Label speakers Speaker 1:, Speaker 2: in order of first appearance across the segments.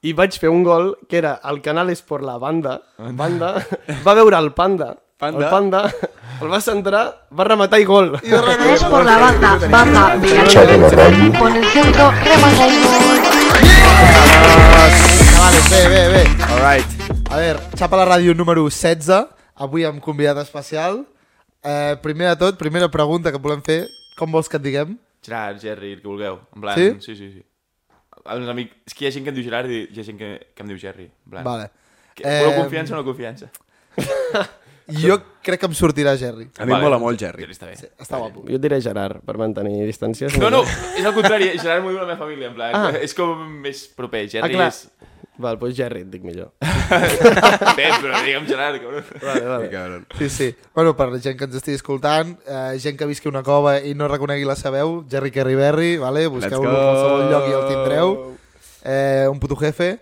Speaker 1: i vaig fer un gol que era el canal és por la banda, banda va veure el panda,
Speaker 2: Panda.
Speaker 1: el panda el va centrar, va rematar i gol i va
Speaker 3: Tres por la banda, banda, mira el por el centro, remata y gol.
Speaker 4: Vale, bé, bé, bé.
Speaker 2: Alright.
Speaker 4: A veure, xapa la ràdio número 16, avui amb convidat especial. Eh, primer de tot, primera pregunta que et volem fer, com vols que et diguem?
Speaker 2: Gerard, Jerry, el que vulgueu. En plan,
Speaker 4: Sí?
Speaker 2: sí, sí. sí. Els amics, és que hi ha gent que em diu Gerard i hi ha gent que, que em diu Jerry. En plan,
Speaker 4: Vale.
Speaker 2: Que, voleu
Speaker 4: Eh,
Speaker 2: confiança o no confiança?
Speaker 4: Jo crec que em sortirà Jerry.
Speaker 5: A mi em mola molt, Jerry.
Speaker 2: Jerry està bé. Sí.
Speaker 4: Està guapo.
Speaker 1: jo et diré Gerard per mantenir distàncies
Speaker 2: No, no, és al contrari, Gerard m'ho diu la meva família, en plan, ah. és com més proper,
Speaker 1: ah,
Speaker 2: Jerry
Speaker 1: clar
Speaker 2: és...
Speaker 1: val, doncs Gerry et dic millor
Speaker 2: Bé, però digue'm Gerard, cabrón.
Speaker 1: vale, vale.
Speaker 5: Cabron.
Speaker 4: Sí, sí. Bueno, per la gent que ens estigui escoltant, eh, gent que visqui a una cova i no reconegui la seva veu, Jerry Kerry Berry, vale? busqueu-lo a
Speaker 5: go.
Speaker 4: qualsevol lloc i el tindreu. Eh, un puto jefe.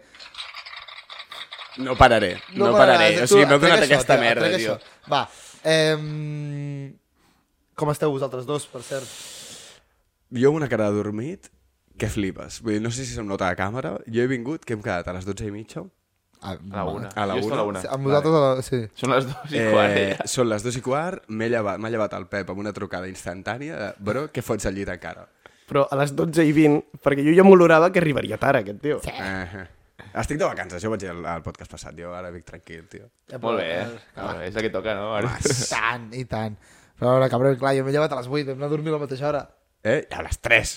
Speaker 5: No pararé, no, pararé.
Speaker 4: pararàs.
Speaker 5: O sigui,
Speaker 4: Tu,
Speaker 5: m'heu donat
Speaker 4: trec això,
Speaker 5: aquesta
Speaker 4: trec-
Speaker 5: merda,
Speaker 4: trec
Speaker 5: tio.
Speaker 4: això. Va, eh, com esteu vosaltres dos, per cert?
Speaker 5: Jo amb una cara de dormit que flipes. Vull dir, no sé si se'm nota a càmera. Jo he vingut, que hem quedat a les 12 i mitja.
Speaker 4: Ah,
Speaker 2: A la una.
Speaker 5: A la
Speaker 2: Jo estic a la
Speaker 5: una.
Speaker 2: una.
Speaker 4: amb vosaltres, a la... sí.
Speaker 2: Són les dues i eh... quart,
Speaker 5: Eh,
Speaker 2: ja.
Speaker 5: són les 2 i quart, m'he llevat, m'ha llevat el Pep amb una trucada instantània de, bro, què fots al llit encara?
Speaker 1: però a les 12 i 20 perquè jo ja m'olorava que arribaria tard aquest tio sí.
Speaker 5: Eh. Estic de vacances, jo ho vaig dir al, al podcast passat, jo ara vinc tranquil, tio.
Speaker 2: Molt bé, eh? Molt bé, és el que toca, no? Ara.
Speaker 4: I Eh, tant, i tant. Però a veure, cabrón, clar, jo m'he llevat a les 8, vam anar a dormir a la mateixa hora.
Speaker 5: Eh? A les 3.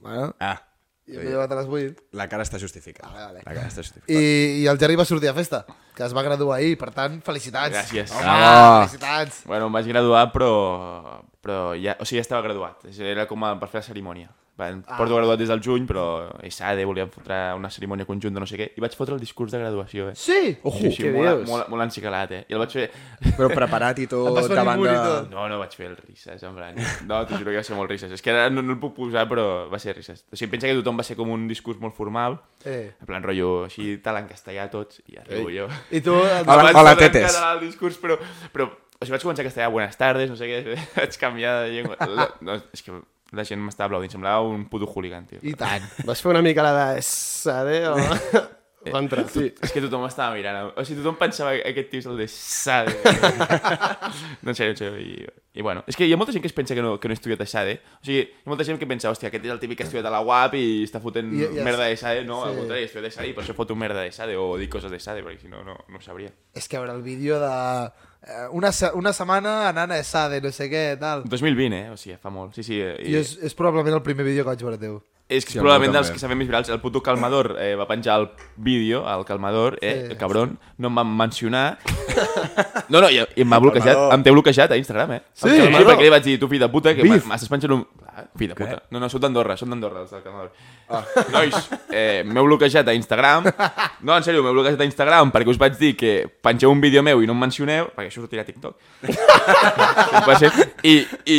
Speaker 4: Bueno,
Speaker 5: Ah,
Speaker 4: jo m'he llevat a les 8.
Speaker 5: la cara està justificada.
Speaker 4: Ah, Vale, vale.
Speaker 5: La cara està justificada.
Speaker 4: I, I el Jerry va sortir a festa, que es va graduar ahir, per tant, felicitats.
Speaker 2: Gràcies.
Speaker 4: Home,
Speaker 5: Ah.
Speaker 4: felicitats.
Speaker 2: Bueno, em vaig graduar, però... però ja, o sigui, ja estava graduat. Era com a, per fer la cerimònia. Van, ah. Porto graduat des del juny, però a Sade volíem fotre una cerimònia conjunta, no sé què, i vaig fotre el discurs de graduació, eh?
Speaker 4: Sí!
Speaker 1: Ojo,
Speaker 2: sí, sí,
Speaker 1: què
Speaker 2: molt,
Speaker 1: dius?
Speaker 2: molt, molt encicalat, eh? I el vaig fer...
Speaker 5: Però preparat i
Speaker 4: Em
Speaker 5: tot,
Speaker 4: vas venir
Speaker 5: davant
Speaker 4: molt i
Speaker 5: de...
Speaker 1: Ah.
Speaker 4: tot.
Speaker 2: No, no vaig fer el risses, en plan... No, t'ho juro que va ser molt risses. És que ara no, no el puc posar, però va ser risses. O sigui, pensa que tothom va ser com un discurs molt formal,
Speaker 4: Eh.
Speaker 2: en plan, rotllo, així, tal, en castellà tots, i arribo jo.
Speaker 4: I tu, eh, el
Speaker 5: Hola,
Speaker 2: Abans
Speaker 5: hola,
Speaker 2: de tancar
Speaker 5: tetes.
Speaker 2: El discurs, però, però o sigui, vaig començar que estava buenas tardes, no sé què, després vaig canviar de llengua. La, no, és que la gent m'estava aplaudint, semblava un puto hooligan, tio.
Speaker 4: I tant.
Speaker 1: vas fer una mica la de Sade o... va entrar
Speaker 2: Sí. És que tothom m'estava mirant. O sigui, tothom pensava que aquest tio és el de Sade. no, en sèrio, en sèrio. I, I, bueno, és que hi ha molta gent que es pensa que no, que no he estudiat a Sade. O sigui, hi ha molta gent que pensa, hòstia, aquest és el típic que ha estudiat a la UAP i està fotent
Speaker 4: I- i es-
Speaker 2: merda de Sade. No,
Speaker 4: sí.
Speaker 2: al contrari, he estudiat a Sade i per això foto merda de Sade o dic coses de Sade, perquè si no, no, no ho sabria.
Speaker 4: És que a veure el vídeo de... eh, Una, se- una setmana anant a Sade, no sé què, tal.
Speaker 2: 2020, eh? O sigui, fa molt. Sí, sí. eh,
Speaker 4: I és, és probablement el primer vídeo que vaig veure teu.
Speaker 2: És
Speaker 5: Sí,
Speaker 2: que sí,
Speaker 5: a mi
Speaker 2: probablement
Speaker 5: també.
Speaker 2: dels que s'ha fet més virals, el puto Calmador eh, va penjar el vídeo, el Calmador, eh,
Speaker 4: Sí.
Speaker 2: sí. cabron, no em van mencionar. No, no, i, i m'ha bloquejat, em té bloquejat a Instagram, eh? Sí, el Calmador,
Speaker 1: Calmador.
Speaker 2: perquè li vaig dir, tu fill de puta, que
Speaker 5: Bif.
Speaker 2: m'estàs penjant un... Clar, Fill de puta. No, no, són d'Andorra, són d'Andorra, els del Calmador. Ah. Nois, eh, m'heu bloquejat a Instagram. No, en sèrio, m'heu bloquejat a Instagram perquè us vaig dir que pengeu un vídeo meu i no em mencioneu, perquè això sortirà a TikTok. 100%. I, i,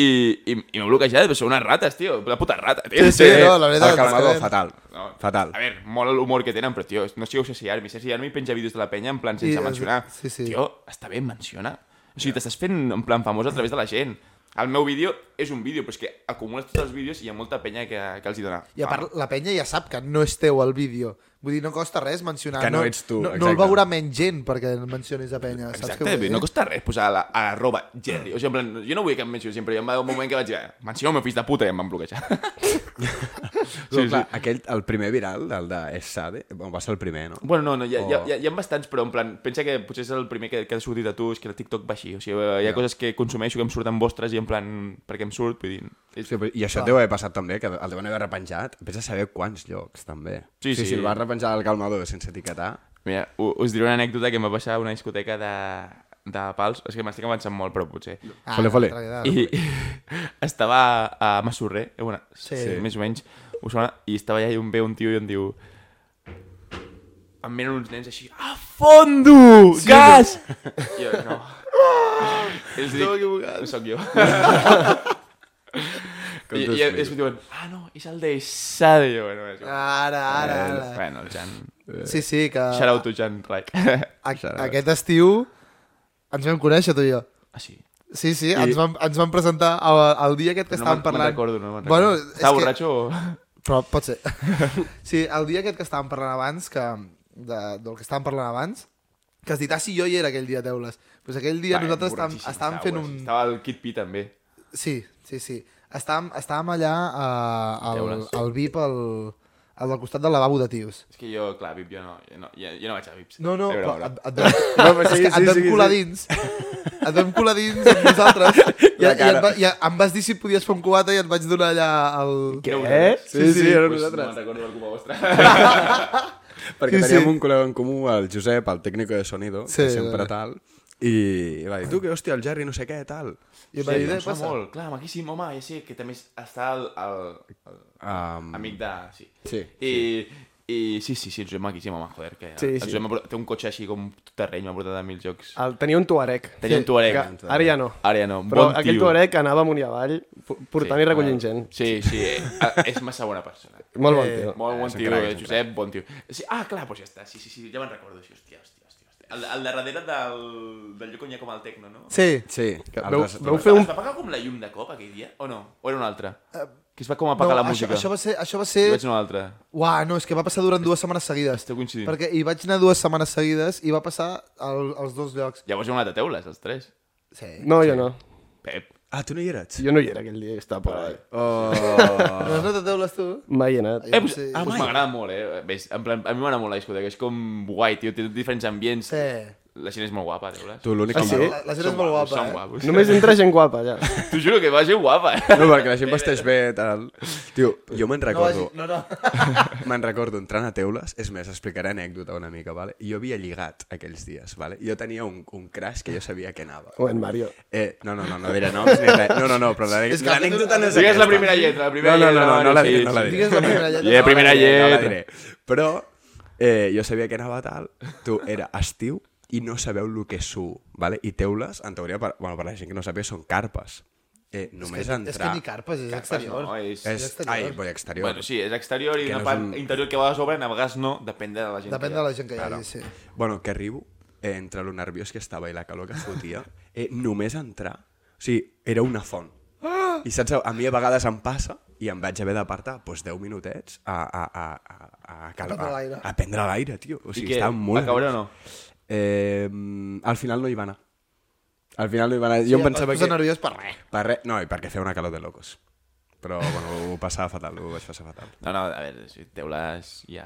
Speaker 2: i, i m'heu bloquejat, però sou unes rates, tio, una puta rata, tio. Eh,
Speaker 4: Sí, no, la veritat,
Speaker 5: El calmador,
Speaker 4: està bé.
Speaker 5: fatal.
Speaker 2: No.
Speaker 5: Fatal.
Speaker 2: A veure, mola l'humor que tenen, però, tio, no sigueu Ceci Armi. Ceci Armi penja vídeos de la penya en plan sense
Speaker 4: I-
Speaker 2: mencionar.
Speaker 4: sí, sí.
Speaker 2: Tio, està bé mencionar. O sigui, t'estàs fent en plan famós a través de la gent. El meu vídeo és un vídeo, però és que acumules tots els vídeos i hi ha molta penya que, que els hi dona.
Speaker 4: I a part, la penya ja sap que no és teu el vídeo. Vull dir, no costa res mencionar.
Speaker 5: Que no ets tu,
Speaker 4: No, no el
Speaker 5: exacte.
Speaker 4: veurà menys gent perquè el mencionis a penya. Saps què
Speaker 2: Exacte,
Speaker 4: vull dir?
Speaker 2: no costa res posar a la, a l'arroba Jerry. O sigui, en plan, jo no vull que em mencioni sempre. Jo em va haver un moment que vaig dir, mencioneu el meu fill de puta i em van bloquejar.
Speaker 5: Però, clar, aquell, el primer viral, el de És Sade, bueno, va ser el primer, no?
Speaker 2: Bueno, no, no hi, ha, hi, ha,
Speaker 4: Oh.
Speaker 5: O-
Speaker 2: hi ha- hi ha bastants, però en plan, pensa que potser és el primer que, que ha sortit a tu, és que el TikTok va així. O sigui, hi ha yeah. coses que consumeixo que em surten vostres i en plan, perquè em surt, vull dir... És...
Speaker 5: Sí, però- I això et deu haver passat també, que el deuen haver repenjat. Vés a saber quants llocs, també.
Speaker 2: Sí,
Speaker 5: sí.
Speaker 2: sí.
Speaker 5: Si el vas repenjar al calmador sense etiquetar...
Speaker 2: Mira, u- us diré una anècdota que em va passar a una discoteca de, de Pals. És que m'estic avançant molt, però potser.
Speaker 4: Ah,
Speaker 5: Fole, fole.
Speaker 4: l'altra idea.
Speaker 2: I estava a Massorrer, eh, bueno,
Speaker 4: Sí.
Speaker 2: sí. sí. més o menys, ho sona, i estava allà i em ve un tio i em diu... Em miren uns nens així, a fondo, sí, gas! I jo, no. I els dic, no soc jo.
Speaker 5: Com
Speaker 2: I,
Speaker 5: t'ho
Speaker 2: i, i després
Speaker 5: explico?
Speaker 2: diuen, ah, no, és el de Sade. Jo, bueno, és igual.
Speaker 4: Ara, Ah, ara,
Speaker 2: Eh,
Speaker 4: ara. Ah.
Speaker 2: Bueno, el Jan...
Speaker 4: Sí, sí, que...
Speaker 2: Shout out to Jan Raik.
Speaker 4: A, aquest estiu ens vam conèixer, tu i jo.
Speaker 2: ah, sí.
Speaker 4: Sí, sí, ens vam, ens vam presentar el, el dia aquest que
Speaker 2: No
Speaker 4: estàvem
Speaker 2: me'n- me'n
Speaker 4: parlant.
Speaker 2: recordo, no me'n
Speaker 4: bueno,
Speaker 2: recordo. Estava
Speaker 4: és
Speaker 2: borratxo o...?
Speaker 4: Que, Però pot ser. sí, el dia aquest que estàvem parlant abans, que, de, del que estàvem parlant abans, que has dit, ah, sí, jo hi era aquell dia, Teules. Doncs aquell dia
Speaker 2: Va,
Speaker 4: nosaltres estàvem,
Speaker 2: borratxíssim
Speaker 4: estàvem fent un...
Speaker 2: Estava el Kid P també.
Speaker 4: Sí, sí, sí. Estàvem, estàvem allà eh, al,
Speaker 2: Teules.
Speaker 4: al VIP, al, al del costat del lavabo de tios.
Speaker 2: És que jo, clar, VIP, jo no, jo no, jo, jo no vaig a VIPs.
Speaker 4: No, no,
Speaker 2: A veure,
Speaker 4: però
Speaker 2: a veure.
Speaker 4: et, et vam,
Speaker 5: No, però sí,
Speaker 4: és que
Speaker 5: sí,
Speaker 4: et vam
Speaker 5: sí,
Speaker 4: colar
Speaker 5: sí.
Speaker 4: dins. Et vam colar dins amb nosaltres. I, i,
Speaker 5: La
Speaker 4: et
Speaker 5: cara.
Speaker 4: va, i em vas dir si podies fer un cubata i et vaig donar allà el...
Speaker 1: Què?
Speaker 5: Sí, sí, era
Speaker 2: pues,
Speaker 5: nosaltres.
Speaker 2: No me'n recordo del culpa vostra.
Speaker 5: Perquè
Speaker 4: Sí, sí.
Speaker 5: teníem un col·lega en comú, el Josep, el tècnic de sonido,
Speaker 4: Sí,
Speaker 5: que sempre
Speaker 4: vale.
Speaker 5: tal, i va dir, tu, que hòstia, el Jerry no sé què, tal.
Speaker 4: I em va dir,
Speaker 2: em
Speaker 4: "Eh,
Speaker 2: sona
Speaker 4: passa.
Speaker 2: molt. Clar, maquíssim, home, ja sé que també està el, el, el
Speaker 5: Um,
Speaker 2: amic de... Sí.
Speaker 5: Sí,
Speaker 2: I, I sí, sí, sí, el Josep maquíssim, home, joder, que
Speaker 1: Sí, sí.
Speaker 2: sí,
Speaker 1: Ah,
Speaker 2: el Josep m'ha portat- té un cotxe així com tot terreny, m'ha portat a mil jocs.
Speaker 1: El, tenia un tuareg.
Speaker 2: Tenia un Touareg.
Speaker 1: Que Ara ja no.
Speaker 2: Ara ja no,
Speaker 1: Però
Speaker 2: bon
Speaker 1: aquell
Speaker 2: tio.
Speaker 1: tuareg anava amunt i avall po- portant
Speaker 2: Sí, ah,
Speaker 1: i recollint
Speaker 2: clar.
Speaker 1: gent.
Speaker 2: Sí, sí, eh, és massa bona persona.
Speaker 1: Molt bon tio.
Speaker 2: Molt bon
Speaker 5: és un
Speaker 2: tio,
Speaker 5: crac,
Speaker 2: eh,
Speaker 5: és un
Speaker 2: Josep, bon tio. Sí, ah, clar, doncs ja està, sí, sí, sí, ja me'n recordo, sí, hòstia, hòstia, hòstia. hòstia. El, el de darrere del, del lloc on hi ha com el Tecno, no?
Speaker 4: Sí,
Speaker 5: Sí, que
Speaker 1: Veu,
Speaker 5: altres-
Speaker 1: veu
Speaker 2: Es
Speaker 1: fer
Speaker 2: va-
Speaker 1: un...
Speaker 2: Es va apagar com la llum de cop aquell dia? O no? O era un altre? que es va com apagar la música.
Speaker 4: Eh, Això, això va ser... Això va
Speaker 2: Jo
Speaker 4: ser...
Speaker 2: vaig anar a un altre.
Speaker 4: Uah, no, és que va passar durant dues setmanes seguides.
Speaker 2: Esteu coincidint.
Speaker 4: Perquè hi vaig anar dues setmanes seguides i va passar al, als dos llocs.
Speaker 2: Llavors hi ha un altre teules, els tres.
Speaker 4: Sí.
Speaker 1: No, jo no.
Speaker 2: Pep.
Speaker 5: Ah, tu no hi eres?
Speaker 1: Jo no hi era aquell dia, estava per allà.
Speaker 5: Oh,
Speaker 4: No, no te teules tu?
Speaker 1: Mai he anat.
Speaker 2: Eh, pues,
Speaker 4: sí.
Speaker 2: ah, pues m'agrada molt, eh? Ves, en plan, a mi m'agrada molt la discoteca, és com guai, tio, té diferents ambients.
Speaker 4: Sí.
Speaker 2: La gent és molt guapa, teules.
Speaker 5: tu l'únic
Speaker 4: Ah,
Speaker 5: que...
Speaker 4: sí? La, la gent és molt guapa,
Speaker 2: Són
Speaker 4: eh?
Speaker 2: guapos.
Speaker 1: Només entra gent guapa, allà.
Speaker 2: T'ho juro que va ser guapa.
Speaker 5: No, perquè la gent vesteix bé, tal. Tio, jo me'n
Speaker 4: No, vagi,
Speaker 5: recordo,
Speaker 4: no, no.
Speaker 5: me'n recordo entrant a teules, és més, explicaré anècdota una mica, vale? Jo havia lligat aquells dies, vale? Jo tenia un, un crash que jo sabia que anava.
Speaker 1: O en Mario.
Speaker 5: Eh, no, no, no, no diré noms ni res. No, no, no, però l'anè-
Speaker 4: És que-
Speaker 5: l'anècdota no és
Speaker 2: Digues la
Speaker 5: aquesta.
Speaker 2: primera lletra, la primera
Speaker 5: no, no,
Speaker 2: lletra,
Speaker 5: No, no, no,
Speaker 2: Mario,
Speaker 5: la
Speaker 2: sí,
Speaker 5: diré, no la
Speaker 2: sí.
Speaker 5: diré.
Speaker 4: Digues la primera lletra.
Speaker 2: Yeah,
Speaker 4: No,
Speaker 2: primera
Speaker 5: la diré, No la
Speaker 2: lletra.
Speaker 5: diré. Però eh, jo sabia que anava tal, tu, era estiu i no sabeu el que és su, vale? i teules, en teoria, per, bueno, per la gent que no sabia, són carpes. Eh, només
Speaker 4: És que- És que
Speaker 5: entrar...
Speaker 4: ni carpes, és exterior.
Speaker 2: No, eh, és...
Speaker 5: és,
Speaker 4: exterior.
Speaker 5: ai, vull dir, exterior.
Speaker 2: Bueno, sí, és exterior i
Speaker 5: Que no
Speaker 2: una
Speaker 5: és
Speaker 2: part
Speaker 5: un-
Speaker 2: interior que a vegades obren, a vegades no, depèn de la gent.
Speaker 4: Depèn
Speaker 2: que hi
Speaker 4: de
Speaker 2: ha.
Speaker 4: la gent que hi hagi, sí.
Speaker 5: Bueno, que arribo, eh, entre lo nerviós que estava i la calor que fotia, eh, només entrar, o sigui, era una font. I saps, a mi a vegades em passa i em vaig haver d'apartar doncs, 10 minutets a, a, a, a, a, cal-
Speaker 4: A prendre l'aire.
Speaker 5: a, a prendre l'aire, tio. O sigui,
Speaker 2: què?
Speaker 5: estava molt...
Speaker 2: Va caure o
Speaker 5: nerviós.
Speaker 2: no?
Speaker 5: Eh, mm, al final no hi va anar. Al final no hi va anar. Jo
Speaker 4: Sí,
Speaker 5: em pensava
Speaker 4: et vas posar
Speaker 5: que...
Speaker 4: nerviós per res.
Speaker 5: Per re... No, i perquè feia una calor de locos. Però, bueno, ho passava fatal, ho vaig passar fatal.
Speaker 2: No, no, a veure, si teules ja...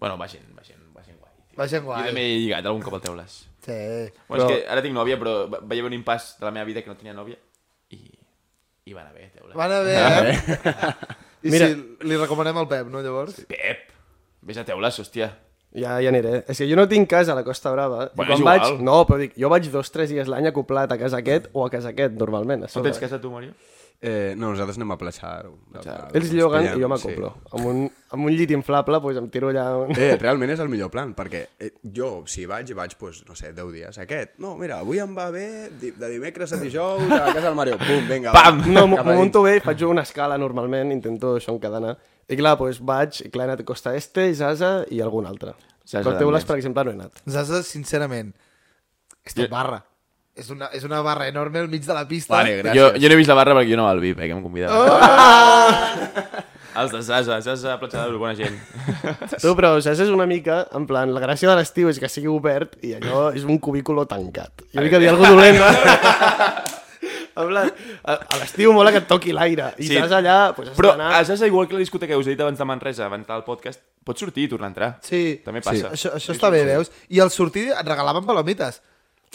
Speaker 2: Bueno, va gent, va gent, va gent guai. tio.
Speaker 4: Va gent guai.
Speaker 2: Jo també he lligat algun cop al teules.
Speaker 4: Sí.
Speaker 2: Bueno, és que ara tinc nòvia, però va va haver un impàs de la meva vida que no tenia nòvia i, i va anar bé, teules.
Speaker 4: Van a bé, eh? I
Speaker 1: Mira.
Speaker 4: Mira. si li recomanem al Pep, no, llavors? Sí.
Speaker 2: Pep! Vés a teules, hòstia.
Speaker 1: Ja, ja aniré. És que jo no tinc casa a la Costa Brava. I
Speaker 2: Bueno,
Speaker 1: quan
Speaker 2: és
Speaker 1: vaig...
Speaker 2: igual.
Speaker 1: No, però dic, jo vaig dos, tres dies l'any acoplat a casa aquest o a casa aquest, normalment. a
Speaker 2: No
Speaker 1: sobre.
Speaker 2: tens casa tu, Mario?
Speaker 5: Eh, no, nosaltres anem a platxar.
Speaker 1: Ells lloguen i jo m'acoplo. Sí. Amb, un, amb un llit inflable, doncs em tiro allà... Un...
Speaker 5: Eh, realment és el millor plan, perquè eh, jo, si vaig, i vaig, pues, no sé, 10 dies. Aquest, no, mira, avui em va bé di- de dimecres a dijous a casa del Mario. Pum, vinga.
Speaker 2: Pam!
Speaker 5: va,
Speaker 1: No, m'ho
Speaker 5: cap a
Speaker 1: m'ho
Speaker 5: dins.
Speaker 1: munto bé, faig una escala normalment, intento això en cadena. I clar, doncs vaig, i clar, he anat a Costa Este, Zaza i algun altre.
Speaker 2: Zaza
Speaker 1: Però Teules,
Speaker 2: també.
Speaker 1: per exemple, no he anat.
Speaker 4: Zaza, sincerament, és
Speaker 2: Jo-
Speaker 4: tot barra. És una, és una barra enorme al mig de la pista.
Speaker 5: Vale,
Speaker 2: Jo,
Speaker 5: gràcies.
Speaker 2: jo no he vist la barra perquè jo no va al VIP, eh, que em convidava. Oh! Els de Sasa, Sasa, platja d'Aro, bona gent.
Speaker 1: Tu, però Zaza és una mica, en plan, la gràcia de l'estiu és que sigui obert i allò és un cubículo tancat. Jo dic que dir alguna dolent, no? En plan, a, a l'estiu mola que et toqui l'aire i sí. Zaza allà, doncs, has
Speaker 2: Però
Speaker 1: d'anar...
Speaker 2: a Sasa, igual que la discoteca que us he dit abans de Manresa, abans del podcast, pots sortir i tornar a entrar.
Speaker 4: Sí.
Speaker 2: També passa.
Speaker 4: Això, això està bé, veus? I al sortir et regalaven palomites.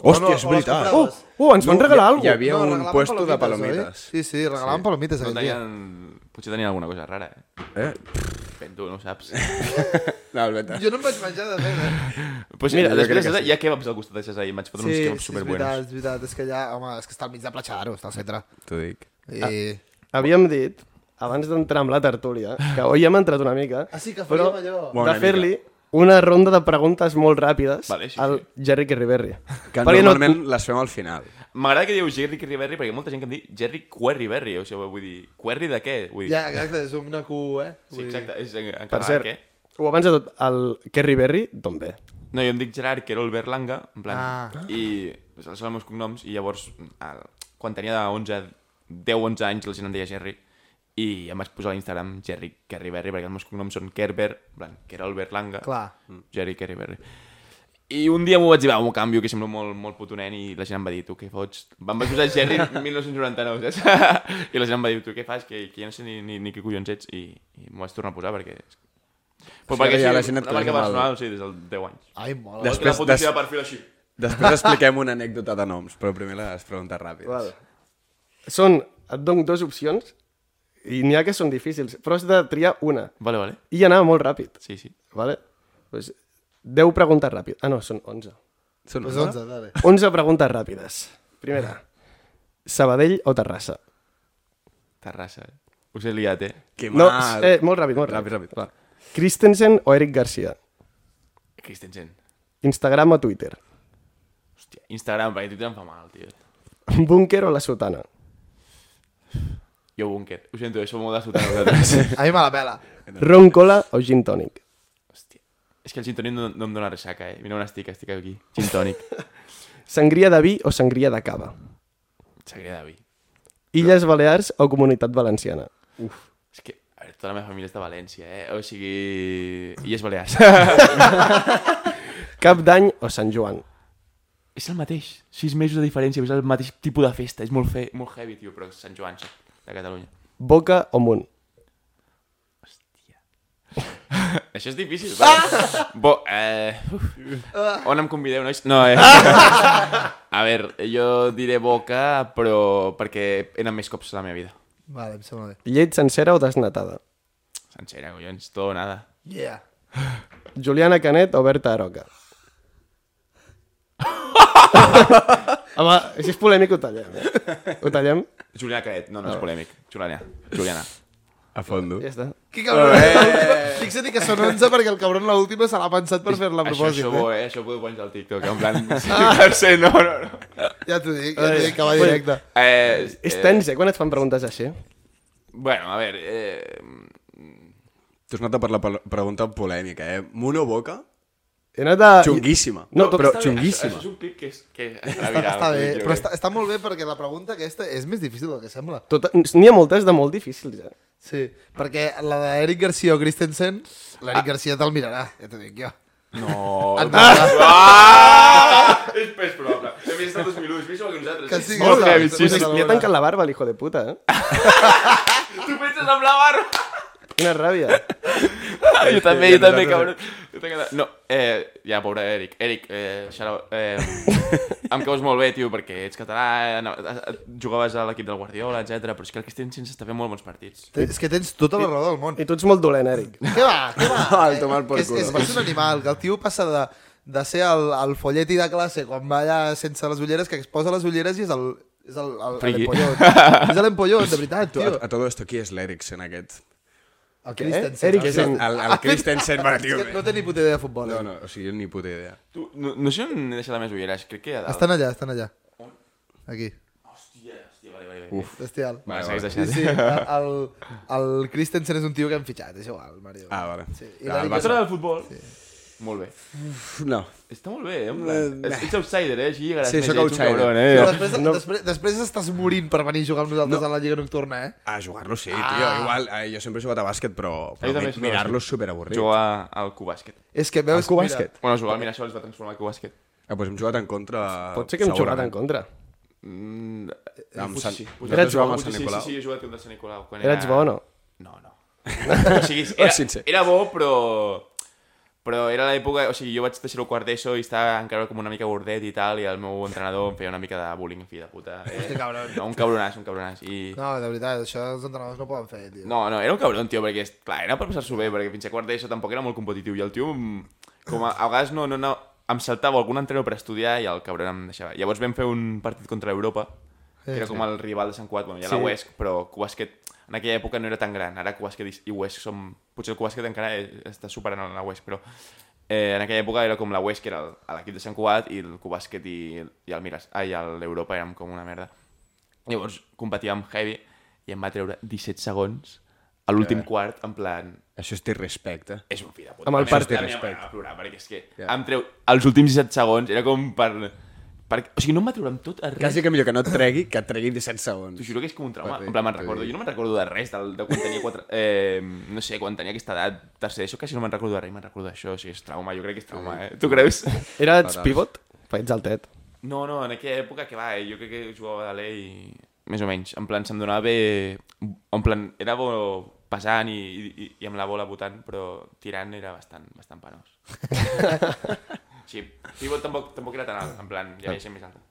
Speaker 5: Hòstia,
Speaker 4: O
Speaker 5: és
Speaker 4: o les
Speaker 5: veritat.
Speaker 1: Oh,
Speaker 4: compraves.
Speaker 1: oh, ens van
Speaker 5: No,
Speaker 1: regalar ¿eh?
Speaker 5: hi-
Speaker 1: alguna
Speaker 5: hi
Speaker 1: cosa.
Speaker 5: havia- un
Speaker 4: regalaven
Speaker 5: puesto de palomites.
Speaker 4: Oi? Sí, sí, regalaven sí. palomites
Speaker 2: No
Speaker 4: aquell dia.
Speaker 2: tenien... Potser tenien alguna cosa rara, eh?
Speaker 5: Eh?
Speaker 2: Ben tu, no ho saps.
Speaker 5: No, és veritat.
Speaker 4: Jo no em vaig menjar de res. eh?
Speaker 2: pues
Speaker 5: Mira,
Speaker 2: mira,
Speaker 5: jo crec que
Speaker 2: després de Sasa,
Speaker 5: sí.
Speaker 2: hi ha kebabs al costat de Sasa i em vaig fotre
Speaker 4: Sí, sí,
Speaker 2: uns kebabs
Speaker 4: és
Speaker 2: superbuenos.
Speaker 4: veritat, és veritat. És que allà, home, és que està al mig de Platja d'Aro, està al centre.
Speaker 5: T'ho dic.
Speaker 4: I... Ah.
Speaker 1: Havíem dit, abans d'entrar amb la tertúlia, que avui hem entrat una mica,
Speaker 4: Ah, sí, que
Speaker 1: però
Speaker 4: faríem allò.
Speaker 5: Bona
Speaker 1: de fer-li una ronda de preguntes molt ràpides
Speaker 2: Vale, sí,
Speaker 1: al Jerry Kirriberri.
Speaker 5: Que
Speaker 1: Perquè no-
Speaker 5: normalment les fem al final.
Speaker 2: M'agrada que dieu Jerry Querriberri perquè molta gent que em diu Jerry Querriberri, o sigui, vull dir, Querri de què? Vull dir,
Speaker 4: Ja, exacte, és un nacu, eh?
Speaker 2: sí, exacte, és en, en
Speaker 1: Per
Speaker 2: català,
Speaker 1: cert,
Speaker 2: Ah, què?
Speaker 1: o abans de tot, el Kirriberri, d'on ve?
Speaker 2: No, jo em dic Gerard, que era el Berlanga, en plan,
Speaker 4: Ah.
Speaker 2: ah. i pues, els són els meus cognoms, i llavors, el, quan tenia de 11, 10, 11 anys, la gent em deia Gerry, i em vaig posar a Instagram Jerry Kerry Berry, perquè els meus cognoms són Kerber, en plan, Kerol Berlanga,
Speaker 4: Clar.
Speaker 2: Mm. Jerry Kerry Berry. I un dia m'ho vaig dir, va, m'ho canvio, que semblo molt, molt puto nen, i la gent em va dir, tu què fots? Em vaig posar Jerry 1999, saps? I la gent em va dir, tu què fas? Que, que ja no sé ni, ni, ni qui collons ets, i, i m'ho vaig tornar a posar perquè... Però
Speaker 5: Sí, ara ja la
Speaker 2: sí,
Speaker 5: gent et
Speaker 2: una marca
Speaker 5: coneix mal.
Speaker 2: personal, sí, des dels 10 anys.
Speaker 4: Ai, mola.
Speaker 5: Des-
Speaker 2: Després, la
Speaker 5: Després-
Speaker 2: foto
Speaker 5: des-
Speaker 2: des... de perfil així.
Speaker 5: Després expliquem una anècdota de noms, però primer les preguntes ràpides.
Speaker 1: Val. Són, et dono dues opcions i n'hi ha que són difícils, però has de triar una.
Speaker 2: Vale, vale.
Speaker 1: I anar molt ràpid,
Speaker 2: Sí, sí.
Speaker 1: vale? Pues, 10 preguntes ràpides. Ah, no, són 11.
Speaker 5: Són
Speaker 4: Pues 11, dale.
Speaker 1: 11 preguntes ràpides. Primera. Sabadell o Terrassa?
Speaker 2: Terrassa. Us he liat, eh?
Speaker 5: Que
Speaker 1: No,
Speaker 5: mal.
Speaker 1: eh, molt ràpid, molt ràpid.
Speaker 5: Ràpid, ràpid. Va.
Speaker 1: Christensen o Eric Garcia?
Speaker 2: Christensen.
Speaker 1: Instagram o Twitter?
Speaker 2: Hòstia, Instagram, perquè Twitter em fa mal, tio.
Speaker 1: Búnker o La Sotana?
Speaker 2: Jo búnquer. Ho sento, això m'ho de sotar a vosaltres.
Speaker 4: A mi me la pela.
Speaker 1: Ron Cola o Gin Tonic?
Speaker 2: Hòstia. És que el gintònic no, no em dóna ressaca, eh? Mira on estic, estic aquí. Gintònic.
Speaker 1: Sangria de vi o sangria de cava?
Speaker 2: Sagria de vi.
Speaker 1: Illes Balears o Comunitat Valenciana?
Speaker 2: És que, a veure, tota la meva família és de València, eh? O sigui... I és Balears.
Speaker 1: Cap d'any o Sant Joan?
Speaker 2: és el mateix. Sis mesos de diferència, però és el mateix tipus de festa. És molt, fe... molt heavy, tio, però és Sant Joan, sí, de Catalunya.
Speaker 1: Boca o Munt?
Speaker 2: Això és difícil, però... Bo, eh... uf. On em convideu, nois? No, eh... A veure, jo diré boca, però perquè he anat més cops a la meva vida.
Speaker 4: Vale, em sembla bé.
Speaker 1: Llet sencera o desnatada?
Speaker 2: Sencera, collons, tot o nada.
Speaker 4: Yeah.
Speaker 1: Juliana Canet o Berta Aroca? Home, si és polèmic ho tallem. Eh? Ho tallem?
Speaker 2: Juliana Canet, no, no és polèmic. Juliana, Juliana.
Speaker 5: A fondo.
Speaker 1: Ja està.
Speaker 4: Que cabrón. Eh. Fixa't que són 11 perquè el cabron l'última se l'ha pensat per fer-la a
Speaker 2: Això,
Speaker 4: propòsit.
Speaker 2: això, bo, eh? Això ho podeu penjar al TikTok, en plan... ficar-se, no, no, no.
Speaker 4: eh? Ja t'ho dic, ja t'ho dic, que va directe.
Speaker 2: Eh,
Speaker 1: És
Speaker 2: eh,
Speaker 1: tens, eh, quan et fan preguntes així?
Speaker 2: bueno, a veure... Eh...
Speaker 5: Tu has anat a per la pel- pregunta polèmica, eh? Mono boca,
Speaker 1: He anat a...
Speaker 5: xunguíssima.
Speaker 1: Ah, No, tot
Speaker 5: però
Speaker 1: està bé,
Speaker 5: xunguíssima.
Speaker 2: Això, això és un clip que, és, que
Speaker 4: Està, està bé, però està, està molt bé perquè la pregunta aquesta és més difícil del que sembla.
Speaker 1: Tot... Tota- N'hi ha moltes de molt difícils, eh?
Speaker 4: Sí, perquè la d'Eric Garcia o Christensen, l'Eric ah. Garcia te'l mirarà, ja t'ho dic jo.
Speaker 2: No...
Speaker 4: Et matarà.
Speaker 2: Ah! És més probable. Hem vist el 2001, és més igual que nosaltres.
Speaker 4: Que
Speaker 2: eh?
Speaker 4: sí,
Speaker 2: Molt
Speaker 4: que
Speaker 2: heavy,
Speaker 4: sí.
Speaker 2: sí, sí.
Speaker 1: Li ha tancat la barba, l'hijo de puta, eh?
Speaker 2: Tu penses amb la barba?
Speaker 1: Quina ràbia.
Speaker 2: jo també, jo també, cabrón. Jo t'he quedat- No, eh, ja, pobre Eric. Eric, eh, xarau, eh, em caus molt bé, tio, perquè ets català, anava- eh, jugaves a l'equip del Guardiola, etc. però és que el Christensen s'està fent molt bons partits.
Speaker 4: Té- És que tens tota la raó del món.
Speaker 1: I tu ets molt dolent, Eric.
Speaker 4: Què va, què va?
Speaker 5: Ah, el tomar por
Speaker 4: és,
Speaker 5: culo.
Speaker 4: és, que és un animal, que el tio passa de, de ser el, el folleti de classe quan va allà sense les ulleres, que es posa les ulleres i és el... És el, el,
Speaker 2: Friki.
Speaker 4: l'empollot. és l'empollot, de veritat,
Speaker 5: Tu,
Speaker 4: tio.
Speaker 5: a, a todo esto, qui és l'Eriksen aquest?
Speaker 4: El Christensen.
Speaker 1: Eric,
Speaker 4: el-
Speaker 1: és el-
Speaker 5: el
Speaker 4: Ha fet-
Speaker 5: Christensen, va, tio,
Speaker 4: És que
Speaker 5: bé.
Speaker 4: No té ni puta idea de futbol.
Speaker 5: No,
Speaker 4: eh?
Speaker 5: no, o sigui, ni puta idea.
Speaker 2: Tu, no, no sé on he deixat la més ulleres, crec que a dalt.
Speaker 4: Estan allà, estan allà. Aquí.
Speaker 2: Hòstia, hòstia, vale, vale, vale.
Speaker 4: Bestial.
Speaker 2: Va, segueix
Speaker 4: Sí,
Speaker 2: deixant.
Speaker 4: sí, el, el Christensen és un tio que hem fitxat, és igual, Mario.
Speaker 5: Ah, vale.
Speaker 4: Sí, i
Speaker 5: Ah, el
Speaker 4: l'Eric
Speaker 5: Barça.
Speaker 2: Entra del futbol. Molt bé.
Speaker 5: Pf, No.
Speaker 2: Està molt bé, eh? en plan. Ets ets outsider, eh? Així llegaràs
Speaker 5: Sí,
Speaker 2: més,
Speaker 5: sóc
Speaker 2: ets un
Speaker 5: outsider.
Speaker 2: cabron, eh?
Speaker 4: Però després, no. després, després estàs morint per venir a jugar amb nosaltres no. a la Lliga Nocturna, eh?
Speaker 5: A jugar-lo sí, tio. Igual, eh, jo sempre he jugat a bàsquet, però, però
Speaker 2: també
Speaker 5: mi-
Speaker 2: jugo a
Speaker 5: mirar-lo
Speaker 2: bàsquet.
Speaker 5: és superavorrit.
Speaker 2: Jugar al cubàsquet.
Speaker 4: És que veus...
Speaker 5: Al
Speaker 4: mira,
Speaker 5: bàsquet.
Speaker 2: Bueno, jugar al Mirasol es va transformar al cubàsquet.
Speaker 5: Ah, doncs hem jugat en contra...
Speaker 1: Pot ser que hem jugat en contra.
Speaker 2: Mm,
Speaker 5: Amb
Speaker 2: potser
Speaker 5: Sant-
Speaker 2: sí, potser
Speaker 5: Nosaltres
Speaker 2: sí,
Speaker 5: jugàvem al
Speaker 2: potser
Speaker 5: Sant
Speaker 2: sí,
Speaker 5: Nicolau.
Speaker 2: Sí, sí, jo he jugat contra Sant Nicolau. Quan
Speaker 1: Eres
Speaker 2: era...
Speaker 1: bo o no?
Speaker 2: No, no. o sigui, era,
Speaker 5: sincer.
Speaker 2: era bo, però... Però era l'època... O sigui, jo vaig deixar el quart d'ESO i estava encara com una mica gordet i tal, i el meu entrenador em feia una mica de bullying, fill de puta. Eh?
Speaker 4: Hòstia, cabron.
Speaker 2: No, un cabronàs, un cabronàs. I...
Speaker 4: No, de veritat, això els entrenadors no poden fer, tio.
Speaker 2: No, no, era un cabron, tio, perquè, clar, era per passar-s'ho bé, perquè fins a quart d'ESO tampoc era molt competitiu, i el tio, mm, com a, a vegades no, no, no, em saltava algun entrenador per estudiar i el cabron em deixava. Llavors vam fer un partit contra Europa, que era com el rival de Sant Cuat, bueno, ja la
Speaker 1: Sí.
Speaker 2: UESC, però Cubasquet en aquella època no era tan gran, ara Cubasquet i- i UESC som... Potser el Cubasquet encara és- està superant la UESC, però eh, en aquella època era com la UESC, que era el- l'equip de Sant Cuat, i el Cubasquet i, i el Miras, ai, l'Europa érem com una merda. Llavors competia amb Heavy i em va treure 17 segons a l'últim quart, en plan...
Speaker 5: Això és t'irrespecte.
Speaker 2: És un fill de puta.
Speaker 1: Amb el
Speaker 2: A mi-
Speaker 1: partit.
Speaker 2: a mi em va plorar, perquè és que
Speaker 5: Ja.
Speaker 2: em treu els últims 17 segons, era com per... Perquè, o sigui, no em va treure amb tot a res.
Speaker 5: Quasi que millor que no et tregui, que et tregui 17
Speaker 2: T'ho
Speaker 5: segons.
Speaker 2: juro que és com un trauma.
Speaker 5: T'ho dic,
Speaker 2: En plan, me'n
Speaker 5: t'ho
Speaker 2: recordo.
Speaker 5: dic.
Speaker 2: Jo no me'n recordo de res del, de quan tenia quatre... Eh, no sé, quan tenia aquesta edat, tercer d'ESO, quasi no me'n recordo de res, me'n recordo d'això. O sigui, és trauma, jo crec que és trauma, eh? Tu creus?
Speaker 1: Eres pivot? Faig altet.
Speaker 2: No, no, en aquella època que va, eh, jo crec que jugava de l'Ei i... Més o menys. En plan, se'm donava bé... En plan, era bo passant i, i, i amb la bola votant, però tirant era bastant, bastant penós. sí, pivot tampoc, tampoc era tan alt, en plan, ja veia gent més alta.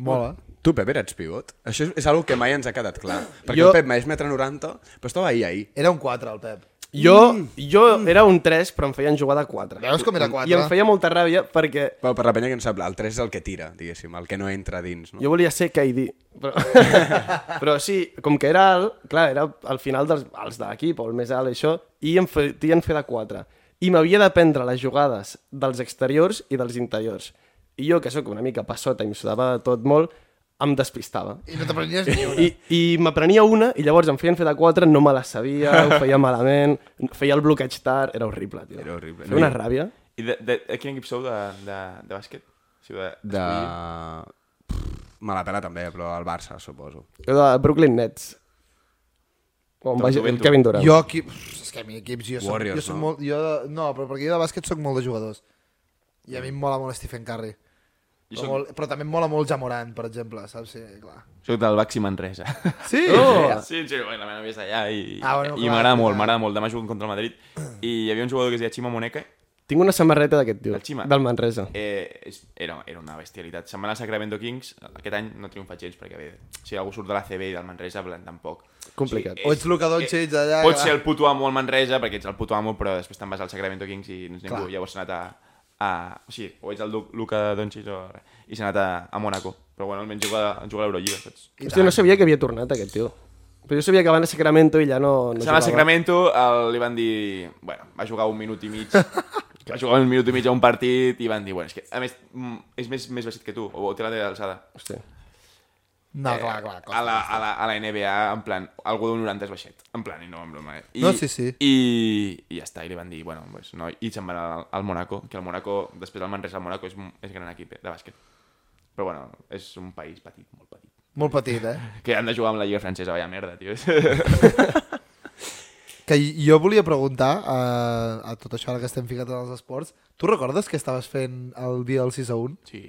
Speaker 4: Mola.
Speaker 5: Tu, Pep, eres pivot? Això és, és algo que mai ens ha quedat clar. Perquè
Speaker 1: Jo-
Speaker 5: jo... el Pep més metre 90, però estava ahir, ahir.
Speaker 4: Era un 4, el Pep.
Speaker 1: Jo, jo era un 3, però em feien jugar de 4.
Speaker 4: Mm. Veus com era quatre?
Speaker 1: I em feia molta ràbia perquè
Speaker 5: Però per la penya que en sap, el 3 és el que tira, diguéssim, el que no entra dins, no?
Speaker 1: jo volia ser KD. Però, però sí, com que era alt, clar, era al final dels alts de l'equip, o el més alt, això, i em feien fer de 4. I m'havia d'aprendre les jugades dels exteriors i dels interiors. I jo, que sóc una mica passota i em sudava tot molt, em despistava.
Speaker 4: I no t'aprenies ni una.
Speaker 1: I, i m'aprenia una i llavors em feien fer de quatre, no me la sabia, ho feia malament, feia el bloqueig tard, era horrible, tio.
Speaker 5: Era horrible.
Speaker 1: Feia una ràbia.
Speaker 2: I de, de, de quin equip sou de, de, de bàsquet? Sí, de...
Speaker 5: De... Pff, Me la pela també, però el Barça, suposo.
Speaker 1: Jo de Brooklyn Nets. On
Speaker 2: Del
Speaker 1: va el
Speaker 2: Juventus.
Speaker 1: Kevin Durant.
Speaker 4: Jo aquí... És que a mi equips... Jo soc,
Speaker 5: Warriors,
Speaker 4: jo soc
Speaker 5: no?
Speaker 4: molt, jo, no, però perquè jo de bàsquet soc molt de jugadors. I a mi em mola molt Stephen Curry.
Speaker 2: Jo
Speaker 4: Però,
Speaker 2: soc-
Speaker 4: molt, però també em mola molt Jamoran, per exemple, saps? Sí, clar.
Speaker 2: Soc del Baxi Manresa.
Speaker 4: Sí?
Speaker 1: Oh!
Speaker 2: Sí, en sèrio, la meva nòvia és allà i,
Speaker 4: Ah, bueno,
Speaker 2: i
Speaker 4: clar,
Speaker 2: m'agrada
Speaker 4: clar.
Speaker 2: molt, m'agrada molt. Demà jugo contra el Madrid i hi havia un jugador que es deia Chima Moneca,
Speaker 1: Tinc una samarreta d'aquest tio,
Speaker 2: El Chima.
Speaker 1: del Manresa.
Speaker 2: eh, és- era, era una bestialitat. Se'n va anar a Sacramento Kings, aquest any no triomfa gens perquè bé, si algú surt de la CB i del Manresa, blan, tampoc.
Speaker 1: Complicat.
Speaker 2: Sí,
Speaker 4: O ets Luka Doncic d'allà,
Speaker 2: Pots
Speaker 4: clar.
Speaker 2: ser el puto amo al Manresa perquè ets el puto amo, però després te'n vas al Sacramento Kings i no ets ningú.
Speaker 4: Clar.
Speaker 2: Llavors s'ha anat a... a o sigui, o ets el Lu- Luka Doncic o... i s'ha anat a, a Mónaco. Però bueno, almenys juga, juga a l'Eurolliga, saps?
Speaker 1: Hòstia, no sabia que havia tornat aquest tio. Però jo sabia que van a Sacramento i ja no, no
Speaker 2: Se'n va a
Speaker 1: jugava.
Speaker 2: Sacramento, el, li van dir... Bueno, va jugar un minut i mig. va jugar un minut i mig a un partit i van dir... Bueno, és que, a més, mm, és més, més vestit que tu, o, té la teva alçada.
Speaker 1: Hòstia.
Speaker 4: No, Ah, clar, clar.
Speaker 2: Eh, a,
Speaker 4: clar.
Speaker 2: la, a, la, a la NBA, en plan, algú d'un 90 és baixet. En plan, i no, en broma. Eh? I,
Speaker 4: No, sí, sí.
Speaker 2: I, I ja està, i li van dir... Bueno, pues, no, i se'n van al, al Mónaco, que el Mónaco, després del Manresa, el Mónaco és, un- és gran equip eh, de bàsquet. Però bueno, és un país petit, molt petit.
Speaker 4: Molt petit, eh?
Speaker 2: Que han de jugar amb la Lliga Francesa, vaya merda, tio.
Speaker 4: Que jo volia preguntar a, a tot això ara que estem ficats en els esports. Tu recordes que estaves fent el dia del 6 a 1?
Speaker 2: sí,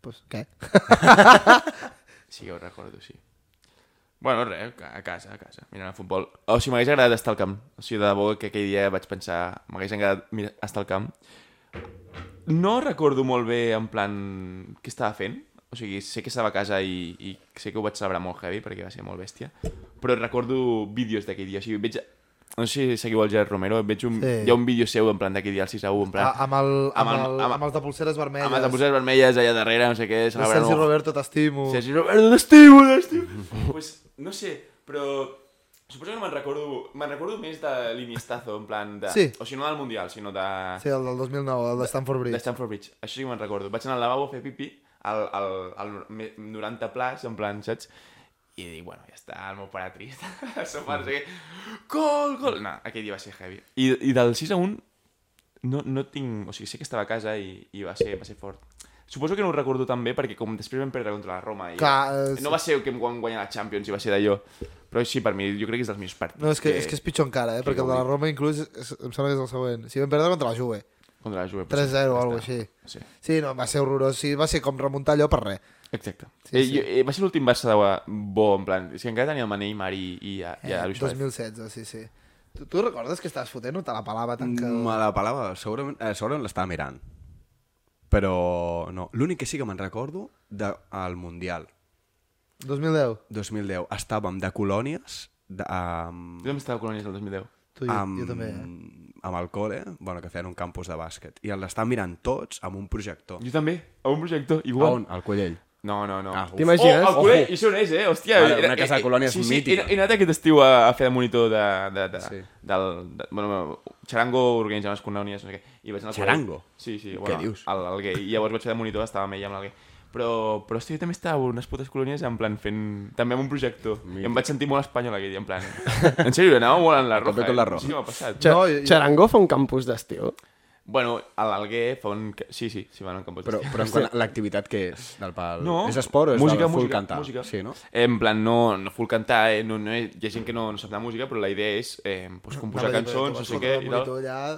Speaker 4: Pues, què?
Speaker 2: Sí que ho recordo, sí. Bueno, res, ca- a casa, a casa, mirant el futbol. O sigui, m'hagués agradat estar al camp. O sigui, de debò que aquell dia vaig pensar... M'hagués agradat mira- estar al camp. No recordo molt bé, en plan, què estava fent. O sigui, sé que estava a casa i, i sé que ho vaig celebrar molt heavy, perquè va ser molt bèstia. Però recordo vídeos d'aquell dia. O sigui, veig... No sé si seguiu el Gerard Romero, veig un, sí.
Speaker 4: Sí.
Speaker 2: hi ha un vídeo seu, en plan, d'aquell dia, el 6 a 1, en plan...
Speaker 4: A, amb, el, amb, el, amb, els de pulseres vermelles.
Speaker 2: amb els de posar vermelles allà darrere, no sé què,
Speaker 4: El
Speaker 2: celebrant
Speaker 4: Sergi
Speaker 2: un-
Speaker 4: Roberto, t'estimo.
Speaker 2: Sergi Roberto, t'estimo, t'estimo. pues, no sé, però... Suposo que me'n recordo, me'n recordo més de l'iniestazo, en plan de...
Speaker 4: Sí.
Speaker 2: O sigui, no del Mundial, sinó de...
Speaker 4: Sí, el del 2009, el de Stanford
Speaker 2: de
Speaker 4: Bridge.
Speaker 2: Stanford Bridge. Això sí que me'n recordo. Vaig anar al lavabo a fer pipí, al, al, al me- 90 plaç, en plan, saps? I dic, bueno, ja està, el meu pare trist. el seu
Speaker 4: Mm.
Speaker 2: pare, no sé què. Gol, gol! No, aquell dia va ser heavy. I, i del 6 a 1, no, no tinc... O sigui, sé que estava a casa i, i va, ser, va ser fort. Suposo que no ho recordo tan bé perquè com després vam perdre contra la Roma i
Speaker 4: Clar, eh,
Speaker 2: no va ser que em van guanyar la Champions i va ser d'allò. Però sí, per mi, jo crec que és dels meus partits.
Speaker 4: No, és que, és que és pitjor encara, eh? Perquè el de la Roma inclús és- és- em sembla que és el següent. Si vam perdre contra la Juve.
Speaker 2: Contra la Juve. potser.
Speaker 4: 3-0 o
Speaker 2: Ja
Speaker 4: alguna
Speaker 2: està.
Speaker 4: així.
Speaker 2: Sí.
Speaker 4: Sí, no, va ser horrorós. Sí, va ser com remuntar allò per res.
Speaker 2: Exacte.
Speaker 4: Sí,
Speaker 2: Sí, eh,
Speaker 4: sí.
Speaker 2: sí. Jo, eh, va ser l'últim Barça de Gua- bo, en plan... És que encara tenia el Mané i Mari i, i, a, i a
Speaker 4: Eh,
Speaker 2: Luis Suárez.
Speaker 4: 2016, sí, sí. Tu, tu recordes que estaves fotent o te la pelava tant que...
Speaker 2: Mm.
Speaker 5: Me la pelava, segurament, eh, segurament l'estava mirant. Però no, l'únic que sí que me'n recordo del al Mundial
Speaker 4: 2010?
Speaker 5: 2010 estàvem de colònies de, amb,
Speaker 2: Jo també estava a Colònies el 2010.
Speaker 4: Tu, jo,
Speaker 5: amb,
Speaker 4: jo també. eh?
Speaker 5: amb el col·le, eh, bueno, que feien un campus de bàsquet, i l'estàvem mirant tots amb un projector.
Speaker 2: Jo també, a un projector,
Speaker 5: A
Speaker 2: igual.
Speaker 5: on? Al Collell.
Speaker 2: No, no, no.
Speaker 5: Ah, uf.
Speaker 1: T'imagines?
Speaker 2: Oh, el Colell, i això on és, eh? Hòstia.
Speaker 5: Ara, una casa de colònies
Speaker 2: sí, sí,
Speaker 5: mítica.
Speaker 2: He, he anat aquest estiu a, a fer de monitor de, de, de,
Speaker 5: Sí.
Speaker 2: sí. del... De, bueno, Charango organitzava les colònies, no sé què. I vaig anar al
Speaker 5: Charango?
Speaker 2: Colell. Sí, sí.
Speaker 5: Què
Speaker 2: Bueno,
Speaker 5: dius?
Speaker 2: El, el gay. I llavors vaig fer de monitor, estava amb ell i amb el gay. Però, però hòstia, jo també estava a unes putes colònies en plan fent... També amb un projector. I em vaig sentir molt espanyol aquell dia, en plan... En sèrio, anava molt en la roja.
Speaker 5: completo la
Speaker 2: eh? No
Speaker 5: roja.
Speaker 4: Oh,
Speaker 2: sé què m'ha passat.
Speaker 1: Xa-
Speaker 4: No, jo-
Speaker 1: Charango fa un campus d'estiu.
Speaker 2: Bueno, a l'Alguer fa un... ca- Sí, sí, sí, van a un camp de
Speaker 5: Però,
Speaker 2: futbol.
Speaker 5: però en quant a l'activitat que és del pal...
Speaker 2: No.
Speaker 5: Eh, És esport o és
Speaker 2: música,
Speaker 5: del full
Speaker 2: música,
Speaker 5: cantar?
Speaker 2: Música.
Speaker 5: Sí, no?
Speaker 2: Eh, En plan, no, no full cantar, eh? no, no, hi ha gent que no, no sap de música, però la idea és eh, pues, composar cançons, no sé què, i tal.
Speaker 4: Allà,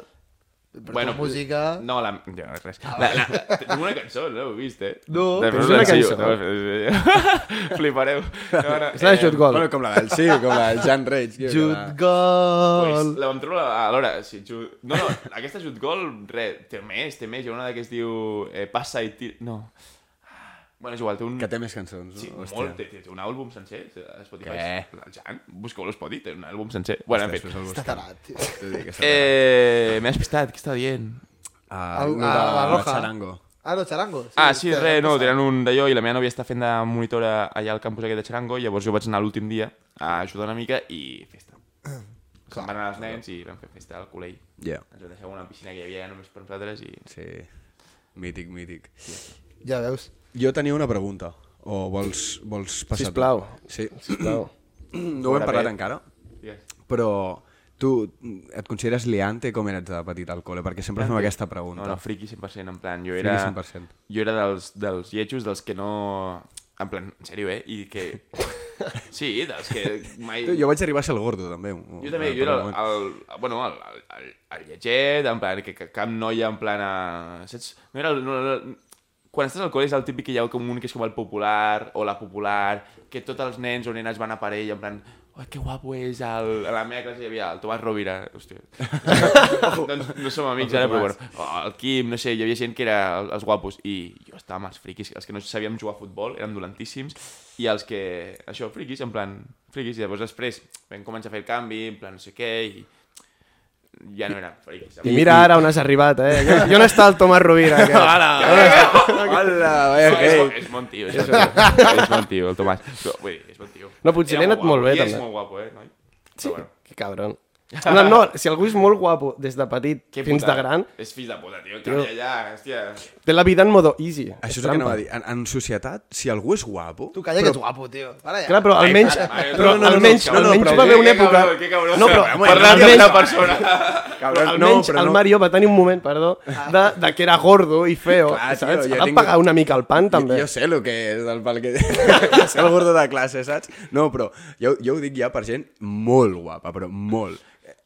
Speaker 4: per bueno, tota música...
Speaker 2: No, la... Ja, res. La, la, tinc una cançó, no l'heu vist, eh?
Speaker 1: No, tens
Speaker 2: Després us la
Speaker 1: una
Speaker 2: ensenyo.
Speaker 1: cançó?
Speaker 2: No, Flipareu. No, eh, no,
Speaker 1: És la de Shot Goal.
Speaker 5: Bueno, com la del... Sí, com la del Jan Reig. que
Speaker 4: Jude
Speaker 5: era-
Speaker 4: Gol!
Speaker 2: Pues, la vam treure a l'hora. Si ju... No, no, aquesta Jut Gol, res, té més, té més. Hi ha una que es diu eh, Passa i tira... No. Ah, Bueno, és igual, té un...
Speaker 5: Que té més cançons.
Speaker 2: Sí,
Speaker 5: no?
Speaker 2: molt, té, té, té un àlbum sencer a Spotify.
Speaker 5: Què?
Speaker 2: El Jan, busqueu l'Spotty, té un àlbum sencer. Bueno, en fi.
Speaker 4: Està tarat, tio.
Speaker 2: Eh, M'he despistat, què estava dient?
Speaker 5: Ah,
Speaker 4: El-
Speaker 5: no,
Speaker 4: a la
Speaker 5: la, la
Speaker 4: Roja.
Speaker 5: Charango.
Speaker 4: Ah, no, Charango. Sí,
Speaker 2: ah, sí,
Speaker 4: hòstia,
Speaker 2: res, no,
Speaker 4: passat.
Speaker 2: tenen un d'allò i la meva nòvia està fent de monitora allà al campus aquest de Xarango, i llavors jo vaig anar l'últim dia a ajudar una mica i festa. Se'n van anar els nens i vam fer festa al col·legi.
Speaker 5: Yeah.
Speaker 2: Ens van deixar una piscina que hi havia només per nosaltres i...
Speaker 5: Sí. Mític, mític.
Speaker 4: Ja veus.
Speaker 5: Jo tenia una pregunta. O vols, vols passar? tu?
Speaker 1: Sisplau.
Speaker 5: Sí.
Speaker 1: Sisplau.
Speaker 5: No ho hem parlat
Speaker 2: Bé.
Speaker 5: encara,
Speaker 2: Digues.
Speaker 5: però tu et consideres liante com eres de petit al col·le? Perquè sempre fem aquesta pregunta.
Speaker 2: No, no, friki 100%, en plan, jo
Speaker 5: Friki
Speaker 2: era...
Speaker 5: 100%.
Speaker 2: Jo era dels, dels lletjos, dels que no... En plan, en sèrio, eh? I que... Sí, dels que mai...
Speaker 5: Tu, Jo vaig arribar a ser el gordo, també. un-
Speaker 2: Jo també,
Speaker 5: un-
Speaker 2: jo era
Speaker 5: un
Speaker 2: el,
Speaker 5: moment.
Speaker 2: el, bueno, el, el, el lleget, en plan, que, que cap noia, en plan, a, saps? No era, el, no, no, quan estàs al col·le és el típic que hi ha com un que és com el popular o la popular, que tots els nens o nenes van a per ell, en plan, oh, que guapo és, el... a la meva classe hi havia el Tomàs Rovira, hòstia. doncs no som amics ara, però bueno, oh, el Quim, no sé, hi havia gent que era el- els guapos i jo estava amb els friquis, els que no sabíem jugar a futbol, eren dolentíssims, i els que, això, friquis, en plan, friquis, i llavors després vam començar a fer el canvi, en plan, no sé què, i ja no érem friquis.
Speaker 1: I mira ara on has arribat, eh? Jo, jo on està el Tomàs Rovira? Que...
Speaker 5: Hola,
Speaker 1: eh,
Speaker 2: No,
Speaker 5: vaya
Speaker 2: és,
Speaker 5: gay.
Speaker 2: bo- és bon tio, és, és bon tio, el Tomàs. Però, vull dir, és bon tio.
Speaker 1: No, potser
Speaker 2: Era
Speaker 1: li ha anat molt bé,
Speaker 2: guapo, I
Speaker 1: també.
Speaker 2: és molt guapo, eh, noi?
Speaker 1: Sí,
Speaker 2: Però, bueno,
Speaker 1: que cabron. No, no, si algú és molt guapo des de petit
Speaker 2: que
Speaker 1: fins
Speaker 2: puta,
Speaker 1: de gran,
Speaker 2: És fill de puta, tio. Tio. Allà, hòstia.
Speaker 1: té la vida en modo easy.
Speaker 5: Això és el que anava a dir. En, en societat, si algú és guapo...
Speaker 4: Tu calla, que ets guapo, tio. Para ja.
Speaker 1: Clar, però almenys,
Speaker 2: Ai, mare,
Speaker 1: però
Speaker 2: no, no, no,
Speaker 1: almenys,
Speaker 2: cabrón,
Speaker 1: almenys
Speaker 2: però
Speaker 1: va haver
Speaker 2: que-
Speaker 1: una
Speaker 2: que
Speaker 1: època...
Speaker 2: cabrón, que cabrón.
Speaker 1: No, però
Speaker 2: Bueno, parlant
Speaker 1: almenys-
Speaker 2: d'una persona.
Speaker 1: Però almenys el Mario va tenir un moment, perdó, de, de que era gordo i feo,
Speaker 5: Ah. Clar, tio,
Speaker 1: saps?
Speaker 5: jo
Speaker 1: Va
Speaker 5: tinc-
Speaker 1: pagar una mica el pan, també.
Speaker 5: Jo, jo sé el que és el pal que... jo sé el gordo de classe, saps? No, però jo, jo ho dic ja per gent molt guapa, però molt.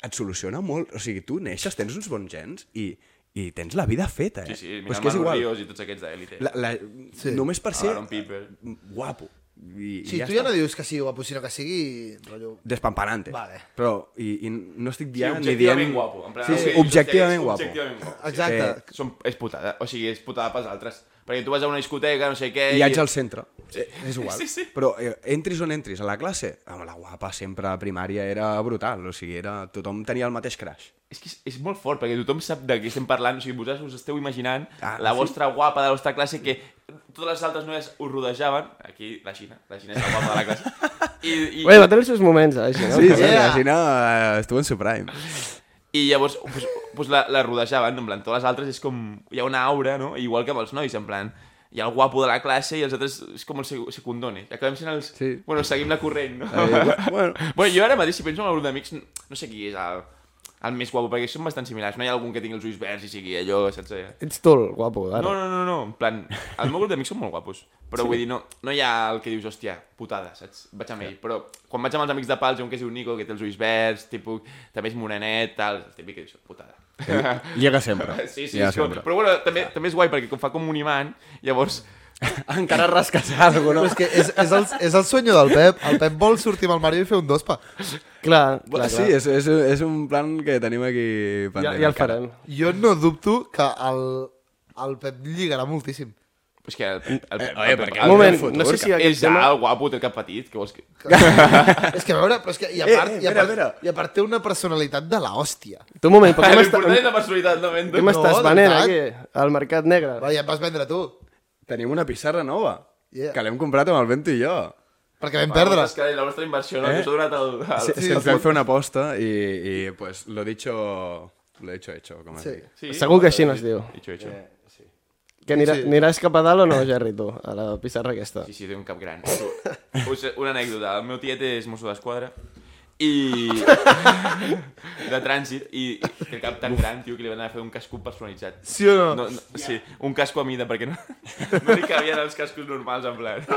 Speaker 5: Et soluciona molt. O sigui, tu neixes, tens uns bons gens i, i tens la vida feta, eh?
Speaker 2: Sí, sí,
Speaker 5: Però
Speaker 2: mira,
Speaker 5: és que és igual.
Speaker 2: Rios i tots aquests d'Elite.
Speaker 5: La, la, sí. Només per ser
Speaker 2: Aaron Piper.
Speaker 5: guapo. I, i
Speaker 4: Sí,
Speaker 5: ja
Speaker 4: tu ja
Speaker 5: està.
Speaker 4: no dius que sigui guapo, sinó que sigui... Rotllo...
Speaker 5: Despamparante.
Speaker 4: Vale.
Speaker 5: Però, i, i no estic
Speaker 2: Sí,
Speaker 5: dient... ni
Speaker 2: objectivament
Speaker 5: dient...
Speaker 2: guapo. En plan,
Speaker 5: sí, sí,
Speaker 2: hòstia,
Speaker 5: objectivament
Speaker 2: és
Speaker 5: guapo.
Speaker 2: Objectivament guapo.
Speaker 4: Exacte.
Speaker 5: Eh,
Speaker 2: Som, és putada, o sigui, és putada pels altres. Perquè tu vas a una discoteca, no sé què...
Speaker 5: I haig al centre. Sí. És igual.
Speaker 2: Eh, Sí, sí.
Speaker 5: Però eh, entris on entris, a la classe, amb la guapa sempre a primària era brutal, o sigui, era... tothom tenia el mateix crash.
Speaker 2: És que és, és molt fort, perquè tothom sap de què estem parlant, o sigui, vosaltres us esteu imaginant
Speaker 5: Ah,
Speaker 2: ah, la
Speaker 5: sí?
Speaker 2: vostra guapa de la vostra classe que totes les altres noies us rodejaven, aquí la Xina, la Xina és la guapa de la classe, i, i,
Speaker 1: Bé, va tenir els seus moments, eh, així, no?
Speaker 5: Sí, sí,
Speaker 4: Yeah.
Speaker 5: yeah. si no, eh, estuvo en su prime.
Speaker 2: i llavors pues, pues la, la rodejaven, en plan, totes les altres és com, hi ha una aura, no? Igual que amb els nois, en plan, hi ha el guapo de la classe i els altres és com els sec- secundones. Acabem sent els...
Speaker 5: Sí.
Speaker 2: Bueno, seguim la corrent, no?
Speaker 5: Eh, bueno.
Speaker 2: bueno, jo ara mateix, si penso en el grup d'amics, no sé qui és el, el més guapo, perquè són bastant similars. No hi ha algun que tingui els ulls verds i sigui allò, saps? Eh?
Speaker 1: Ets tu el guapo,
Speaker 2: No,
Speaker 1: ara.
Speaker 2: no, no, no, en plan, el meu grup d'amics són molt guapos, però sí. vull dir, no, no hi ha el que dius, hòstia, putada, saps? Vaig amb ell, però quan vaig amb els amics de Pals, hi ha un que es diu Nico, que té els ulls verds, tipus, també és morenet, tal, el típic que dius, putada.
Speaker 5: Llega sempre.
Speaker 2: Sí, sí, ja, com... però bueno, també, també és guai, perquè com fa com un imant, llavors...
Speaker 5: Encara rasques alguna
Speaker 4: Però és que és, és, el, és el sueño del Pep. El Pep vol sortir amb el Mario i fer un dospa.
Speaker 1: Clar, clar,
Speaker 5: Bueno, sí,
Speaker 1: clar.
Speaker 5: és, és, és un plan que tenim aquí
Speaker 1: Ja,
Speaker 5: pendent.
Speaker 1: ja el
Speaker 5: encara.
Speaker 1: farem.
Speaker 4: Jo no dubto que el, el Pep lligarà moltíssim.
Speaker 2: És que el, el, el, el,
Speaker 5: Eh, perquè-
Speaker 1: Un moment,
Speaker 5: futur,
Speaker 1: no sé si
Speaker 2: és
Speaker 1: aquest
Speaker 2: ja
Speaker 1: tema...
Speaker 2: el guapo, té el cap petit, que vols que...
Speaker 4: és que a veure, però és que i a
Speaker 5: Eh,
Speaker 4: part,
Speaker 5: eh,
Speaker 4: i a
Speaker 5: espera,
Speaker 4: part,
Speaker 5: espera.
Speaker 4: i a part té una personalitat de la hòstia.
Speaker 1: Tu, un moment, però què m'està-
Speaker 2: L'important és la personalitat, no
Speaker 1: què
Speaker 2: mento.
Speaker 1: m'estàs
Speaker 4: de
Speaker 1: venent
Speaker 4: veritat.
Speaker 1: aquí? Al Mercat Negre?
Speaker 4: Va, ja et vas vendre tu,
Speaker 5: Tenim una pissarra nova,
Speaker 4: Yeah.
Speaker 5: yeah. que l'hem comprat amb el Bento i jo.
Speaker 4: perquè vam
Speaker 2: La
Speaker 4: perdre.
Speaker 2: vostra- La vostra inversió, no? Eh? Que us ha donat el... el...
Speaker 5: Sí, sí, ens vam fer una aposta i, i pues, lo dicho... Lo dicho hecho, com es
Speaker 4: Sí.
Speaker 5: sí. diu.
Speaker 1: Segur que així no es diu.
Speaker 2: Itxo, itxo.
Speaker 1: Que anirà, aniràs cap a dalt o no, Gerri, tu, a la pissarra aquesta?
Speaker 2: Sí, sí, té un cap gran. Us, una anècdota. El meu tiet és mosso d'esquadra I... de trànsit. I que el cap tan gran, tio, que li van anar a fer un casco personalitzat.
Speaker 4: Sí o no?
Speaker 2: No, no, sí, un casco a mida, perquè no, no li cabien els cascos normals, en plan.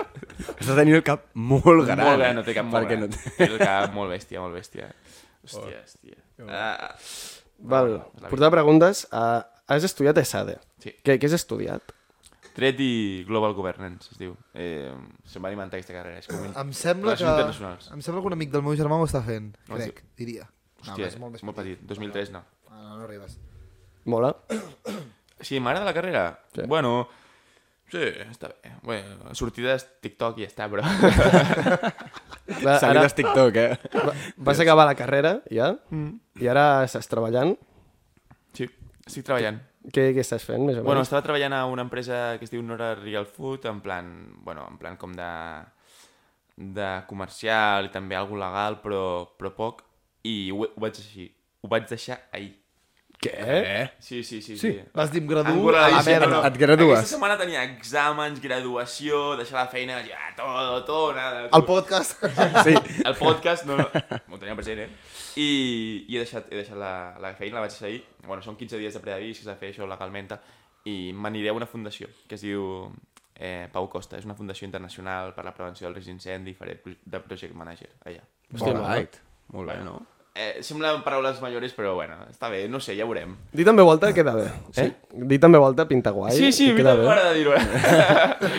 Speaker 5: Has de tenir el cap molt gran.
Speaker 2: molt
Speaker 5: eh?
Speaker 2: gran, no té cap molt
Speaker 5: perquè
Speaker 2: gran.
Speaker 5: No té...
Speaker 2: Té el cap molt bèstia, molt bèstia. Hòstia, hòstia. Ah,
Speaker 1: Val, portar preguntes. Uh, has estudiat ESADE.
Speaker 2: Sí.
Speaker 1: Què, què has estudiat?
Speaker 2: Tret i Global Governance, es diu. Eh, se'm va alimentar aquesta carrera. És com un...
Speaker 4: Em sembla que...
Speaker 2: Relacions internacionals.
Speaker 4: Em sembla que un amic del meu germà ho està fent,
Speaker 2: Ah,
Speaker 4: crec, diria.
Speaker 2: Hòstia,
Speaker 4: però
Speaker 2: és molt, més petit. 2003, no.
Speaker 4: Ah, no, no arribes.
Speaker 1: Mola.
Speaker 2: Sí, m'agrada la carrera? Sí. Bueno, sí, està bé. Bueno, sortides TikTok i ja està, però...
Speaker 1: Va, ara
Speaker 5: Seguides TikTok, eh?
Speaker 1: va, vas acabar la carrera, ja, mm. i ara estàs treballant.
Speaker 2: sí, estic treballant.
Speaker 1: Què, què estàs fent, més o menys?
Speaker 2: Bueno, estava treballant a una empresa que es diu Nora Real Food, en plan, bueno, en plan com de, de comercial i també algo legal, però, però poc, i ho, ho vaig així. Ho vaig deixar ahir.
Speaker 1: Què?
Speaker 2: Sí, sí, sí. sí.
Speaker 4: Vas dir, em graduo
Speaker 2: Em graduo,
Speaker 4: a la
Speaker 2: sí,
Speaker 4: merda.
Speaker 5: Et gradues.
Speaker 2: Aquesta setmana tenia exàmens, graduació, deixar la feina, ja, todo, todo, nada.
Speaker 4: El podcast.
Speaker 5: Sí.
Speaker 2: el podcast, no, no, ho tenia present, eh? I, i he deixat, he deixat la, la feina, la vaig deixar ahir. Bueno, són 15 dies de preavís, que s'ha de fer això legalment, tal, i m'aniré a una fundació que es diu eh, Pau Costa. És una fundació internacional per la prevenció del risc d'incendi i faré pro- de project manager allà.
Speaker 5: Hòstia, right. Molt bé, no?
Speaker 2: Eh, semblen paraules majores, però bueno, està bé, no sé, ja veurem.
Speaker 1: Dir també volta queda bé. Eh? Dir també volta pinta guai.
Speaker 2: sí, sí,
Speaker 1: i queda
Speaker 2: mira, m'agrada de dir-ho.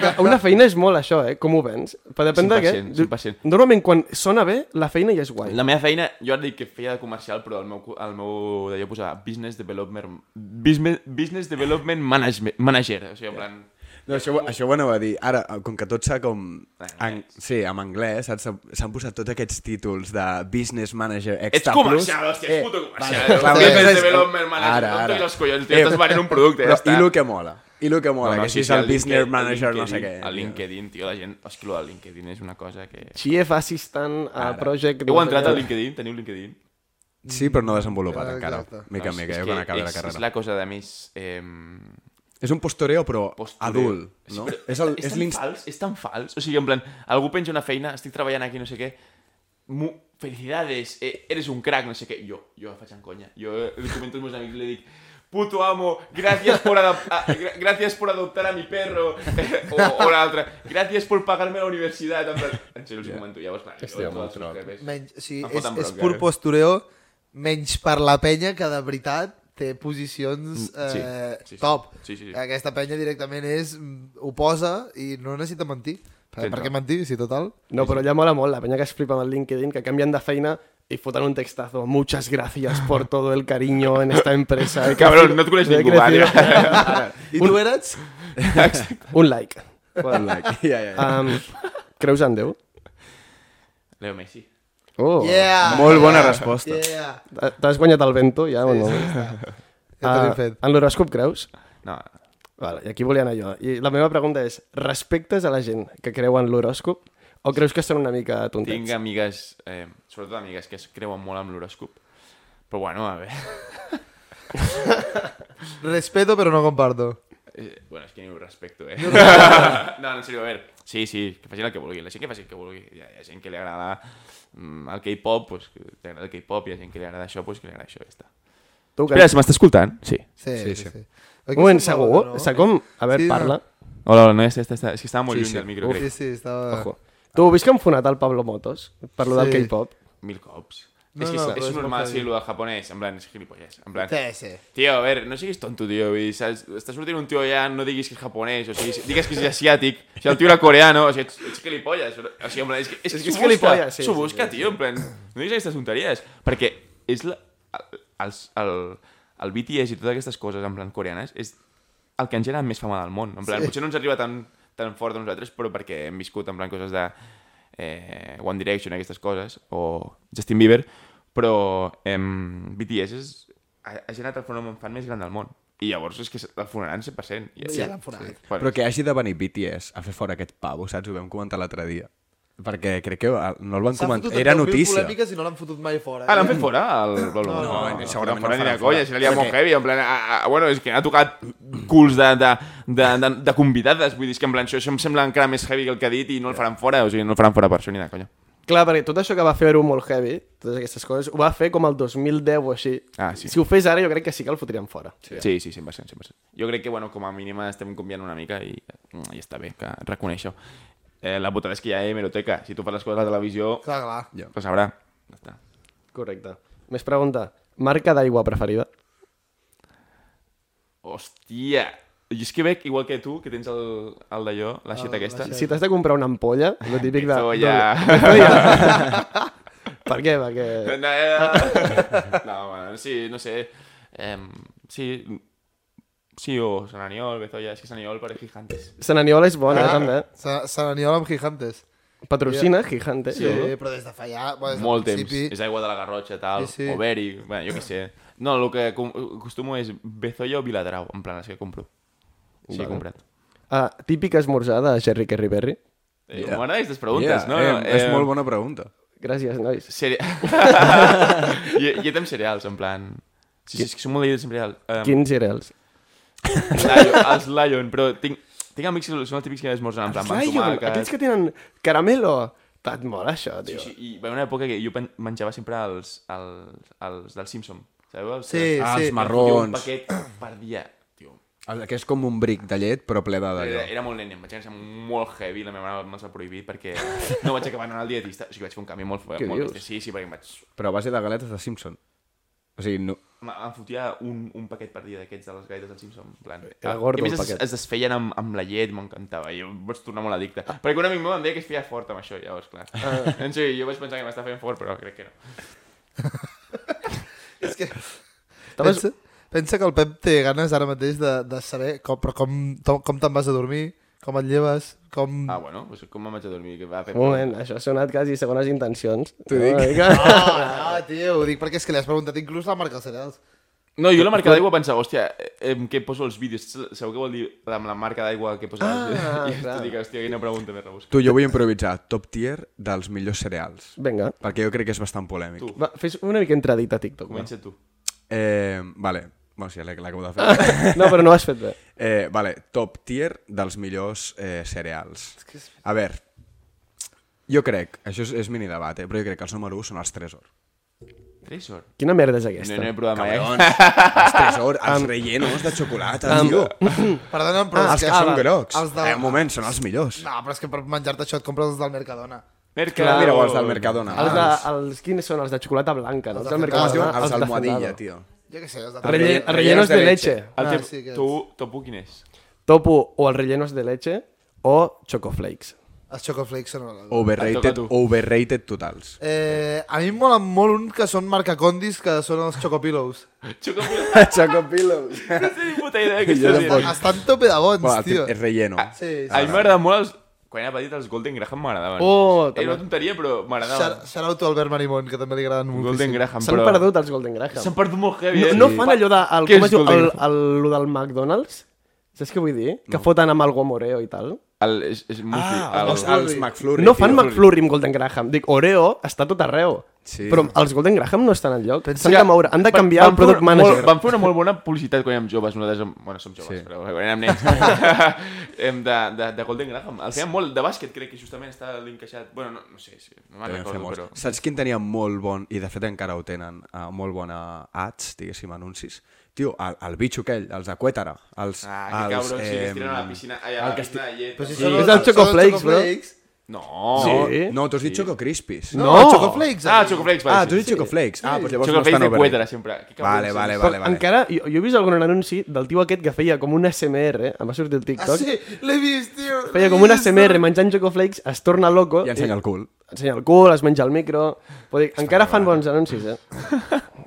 Speaker 2: eh?
Speaker 1: Una feina és molt això, eh? Com ho vens? Però depèn de què.
Speaker 2: 100%, 100%.
Speaker 1: Normalment, quan sona bé, la feina ja és guai.
Speaker 2: La meva feina, jo ara dic que feia de comercial, però el meu, cu- el meu d'allò posava business development, business, business development management, manager. O sigui, en plan,
Speaker 5: No, això, ho- això ho anava a dir. Ara, com que tot s'ha com... En, sí, en anglès, saps? S'han- s'han posat tots aquests títols de business manager
Speaker 2: Ets
Speaker 5: extra plus.
Speaker 2: comercial, hòstia, ets puto comercial. Eh,
Speaker 5: clar,
Speaker 2: business
Speaker 5: és-
Speaker 2: development manager,
Speaker 5: Ara,
Speaker 2: no
Speaker 5: ara.
Speaker 2: em
Speaker 5: Eh,
Speaker 2: toquis els collons, tio, estàs venent un producte, ja
Speaker 5: Però,
Speaker 2: està.
Speaker 5: I el que mola. I el que mola,
Speaker 2: No,
Speaker 5: que
Speaker 2: no, sí,
Speaker 5: si és
Speaker 2: sí,
Speaker 5: el
Speaker 2: el
Speaker 5: business
Speaker 2: LinkedIn-
Speaker 5: manager,
Speaker 2: el
Speaker 5: no sé què.
Speaker 2: LinkedI- El LinkedIn, tio, la gent... Hòstia, lo del LinkedIn és una cosa que...
Speaker 1: Chief Assistant a Project...
Speaker 2: Heu entrat
Speaker 1: a
Speaker 2: al LinkedIn? Teniu LinkedIn?
Speaker 5: Sí, però no desenvolupat encara.
Speaker 4: Exacte.
Speaker 5: Mica en
Speaker 2: Ah, és
Speaker 5: mica,
Speaker 2: que
Speaker 5: jo quan acabi
Speaker 2: és-
Speaker 5: la
Speaker 2: És
Speaker 5: carrera.
Speaker 2: la cosa de més... Eh,
Speaker 5: És un postureo, però
Speaker 2: postureo.
Speaker 5: adult, no?
Speaker 2: però
Speaker 5: És el-
Speaker 2: és,
Speaker 5: és
Speaker 2: tan
Speaker 5: l'inst-
Speaker 2: fals, és tan fals. O sigui, en plan, algú penja una feina, estic treballant aquí, no sé què, mu felicidades, eh, eres un crack, no sé què. Jo, jo em faig en conya. Jo eh, li comento als meus amics, li dic, puto amo, gracias por, adap- a- gra- gracias por adoptar a mi perro, eh, o, o l'altre, gracias por pagarme la universitat. En, plan, en serio, els ho comento, llavors, clar,
Speaker 5: Hòstia,
Speaker 2: jo,
Speaker 5: molt
Speaker 2: tots els
Speaker 5: troc.
Speaker 2: carrers.
Speaker 4: Menys, o sigui,
Speaker 2: Em
Speaker 4: és,
Speaker 2: foten
Speaker 4: és
Speaker 2: bronca,
Speaker 4: pur
Speaker 2: eh?
Speaker 4: postureo, menys per la penya que de veritat té posicions eh,
Speaker 2: Mm, sí, sí,
Speaker 4: sí,
Speaker 2: sí.
Speaker 4: top.
Speaker 2: Sí, sí, sí.
Speaker 4: Aquesta penya directament és, mm, ho posa i no necessita mentir. Per,
Speaker 2: Tens
Speaker 4: per què
Speaker 2: raó.
Speaker 4: mentir, si total?
Speaker 1: No, però ja mola molt la penya que es flipa amb el LinkedIn, que canvien de feina i foten un textazo. Muchas gracias por todo el cariño en esta empresa. eh,
Speaker 2: Cabrón, no et coneix
Speaker 1: He
Speaker 2: ningú,
Speaker 1: crecido.
Speaker 2: vale?
Speaker 4: I tu eres?
Speaker 1: Un like. Bueno,
Speaker 5: Like, ja, ja,
Speaker 2: Ah,
Speaker 5: ja.
Speaker 1: um, creus en Déu?
Speaker 2: Leo Messi.
Speaker 1: Oh.
Speaker 4: Yeah!
Speaker 5: Molt bona resposta.
Speaker 4: Yeah!
Speaker 1: T- T'has guanyat el vento, ja, o no?
Speaker 4: Ja t'ho he fet.
Speaker 1: en l'horòscop creus?
Speaker 2: No,
Speaker 1: Vale, I aquí volia anar jo. I la meva pregunta és, respectes a la gent que creu en l'horòscop o creus que són una mica tontets?
Speaker 2: tinc amigues, eh, sobretot amigues que es creuen molt amb l'horòscop, però bueno, a veure...
Speaker 4: Respeto, però no comparto.
Speaker 2: Eh, Bueno, es que ni ho respecto, eh? no, no, en serio, a ver. Sí, sí, que facin el que vulgui. La gent que faci el que vulgui. Hi ha, hi ha gent que li agrada mm, el K-pop, pues, que li agrada el K-pop, hi ha gent que li agrada això, pues, que li agrada això, ja està.
Speaker 1: Tu, que...
Speaker 2: Espera, se m'està escoltant? Sí.
Speaker 4: Sí, sí,
Speaker 5: sí.
Speaker 4: sí. sí.
Speaker 1: Un moment, segur? No? com? A veure,
Speaker 4: Sí,
Speaker 1: sí,
Speaker 4: no.
Speaker 1: parla.
Speaker 2: Hola, hola, no, ja està, està, està. És que estava molt
Speaker 5: Sí, sí.
Speaker 2: sí, lluny sí. del micro,
Speaker 1: Uf.
Speaker 2: crec.
Speaker 4: Sí, sí, estava...
Speaker 1: Ojo. Tu ho vist que han fonat el Pablo Motos? Per lo del
Speaker 4: Sí.
Speaker 1: K-pop?
Speaker 2: Mil cops.
Speaker 4: No,
Speaker 2: No, és que
Speaker 4: no,
Speaker 2: no,
Speaker 4: però
Speaker 2: és,
Speaker 4: és
Speaker 2: és normal,
Speaker 4: molt
Speaker 2: sí, el del japonès. En plan, és gilipollès. En plan,
Speaker 4: Sí, sí.
Speaker 2: Tio, a veure, no siguis tonto, tio. I saps, està sortint un tio allà, no diguis que és japonès, o sigui, digues que és asiàtic. O sigui, el tio era coreano, o sigui, ets, ets gilipolles. O sigui, en plan, és que, és,
Speaker 1: És
Speaker 2: és
Speaker 1: que
Speaker 2: que
Speaker 1: és
Speaker 2: s'ho busca,
Speaker 1: gilipolles, sí,
Speaker 2: s'ho
Speaker 1: sí,
Speaker 2: busca,
Speaker 1: sí,
Speaker 2: tio, en plan, no diguis aquestes tonteries. Perquè és la, el, el, el BTS i totes aquestes coses, en plan, coreanes, és el que en general més fama del món. En plan,
Speaker 4: Sí.
Speaker 2: sí. potser no ens arriba tan, tan fort a nosaltres, però perquè hem viscut, en plan, coses de eh, One Direction, aquestes coses, o Justin Bieber, però em, BTS és, ha, ha generat el fenomen fan més gran del món. I llavors és que el fonaran 100%. I,
Speaker 4: Ja l'han fonat.
Speaker 2: Bueno,
Speaker 5: Però que hagi de venir BTS a fer fora aquest pavo, saps? Ho vam comentar l'altre dia. Perquè crec que eh, no el van
Speaker 4: S'ha
Speaker 5: comentar.
Speaker 4: fotut
Speaker 5: Era
Speaker 4: en 10.000
Speaker 5: notícia.
Speaker 4: polèmiques i no l'han fotut mai fora. eh?
Speaker 2: Ah, l'han fet fora, el Blau Blau?
Speaker 5: Mm. No, no, segurament
Speaker 2: no fora
Speaker 5: no
Speaker 2: ni de
Speaker 5: faran fora.
Speaker 2: colla, si l'ha molt
Speaker 5: Perquè-
Speaker 2: heavy, en plan, a, a, bueno, és que ha tocat culs de, de, de, de, de convidades, vull dir, és que en plan, això, això em sembla encara més heavy que el que ha dit i no el faran fora, o sigui, no el faran fora per això ni de colla.
Speaker 1: Clar, perquè tot això que va fer era molt heavy, totes aquestes coses, ho va fer com el 2010 o així.
Speaker 2: Ah, sí.
Speaker 1: Si ho fes ara, jo crec que sí que el fotrien fora. Sí.
Speaker 2: Sí, sí, 100%, 100%. Jo crec que, bueno, com a mínim estem conviant una mica i, i està bé que reconeixo. Eh, la putada és que hi ha hemeroteca. Si tu fas les coses a la televisió,
Speaker 4: Clar, clar.
Speaker 5: Ja.
Speaker 2: ho sabrà. Ja està.
Speaker 1: Correcte. Més pregunta. Marca d'aigua preferida?
Speaker 2: Hòstia! Jo és que veig, igual que tu, que tens el, el d'allò, la xeta aquesta.
Speaker 1: Si t'has de comprar una ampolla, el típic de...
Speaker 2: Això ja...
Speaker 1: Per què? Perquè...
Speaker 2: No, eh, no, øh, bueno, sí, no sé. Eh, sí, sí, o San Aniol, Bezoya, és que San Aniol per gigantes.
Speaker 1: Sant Aniol és bona, ah. també.
Speaker 4: Sa- Sant Aniol amb Gigantes.
Speaker 1: Patrocina Gigante.
Speaker 4: Sí, però des de fa ja... Bueno, des del
Speaker 2: Molt temps.
Speaker 4: principi.
Speaker 2: És aigua de la Garrotxa, tal,
Speaker 4: Sí,
Speaker 2: sí,
Speaker 4: sí.
Speaker 2: sí. o Beri, bueno, jo què sé. No, el que com- acostumo és Bezoya o Viladrau, en plan, les que compro. Sí, he comprat.
Speaker 1: Ah, típica esmorzada de Jerry Kerry Berry.
Speaker 2: Eh, yeah. M'agraden aquestes preguntes,
Speaker 5: Ja,
Speaker 2: no?
Speaker 5: eh,
Speaker 2: no
Speaker 5: és molt bona pregunta.
Speaker 1: Gràcies, nois.
Speaker 2: Cere... I, I amb cereals, en plan... Sí, sí, és que som molt de cereal. Um,
Speaker 1: Quins cereals?
Speaker 2: Lion, els Lion, però tinc, tinc amics que són els típics que esmorzen en plan, amb
Speaker 1: Lion,
Speaker 2: tomàquet...
Speaker 1: aquells que tenen caramelo. Tant mola això, tio.
Speaker 2: Sí, sí, i va haver una època que jo pen- menjava sempre els, els, els del Simpson, sabeu? Els,
Speaker 5: Ah,
Speaker 4: Sí, sí.
Speaker 5: els
Speaker 2: els fotia
Speaker 5: marrons.
Speaker 2: Un paquet per dia. Tio.
Speaker 5: El que és com un bric de llet, però ple de
Speaker 2: Era,
Speaker 5: d'allò.
Speaker 2: era molt nen, em vaig anar molt heavy, la meva mare me'ls va prohibir perquè no vaig acabar anant al dietista, o sigui, vaig fer un canvi molt fort.
Speaker 1: Què
Speaker 2: Molt
Speaker 1: dius?
Speaker 2: bèstia. Sí, sí, perquè em vaig...
Speaker 5: Però a base de galetes de Simpson. O sigui, no...
Speaker 2: em- Em fotia un, un paquet per dia d'aquests de les gaites del Simpson. En plan.
Speaker 1: Era gordo,
Speaker 2: I a més
Speaker 1: el
Speaker 2: es,
Speaker 1: paquet.
Speaker 2: es desfeien amb, amb la llet, m'encantava. Jo em vaig tornar molt addicte. Perquè un amic meu em deia que es feia fort amb això, llavors, clar. Ah. En sí, jo vaig pensar que m'estava fent fort, però crec que no.
Speaker 4: És que...
Speaker 1: Estaves-
Speaker 4: Pensa, pensa que el Pep té ganes ara mateix de, de saber com, però com, to- com te'n vas a dormir, com et lleves, com...
Speaker 2: Ah, bueno, doncs com me'n vaig a dormir? Que va fer
Speaker 1: Un moment, això ha sonat quasi segones intencions. T'ho
Speaker 5: dic.
Speaker 4: No,
Speaker 2: Ah.
Speaker 4: no, Ah, tio, ho dic perquè és que li has preguntat inclús la marca dels cereals.
Speaker 2: No, jo la marca d'aigua pensava, hòstia, em, què poso els vídeos? Sabeu què vol dir amb la marca d'aigua que posa els
Speaker 1: Ah,
Speaker 2: vídeos? I
Speaker 1: clar.
Speaker 2: tu dic, hòstia, quina pregunta més rebusca.
Speaker 5: Tu, jo vull improvisar top tier dels millors cereals.
Speaker 1: Vinga.
Speaker 5: Perquè jo crec que és bastant polèmic.
Speaker 2: Tu.
Speaker 1: Va, fes una mica entradita a TikTok. Va.
Speaker 2: Comença tu.
Speaker 5: Eh, vale. Bueno, sí, l'he- l'acabo de fer.
Speaker 1: No, però no ho has fet bé.
Speaker 5: Eh, vale, top tier dels millors eh, cereals. A veure, jo crec, això és, és mini debat, eh, però jo crec que els número 1 són els Tresor.
Speaker 2: Tresor.
Speaker 1: Quina merda és
Speaker 2: No,
Speaker 1: aquesta?
Speaker 2: no he provat mai. eh?
Speaker 5: Cabrons, els Tresor, els rellenos de xocolata, tio.
Speaker 4: Perdona'm,
Speaker 5: Ah,
Speaker 4: però és
Speaker 5: els
Speaker 4: que...
Speaker 5: que són grocs.
Speaker 4: Els de...
Speaker 5: Eh, un moment, són els millors.
Speaker 4: No, però és que per menjar-te això et compres els del Mercadona.
Speaker 5: Clar,
Speaker 2: Mercado.
Speaker 5: mira, o els del Mercadona.
Speaker 1: Els, de, els quins són? Els de xocolata blanca, no? Els del
Speaker 5: Com es
Speaker 1: mercat.
Speaker 5: diuen? Els d'almohadilla, tio.
Speaker 4: Jo què sé, els de...
Speaker 1: Relle,
Speaker 5: Relle-
Speaker 1: rellenos de leche.
Speaker 2: El
Speaker 4: Ah,
Speaker 2: teu,
Speaker 4: sí que és.
Speaker 2: tu, topu quin és?
Speaker 1: Topo o els rellenos de leche o chocoflakes.
Speaker 4: Els Chocoflakes són... el-
Speaker 2: Et
Speaker 5: Overrated,
Speaker 2: toca a tu.
Speaker 5: overrated totals.
Speaker 4: Eh, a mi em molen molt un que són marca Condis, que són els Chocopillows.
Speaker 2: Xocopillos.
Speaker 5: Chocopillos.
Speaker 2: No sé ni puta idea que estàs dient.
Speaker 4: Estan tope de bons,
Speaker 5: Bueno,
Speaker 4: tio.
Speaker 5: és relleno.
Speaker 4: Sí,
Speaker 2: A mi m'agrada molt els... Quan era petit els Golden Graham m'agradaven.
Speaker 1: Oh, també.
Speaker 2: Era una tonteria, però m'agradaven.
Speaker 4: Shout-out a Albert Marimón, que també li agraden moltíssim.
Speaker 2: Golden Graham,
Speaker 1: S'han
Speaker 2: però...
Speaker 1: perdut els Golden Graham.
Speaker 2: S'han perdut molt heavy,
Speaker 1: No,
Speaker 2: eh?
Speaker 1: no fan allò de... El,
Speaker 2: Què
Speaker 1: com es
Speaker 2: és
Speaker 1: diu? El,
Speaker 2: Golden
Speaker 1: el, el, lo del McDonald's? Saps què vull dir? Que foten amb el guamoreo i tal.
Speaker 2: El, és, és mufi,
Speaker 5: Ah,
Speaker 2: el,
Speaker 5: els, els McFlurry.
Speaker 1: no fan
Speaker 5: tio.
Speaker 1: McFlurry amb Golden Graham. Dic, Oreo està tot arreu.
Speaker 5: Sí.
Speaker 1: Però els Golden Graham no estan enlloc. S'han
Speaker 2: Sí,
Speaker 1: de moure, han de
Speaker 2: van-
Speaker 1: canviar el
Speaker 2: van fer
Speaker 1: product
Speaker 2: una,
Speaker 1: manager.
Speaker 2: Molt, van fer una molt bona publicitat quan érem joves, nosaltres, em- bueno, som joves,
Speaker 5: Sí.
Speaker 2: sí. però quan érem nens, Em, de, de, de Golden Graham. El feien molt de bàsquet, crec que justament està l'encaixat. Bueno, no, no sé, sí, no me'n
Speaker 5: Devien fer
Speaker 2: recordo,
Speaker 5: molts.
Speaker 2: Ah, però...
Speaker 5: Saps quin tenia molt bon, i de fet encara ho tenen, uh, molt bona ads, diguéssim, anuncis? Tio, el, el bitxo aquell, els de Cuétara. Els,
Speaker 2: Ah, que
Speaker 5: els,
Speaker 2: cabrons, sí, que es tiren a la
Speaker 5: em,
Speaker 2: piscina, ai, a la piscina de llet.
Speaker 4: Però si
Speaker 2: Sí.
Speaker 4: són
Speaker 1: és el
Speaker 4: són
Speaker 1: Chocoflakes, bro.
Speaker 2: No!
Speaker 5: No,
Speaker 1: Sí.
Speaker 5: no t'ho has dit Choco Crispis.
Speaker 4: No,
Speaker 1: No.
Speaker 4: no. Chocoflakes.
Speaker 1: eh?
Speaker 2: Ah, Chocoflakes,
Speaker 5: Ah,
Speaker 2: va,
Speaker 5: t'ho has
Speaker 2: sí.
Speaker 5: dit Choco Flakes. Ah, doncs llavors no
Speaker 2: Chocoflakes
Speaker 5: estan
Speaker 2: de Cuétara,
Speaker 5: overrated.
Speaker 2: sempre. Que cabrons
Speaker 5: Vale,
Speaker 2: són.
Speaker 5: vale,
Speaker 1: Però
Speaker 5: vale. vale.
Speaker 1: encara, jo, jo he vist algun anunci del tio aquest que feia com un SMR, eh? em va sortir el
Speaker 4: Ah,
Speaker 1: TikTok,
Speaker 4: sí, l'he vist, tio.
Speaker 1: feia com un SMR menjant chocoflakes, es torna loco,
Speaker 5: I ensenya el cul.
Speaker 1: i ensenya el cul, es menja el micro... Vull dir, encara fan bons anuncis, eh?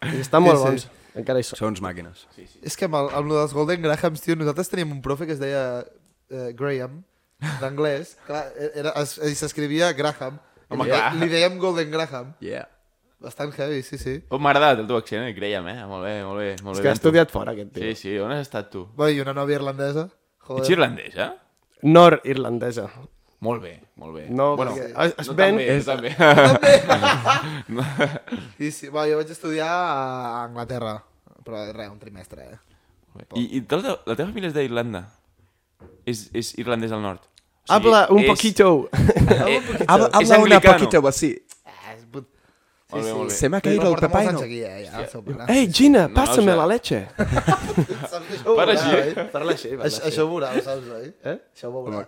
Speaker 1: I estan molt
Speaker 4: Sí, sí.
Speaker 1: bons, encara hi són.
Speaker 5: Són uns màquines.
Speaker 4: És que amb, el, amb lo dels Golden Grahams, tio, nosaltres teníem un profe que es deia eh, Graham, d'anglès. Clar, e-, era- es- i s'escrivia Graham. I
Speaker 2: Home,
Speaker 4: li,
Speaker 2: clar.
Speaker 4: li dèiem Golden Graham.
Speaker 5: Yeah.
Speaker 4: Bastant heavy, sí, sí.
Speaker 2: Oh, M'ha agradat el teu accent, eh? Creiem, eh? Molt bé, molt bé. Molt
Speaker 1: És
Speaker 2: bé
Speaker 1: que ha
Speaker 2: ben tu.
Speaker 1: estudiat fora, aquest
Speaker 2: Sí,
Speaker 1: tio.
Speaker 2: sí, on has estat tu? eh?
Speaker 4: Bé, i una nòvia irlandesa.
Speaker 2: Ets
Speaker 4: Joder.
Speaker 2: irlandesa?
Speaker 1: Nord-irlandesa.
Speaker 2: Molt bé, molt bé.
Speaker 1: No,
Speaker 2: bueno,
Speaker 1: perquè es- es
Speaker 2: no
Speaker 1: ven-
Speaker 2: també,
Speaker 5: és-
Speaker 2: és... també.
Speaker 4: I sí, bé, jo vaig estudiar a Anglaterra. Però res, un trimestre, eh?
Speaker 2: I, i tota la, la teva família és d'Irlanda? És, és irlandès del nord? O sigui,
Speaker 1: Habla un
Speaker 2: és-
Speaker 1: poquito.
Speaker 2: Eh,
Speaker 5: Habla,
Speaker 2: és
Speaker 5: habla una
Speaker 2: anglicano.
Speaker 5: poquito así.
Speaker 4: Eh,
Speaker 2: Molt bé, molt bé.
Speaker 5: Se me ha caído el pepaino.
Speaker 4: pepaino. Aquí, eh, ja, al seu pare.
Speaker 1: Ei, Gina,
Speaker 2: No,
Speaker 1: pàssame
Speaker 2: o sea-
Speaker 1: la leche.
Speaker 4: Saps que això ho veurà,
Speaker 2: Parla així,
Speaker 4: oi?
Speaker 1: Parla així,
Speaker 4: Això, això ho veurà, ho saps, oi? Eh? Això ho veurà.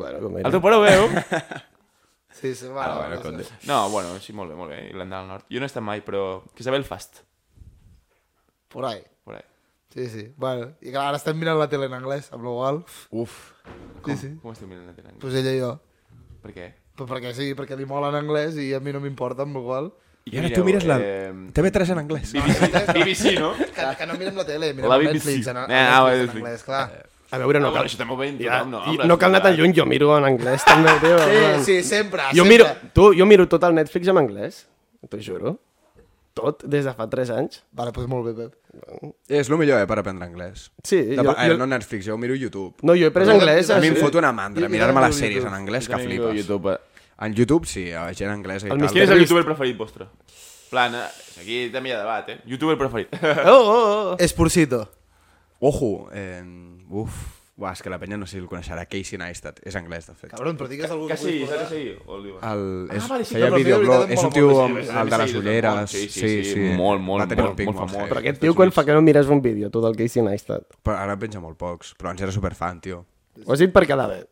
Speaker 1: Bueno, com
Speaker 2: El
Speaker 1: era.
Speaker 2: teu pare ho veu?
Speaker 4: Sí, sí, va.
Speaker 2: Ah, bueno, conte. No, bueno, sí, molt bé, molt bé. Irlanda del Nord. Jo no he estat mai, però... Que sabeu el fast.
Speaker 4: Por ahí.
Speaker 2: Por ahí.
Speaker 4: Sí, sí. Bueno, i clar, ara estem mirant la tele en anglès, amb l'Oval.
Speaker 5: Uf.
Speaker 4: Sí, sí.
Speaker 2: Com esteu mirant la tele?
Speaker 4: Pues ella i jo.
Speaker 2: Per què?
Speaker 4: Però perquè sí, perquè li mola en anglès i a mi no m'importa, amb l'Oval.
Speaker 5: I ara tu mires la...
Speaker 2: eh,
Speaker 5: TV3 en anglès.
Speaker 2: BBC, BBC no?
Speaker 4: Que, que no mirem la tele, mirem
Speaker 2: La
Speaker 4: la
Speaker 2: BBC.
Speaker 4: Netflix en, en,
Speaker 2: Eh, ah,
Speaker 4: Netflix, en
Speaker 2: Netflix.
Speaker 4: anglès, clar.
Speaker 1: A veure, no
Speaker 2: Ah, bueno,
Speaker 1: cal...
Speaker 2: això també ho veiem
Speaker 1: Ja,
Speaker 2: tothom, no?
Speaker 1: i
Speaker 2: Habla,
Speaker 1: no cal anar tan
Speaker 2: clar.
Speaker 1: lluny, jo miro en anglès també, tio.
Speaker 4: Sí,
Speaker 1: en
Speaker 4: sí,
Speaker 1: plan.
Speaker 4: sempre,
Speaker 1: Eh. Jo
Speaker 4: sempre.
Speaker 1: miro, tu, jo miro tot el Netflix en anglès, t'ho juro. Tot, des de fa 3 anys.
Speaker 4: Vale, doncs molt bé, Pep.
Speaker 5: És el millor, eh, per aprendre anglès.
Speaker 1: Sí,
Speaker 5: De,
Speaker 1: jo-
Speaker 5: jo,
Speaker 1: jo-
Speaker 5: no Netflix, jo ho miro a YouTube.
Speaker 1: No, jo he pres
Speaker 4: Però-
Speaker 1: anglès...
Speaker 4: Sí,
Speaker 5: a mi em
Speaker 4: sí.
Speaker 5: foto una mandra,
Speaker 4: Jo- jo
Speaker 5: mirar-me
Speaker 4: miro
Speaker 5: les
Speaker 4: a
Speaker 5: sèries
Speaker 4: YouTube.
Speaker 5: en anglès que
Speaker 2: També miro
Speaker 5: flipes.
Speaker 2: YouTube. eh.
Speaker 5: En YouTube eh. sí, a gent anglesa i
Speaker 1: El
Speaker 5: tal.
Speaker 2: Quin és el
Speaker 1: Entrevist.
Speaker 2: youtuber preferit vostre? Plan, eh, aquí també hi ha debat, eh? Youtuber preferit.
Speaker 1: Oh, oh, oh.
Speaker 4: És Pursito.
Speaker 5: Ojo, eh, uf, Buah, és que la penya no sé si el coneixerà, Casey Neistat, és anglès, de fet.
Speaker 4: Cabron, però digues algú
Speaker 2: Que sí,
Speaker 4: vulguis
Speaker 2: s'ha de
Speaker 4: posar.
Speaker 2: seguir. O el diuen.
Speaker 5: El, és,
Speaker 4: vale, sí,
Speaker 5: feia
Speaker 4: però el meu
Speaker 5: videoblog,
Speaker 4: veritat em
Speaker 5: és un
Speaker 4: mola
Speaker 5: tio
Speaker 4: molt,
Speaker 5: amb
Speaker 4: sí, sí,
Speaker 5: el de les
Speaker 2: sí, sí,
Speaker 5: ulleres.
Speaker 2: sí, sí, sí, molt, molt,
Speaker 5: Va tenir
Speaker 2: molt,
Speaker 5: un pic
Speaker 2: molt famós.
Speaker 5: heavy.
Speaker 1: Però aquest tio, quan fa que no mires un vídeo, tu del Casey Neistat?
Speaker 5: Però ara en penja molt pocs, però ens era superfan, tio.
Speaker 1: Ho has dit per quedar bé.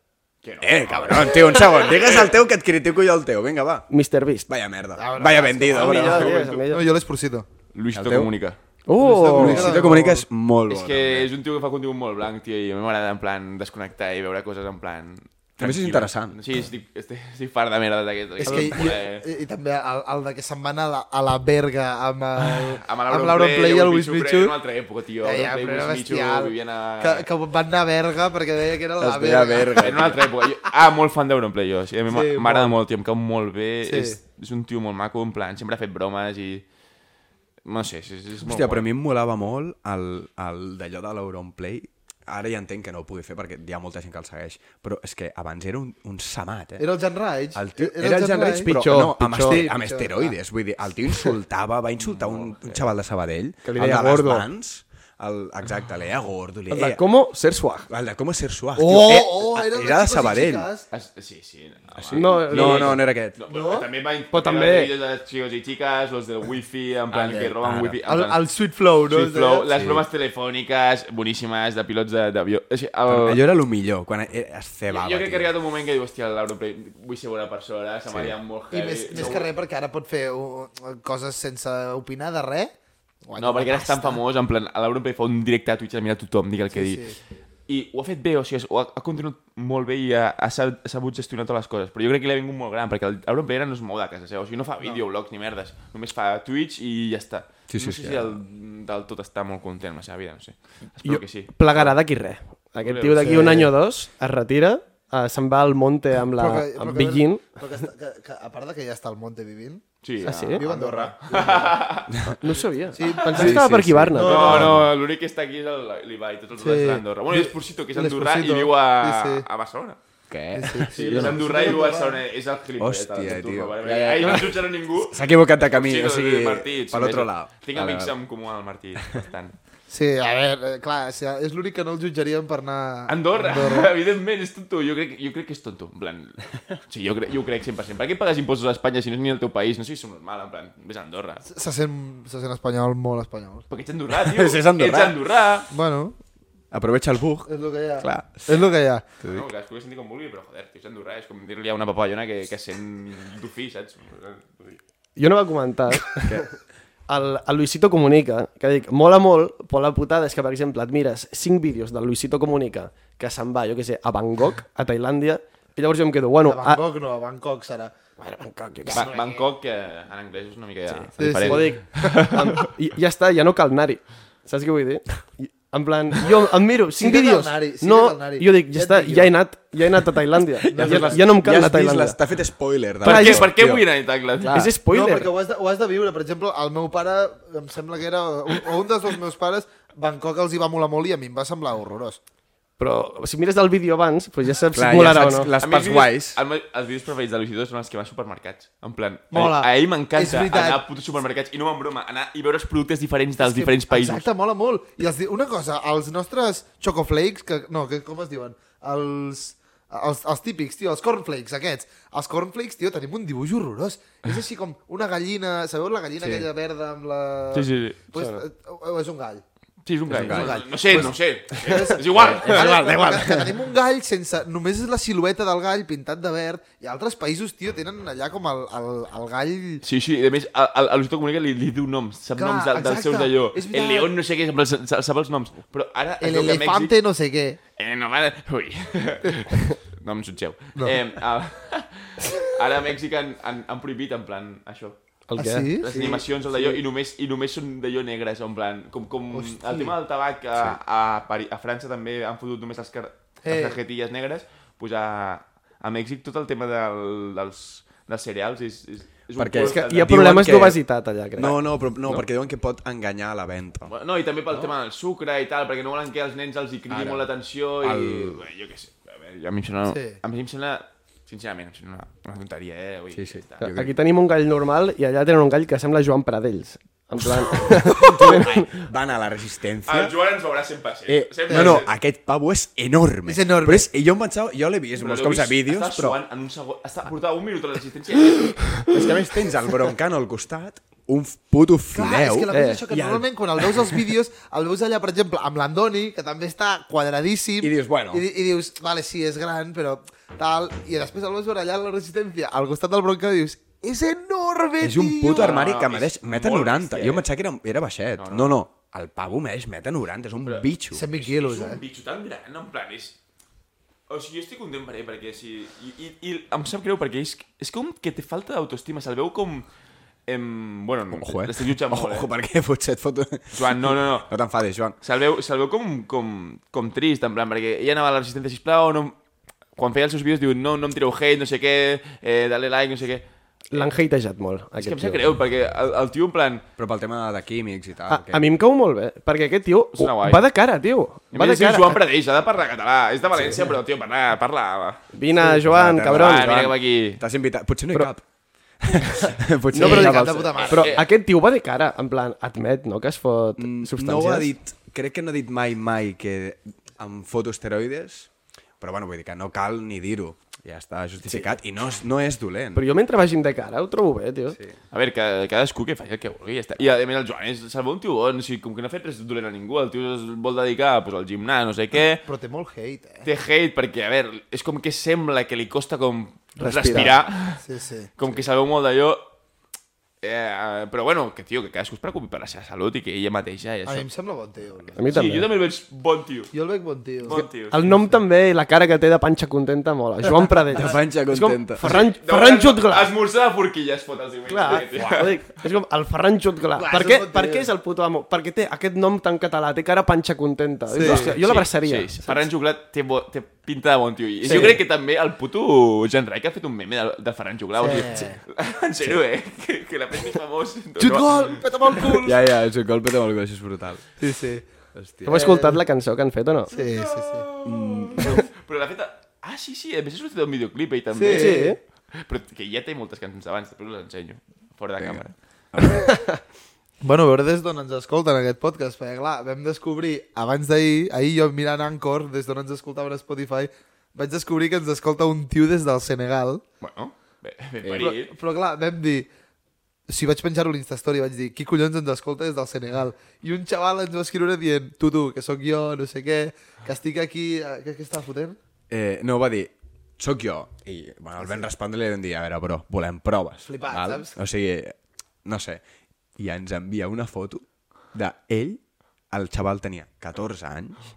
Speaker 5: Eh, cabron, tio, un segon, digues el teu que et critico jo el teu, vinga, va.
Speaker 1: Mr. Beast.
Speaker 5: Vaya merda, vaya vendido.
Speaker 1: El millor,
Speaker 5: bro.
Speaker 1: tio, és el
Speaker 4: No,
Speaker 1: millor.
Speaker 4: jo l'és Pursito.
Speaker 2: Luisito
Speaker 5: El teu?
Speaker 2: Comunica.
Speaker 1: Oh!
Speaker 5: Luisito Comunica és molt
Speaker 2: És
Speaker 5: bon.
Speaker 2: que és un tio que fa contingut molt blanc, tio, i a mi m'agrada en plan desconnectar i veure coses en plan...
Speaker 5: També és
Speaker 2: tranquil·les.
Speaker 5: interessant.
Speaker 2: Sí, estic, estic, estic fart de merda d'aquest.
Speaker 4: És que, i,
Speaker 2: eh.
Speaker 4: i, i també el, el de que se'n va anar a la, a la verga amb el,
Speaker 2: Ah, amb
Speaker 4: amb l'Auron Play i el Luis Mitxu.
Speaker 2: Era una altra època, tio.
Speaker 4: Ja, ja,
Speaker 2: Auron
Speaker 4: però
Speaker 2: Play,
Speaker 4: era
Speaker 2: Luis Mitxu,
Speaker 4: bestial.
Speaker 2: vivien a...
Speaker 4: Que, que van anar a verga perquè deia que era la
Speaker 5: Es deia
Speaker 4: verga.
Speaker 5: verga.
Speaker 2: Era una altra època. Jo- Ah, molt fan d'Europlay, jo. Sí, a mi m'a-
Speaker 4: Sí,
Speaker 2: m'agrada molt, tio, em cau molt bé.
Speaker 4: Sí.
Speaker 2: És, és un tio molt maco, en plan, sempre ha fet bromes i... No sé, és, és, és molt
Speaker 5: Hòstia, però a
Speaker 2: guai.
Speaker 5: mi em molava molt el, el d'allò de l'Euronplay. Ara ja entenc que no ho pugui fer perquè hi ha molta gent que el segueix, però és que abans era un, un samat, eh?
Speaker 4: Era el Jan Raig.
Speaker 5: el tio, era, el Jan Reig, però
Speaker 1: pitjor,
Speaker 5: no, amb,
Speaker 1: pitjor.
Speaker 5: este, amb
Speaker 4: Sí, pitjor,
Speaker 5: esteroides. Vull dir, el tio insultava, va insultar un, un xaval de Sabadell,
Speaker 1: Que li
Speaker 5: el
Speaker 1: deia
Speaker 5: de les
Speaker 1: gordo.
Speaker 5: mans, el, exacte, li deia gordo, li
Speaker 1: El de
Speaker 5: deia...
Speaker 1: com ser suag.
Speaker 5: El de com ser suave.
Speaker 4: Oh, oh, era,
Speaker 5: eh, era de Sabadell.
Speaker 2: Es- Sí, sí. No,
Speaker 1: No,
Speaker 5: No, no, no era aquest.
Speaker 2: No, però també va
Speaker 1: Però també-
Speaker 2: també... vídeos de xicos i xiques, los del wifi, en plan
Speaker 5: Ara,
Speaker 2: que roben
Speaker 5: ara.
Speaker 2: wifi. en
Speaker 4: El,
Speaker 2: plan-
Speaker 4: el Sweet Flow, no?
Speaker 2: Sweet Flow, les
Speaker 5: Sí.
Speaker 2: bromes telefòniques boníssimes de pilots de- d'avió. O sigui, el...
Speaker 5: Allò era el millor, quan e- es
Speaker 2: jo,
Speaker 5: cebava.
Speaker 2: jo crec que ha
Speaker 5: tio.
Speaker 2: arribat un moment que diu, hòstia, l'Europlay, vull ser bona persona, se m'ha
Speaker 5: Sí.
Speaker 2: liat molt
Speaker 4: I
Speaker 2: heavy.
Speaker 4: més, més
Speaker 2: Eh, no,
Speaker 4: que res, perquè ara pot fer uh, coses sense opinar de res. Guanya
Speaker 2: No, perquè
Speaker 4: una
Speaker 2: eres tan famós, en plan, a l'Europlay fa un directe a Twitch de mirar tothom, digue el que
Speaker 4: Sí,
Speaker 2: sí, di. I ho ha fet bé, o sigui, ho ha, ha continuat molt bé i ha, ha, sab- ha sabut gestionar totes les coses. Però jo crec que li ha vingut molt gran, perquè l'Europlay ara no es mou de casa seva, o sigui, no fa videoblogs ni merdes, només fa Twitch i ja està.
Speaker 5: Sí, sí,
Speaker 2: no
Speaker 5: sí,
Speaker 2: sé si
Speaker 5: ara.
Speaker 2: del, del tot està molt content amb la seva vida, no sé. Espero que sí.
Speaker 1: Plegarà d'aquí res. Aquest tio d'aquí un any o dos es retira, eh, se'n va al monte amb
Speaker 5: Ah,
Speaker 1: la amb
Speaker 4: que-
Speaker 1: Big In.
Speaker 4: Però que, està- que, que, a part de que ja està al Monte vivint,
Speaker 2: Sí,
Speaker 1: Ah, sí?
Speaker 2: a-
Speaker 4: viu a Andorra.
Speaker 1: No ho sabia.
Speaker 4: Sí,
Speaker 1: Pensava que estava per aquí, Barna.
Speaker 2: No, no, l'únic que està aquí és el- l'Ibai, tots els
Speaker 4: Sí.
Speaker 2: sí. altres d'Andorra. Bueno, i és Pursito, que és andorrà i
Speaker 4: L'Esposito.
Speaker 2: viu a,
Speaker 4: Sí, sí.
Speaker 2: a Barcelona. Què?
Speaker 4: Sí, sí.
Speaker 2: Sí, és andorrà i viu a Barcelona. És el gilipollet.
Speaker 5: Hòstia,
Speaker 2: el turno,
Speaker 5: tio.
Speaker 2: vale, vale. Ahir no jutgen a ningú.
Speaker 5: S'ha equivocat de camí,
Speaker 2: Sí,
Speaker 5: o
Speaker 2: no,
Speaker 5: sigui,
Speaker 2: Martí, et
Speaker 5: per l'altre
Speaker 2: subvejo.
Speaker 5: lado.
Speaker 2: Tinc
Speaker 5: Vale,
Speaker 2: amics
Speaker 5: vale.
Speaker 2: en comú al Martí, bastant.
Speaker 4: Sí, a veure, eh, clar, o sigui, és l'únic que no el jutjaríem per anar...
Speaker 2: Andorra, evidentment, és tonto. Jo crec, jo crec que és tonto, en plan... Sí, jo, crec, jo ho crec 100%. Per què pagues impostos a Espanya si no és ni el teu país? No sé si som normal, en plan, vés a Andorra.
Speaker 4: Se sent, se sent espanyol, molt espanyol.
Speaker 2: Perquè ets andorrà, tio.
Speaker 5: És andorrà.
Speaker 2: Ets andorrà.
Speaker 4: Bueno,
Speaker 5: Aprovecha el bug.
Speaker 4: és el que hi ha.
Speaker 5: Clar.
Speaker 4: És el que hi ha.
Speaker 2: No, que es pugui sentir com vulgui, però joder, tio, és andorrà. És com dir-li a una papallona que, que sent dofí, saps? Vull dir,
Speaker 1: Jo no va comentar el, el Luisito Comunica, que dic, mola molt, però la putada és que, per exemple, et mires 5 vídeos del Luisito Comunica que se'n va, jo què sé, a Bangkok, a Tailàndia, i llavors jo em quedo, bueno,
Speaker 4: A Bangkok no, a Bangkok serà.
Speaker 1: Bueno, Bangkok, jo què sé.
Speaker 2: Ba Bangkok, que en anglès és una mica ja sí,
Speaker 4: sí,
Speaker 2: diferent.
Speaker 1: Ho dic, em, i- ja està, ja no cal anar-hi. Saps què vull dir? I- En plan, jo em miro
Speaker 4: Sí
Speaker 1: 5
Speaker 4: que cal
Speaker 1: vídeos,
Speaker 4: anar-hi, sí que
Speaker 1: no,
Speaker 4: cal anar-hi.
Speaker 1: jo dic,
Speaker 4: Ja
Speaker 1: ja
Speaker 4: et
Speaker 1: està,
Speaker 4: dic jo.
Speaker 1: ja he anat, ja he anat a Tailàndia. Ja,
Speaker 5: has vist-
Speaker 1: ja no em cal
Speaker 5: ja
Speaker 1: anar
Speaker 5: has
Speaker 1: a
Speaker 5: vist les-
Speaker 1: Tailàndia.
Speaker 5: T'ha fet spoiler. de
Speaker 2: Per
Speaker 1: Clar,
Speaker 5: tot,
Speaker 2: què,
Speaker 1: jo-
Speaker 2: per què
Speaker 5: tio.
Speaker 2: vull anar a Tailandia?
Speaker 1: És
Speaker 4: No,
Speaker 1: spoiler.
Speaker 4: perquè ho has, de, ho has de viure. Per exemple, el meu pare, em sembla que era... O, o un dels meus pares, Bangkok els hi va molar molt i a mi em va semblar horrorós.
Speaker 1: Però si mires el vídeo abans, doncs ja saps
Speaker 5: Clar,
Speaker 1: si et molarà
Speaker 5: ja
Speaker 1: o
Speaker 5: saps
Speaker 1: no.
Speaker 5: les
Speaker 2: A mi
Speaker 5: parts
Speaker 2: els vídeos-
Speaker 5: guais.
Speaker 2: el meu- Els vídeos preferits de Luisito són els que va a supermercats. En plan,
Speaker 4: Mola.
Speaker 2: a, a ell
Speaker 4: És
Speaker 2: m'encanta
Speaker 4: veritat.
Speaker 2: anar a putos supermercats i no me'n broma, anar i veure els productes diferents dels
Speaker 4: que-
Speaker 2: diferents països.
Speaker 4: Exacte, mola molt. I els, di- una cosa, els nostres chocoflakes, que, no, que, com es diuen? Els... Els, els típics, tio, els cornflakes aquests. Els cornflakes, tio, tenim un dibuix horrorós. És així com una gallina... Sabeu la gallina sí. aquella verda amb la...
Speaker 2: Sí, sí, sí.
Speaker 4: Pues, eh, o- o és un gall.
Speaker 2: Sí, és un gall.
Speaker 4: un gall.
Speaker 2: No sé, no sé. És igual.
Speaker 4: Ara,
Speaker 1: igual, da igual.
Speaker 4: que- Que tenim un gall sense... Només és la silueta del gall pintat de verd i altres països, tio, tenen allà com el, el, el gall...
Speaker 2: Sí, sí, i a més, a, a, a l'Osito Comunica li, li diu noms, sap
Speaker 4: Clar,
Speaker 2: noms de, dels
Speaker 4: exacte,
Speaker 2: seus d'allò.
Speaker 4: és veritat.
Speaker 2: El León no sé què, sap, els- sap, sap els noms. Però ara... es
Speaker 4: El
Speaker 2: veu que a
Speaker 4: elefante no sé què.
Speaker 2: Mèxic- Eh, no, ara... Ui. no em jutgeu. No. Eh, a, ara a Mèxic han, han, han prohibit, en plan, això.
Speaker 1: El
Speaker 4: Ah,
Speaker 1: què?
Speaker 4: sí?
Speaker 2: Les sí, animacions o d'allò, sí. i, només, i només són d'allò negres, en plan, com, com
Speaker 4: Hosti.
Speaker 2: el tema del tabac a, a, Pari, a França també han fotut només les, car
Speaker 4: Eh.
Speaker 2: les cajetilles negres, pues a, a Mèxic tot el tema del, dels, dels cereals és, és, és un
Speaker 5: Perquè és
Speaker 1: Que
Speaker 2: culte.
Speaker 1: hi ha
Speaker 5: Diuen
Speaker 1: problemes
Speaker 5: que-
Speaker 1: d'obesitat allà, crec.
Speaker 5: No, no, però, no, no, perquè diuen que pot enganyar a la venda.
Speaker 2: Bueno, No, i també pel no? tema del sucre i tal, perquè no volen que als nens els hi cridi
Speaker 5: Ara.
Speaker 2: molt l'atenció i...
Speaker 5: El-
Speaker 2: Bé, Jo què sé, a, veure, a mi em sembla...
Speaker 4: Sí.
Speaker 2: Sí. A mi em sembla... Sincerament, em sembla una, una tonteria, eh? Vull dir,
Speaker 5: sí.
Speaker 2: ja està.
Speaker 1: Que Aquí tenim un gall normal i allà tenen un gall que sembla Joan Pradells. En plan... tenen...
Speaker 5: Van a la
Speaker 2: El
Speaker 5: resistència.
Speaker 2: Ah, Joan ens veurà 100%.
Speaker 5: Eh, no, no, aquest pavo és enorme.
Speaker 4: És enorme.
Speaker 5: Però és, i jo em pensava, jo l'he vist molts cops a vídeos,
Speaker 2: Està
Speaker 5: però
Speaker 2: suant en un segon... Està, portava un minut a l'assistència.
Speaker 5: és que a més tens el broncano al costat, un puto fileu.
Speaker 4: Clar, és que la cosa
Speaker 5: eh,
Speaker 4: és això, que
Speaker 5: i el-
Speaker 4: normalment quan el veus als vídeos, el veus allà, per exemple, amb l'Andoni, que també està quadradíssim.
Speaker 5: I dius, bueno.
Speaker 4: I, di- i dius, vale, sí, és gran, però tal. I després el veus veure allà a la resistència, al costat del bronca, dius, és enorme,
Speaker 5: És un
Speaker 4: tio!
Speaker 5: puto armari
Speaker 2: No,
Speaker 5: que
Speaker 2: és
Speaker 5: mereix
Speaker 2: molt
Speaker 5: metre 90. Jo
Speaker 2: bèstia, eh?
Speaker 5: em pensava que era, era baixet. No, no. no, El pavo mereix metre 90, és un bitxo.
Speaker 4: 120
Speaker 2: és
Speaker 4: quilos,
Speaker 2: un
Speaker 4: eh?
Speaker 2: bitxo tan gran, en plan, és... O sigui, jo estic content per ell, perquè si... I, i, i em sap greu, perquè és, és com que té falta d'autoestima, se'l veu com... Em, bueno,
Speaker 5: Ojo, eh?
Speaker 2: l'estic jutjant molt,
Speaker 5: Ojo,
Speaker 2: eh?
Speaker 5: perquè potser et fot...
Speaker 2: Joan, no, no, no.
Speaker 5: No t'enfadis, Joan.
Speaker 2: Se'l veu, se'l veu com, com, com trist, en plan, perquè ella anava a la resistència, sisplau, no... em- Quan feia els seus vídeos diu, no, no em tireu hate, no sé què, eh, dale like, no sé què.
Speaker 1: L'han hatejat molt,
Speaker 2: És que
Speaker 1: aquest
Speaker 2: em sap
Speaker 1: tio.
Speaker 2: greu, perquè el, el tio, en plan...
Speaker 5: Però pel tema de químics i tal.
Speaker 1: Ah, A, a mi em cau molt bé, perquè aquest tio
Speaker 2: Sona guai.
Speaker 1: va de cara, tio.
Speaker 2: A
Speaker 1: Va de
Speaker 2: més, es diu
Speaker 1: cara.
Speaker 2: Joan Pradeix, ha de parlar català. És de València, però, tio, parla... parla...
Speaker 1: Vine, Joan, cabron.
Speaker 2: Ah, mira cap aquí.
Speaker 5: T'has invitat... Potser no hi
Speaker 1: Però-
Speaker 5: cap. potser
Speaker 1: No, però,
Speaker 4: cap
Speaker 1: dic,
Speaker 4: de puta mare.
Speaker 1: però
Speaker 2: Eh.
Speaker 1: aquest tio va de cara, en plan, admet, no?, que es fot
Speaker 5: Mm, no
Speaker 1: substàncies.
Speaker 5: ho ha dit... Crec que no ha dit mai, mai que em foto esteroides, però bueno, vull dir que no cal ni dir-ho. Ja està justificat i no, és- no és dolent.
Speaker 1: Però jo mentre vagin de cara ho trobo bé, tio. Sí.
Speaker 2: A veure, que, cadascú que faci el que vulgui, ja està. I, a més, el Joan és se'l veu un tio bon, o sigui, com que no ha fet res dolent a ningú, el tio es vol dedicar pues, al gimnàs, no sé què,
Speaker 4: Però té molt hate, eh?
Speaker 2: té hate perquè, a veure, és com que sembla que li costa com
Speaker 1: Respirar.
Speaker 2: respirar,
Speaker 4: Sí, sí.
Speaker 2: com que sabeu molt d'allò, eh, però bueno, que tio, que cadascú es preocupi per la seva salut i que ella mateixa i
Speaker 4: A mi em
Speaker 2: això.
Speaker 4: sembla bon tio.
Speaker 1: A mi
Speaker 2: sí,
Speaker 1: també.
Speaker 2: jo també el veig bon tio.
Speaker 4: Jo el veig bon tio.
Speaker 2: Bon tio.
Speaker 1: El nom també i la cara que té de panxa contenta mola. Joan Pradell.
Speaker 5: De panxa
Speaker 1: És com
Speaker 5: contenta.
Speaker 1: Ferran, Ferran Jutgla.
Speaker 2: Esmorzar de forquilla es fot els diumenges.
Speaker 1: Clar,
Speaker 2: eh, tio.
Speaker 1: ho dic, és com el Ferran Jutgla.
Speaker 4: Clar,
Speaker 1: Per
Speaker 4: és
Speaker 1: què,
Speaker 4: un bon
Speaker 1: per
Speaker 4: tio.
Speaker 1: què és el puto amo? Perquè té aquest nom tan català, té cara panxa contenta. Sí, Hòstia, jo l'abraçaria.
Speaker 2: Sí, sí. Ferran Juglà té, bo, té pinta de bon tio. I
Speaker 1: Sí.
Speaker 2: jo crec que també el puto Gen Rai que ha fet un meme del, del Ferran Juglà. Sí. O sigui, en sèrio, eh? Que, que l'ha fet més famós.
Speaker 4: Xut gol! Peta molt cul!
Speaker 5: Ja, ja, és un golpe de molt gros, és brutal.
Speaker 4: Sí, sí.
Speaker 5: Hòstia.
Speaker 1: Heu escoltat la cançó que han fet o no?
Speaker 4: Sí, sí, sí.
Speaker 2: Mm. Però l'ha fet... a- Ah, sí, sí, a més ha sortit un videoclip ell també.
Speaker 1: Sí. Sí.
Speaker 2: Però que ja té moltes cançons d'abans, després us ensenyo. Fora de càmera.
Speaker 4: Bueno, a veure des d'on ens escolten aquest podcast, perquè clar, vam descobrir abans d'ahir, ahir jo mirant Anchor, des d'on ens escoltaven a Spotify, vaig descobrir que ens escolta un tio des del Senegal.
Speaker 2: Bueno, bé, ben
Speaker 4: Però,
Speaker 2: parit.
Speaker 4: però clar, vam dir... Si vaig penjar-ho a l'Instastory, vaig dir, qui collons ens escolta des del Senegal? I un xaval ens va escriure dient, tu, tu, que sóc jo, no sé què, que estic aquí... eh, Què, què estava fotent?
Speaker 5: Eh, no, va dir, sóc jo. I bueno, el vam respondre i li vam dir, a veure, bro, volem proves.
Speaker 4: Flipat, saps?
Speaker 5: O sigui, no sé. I ens envia una foto d'ell, el xaval tenia 14 anys,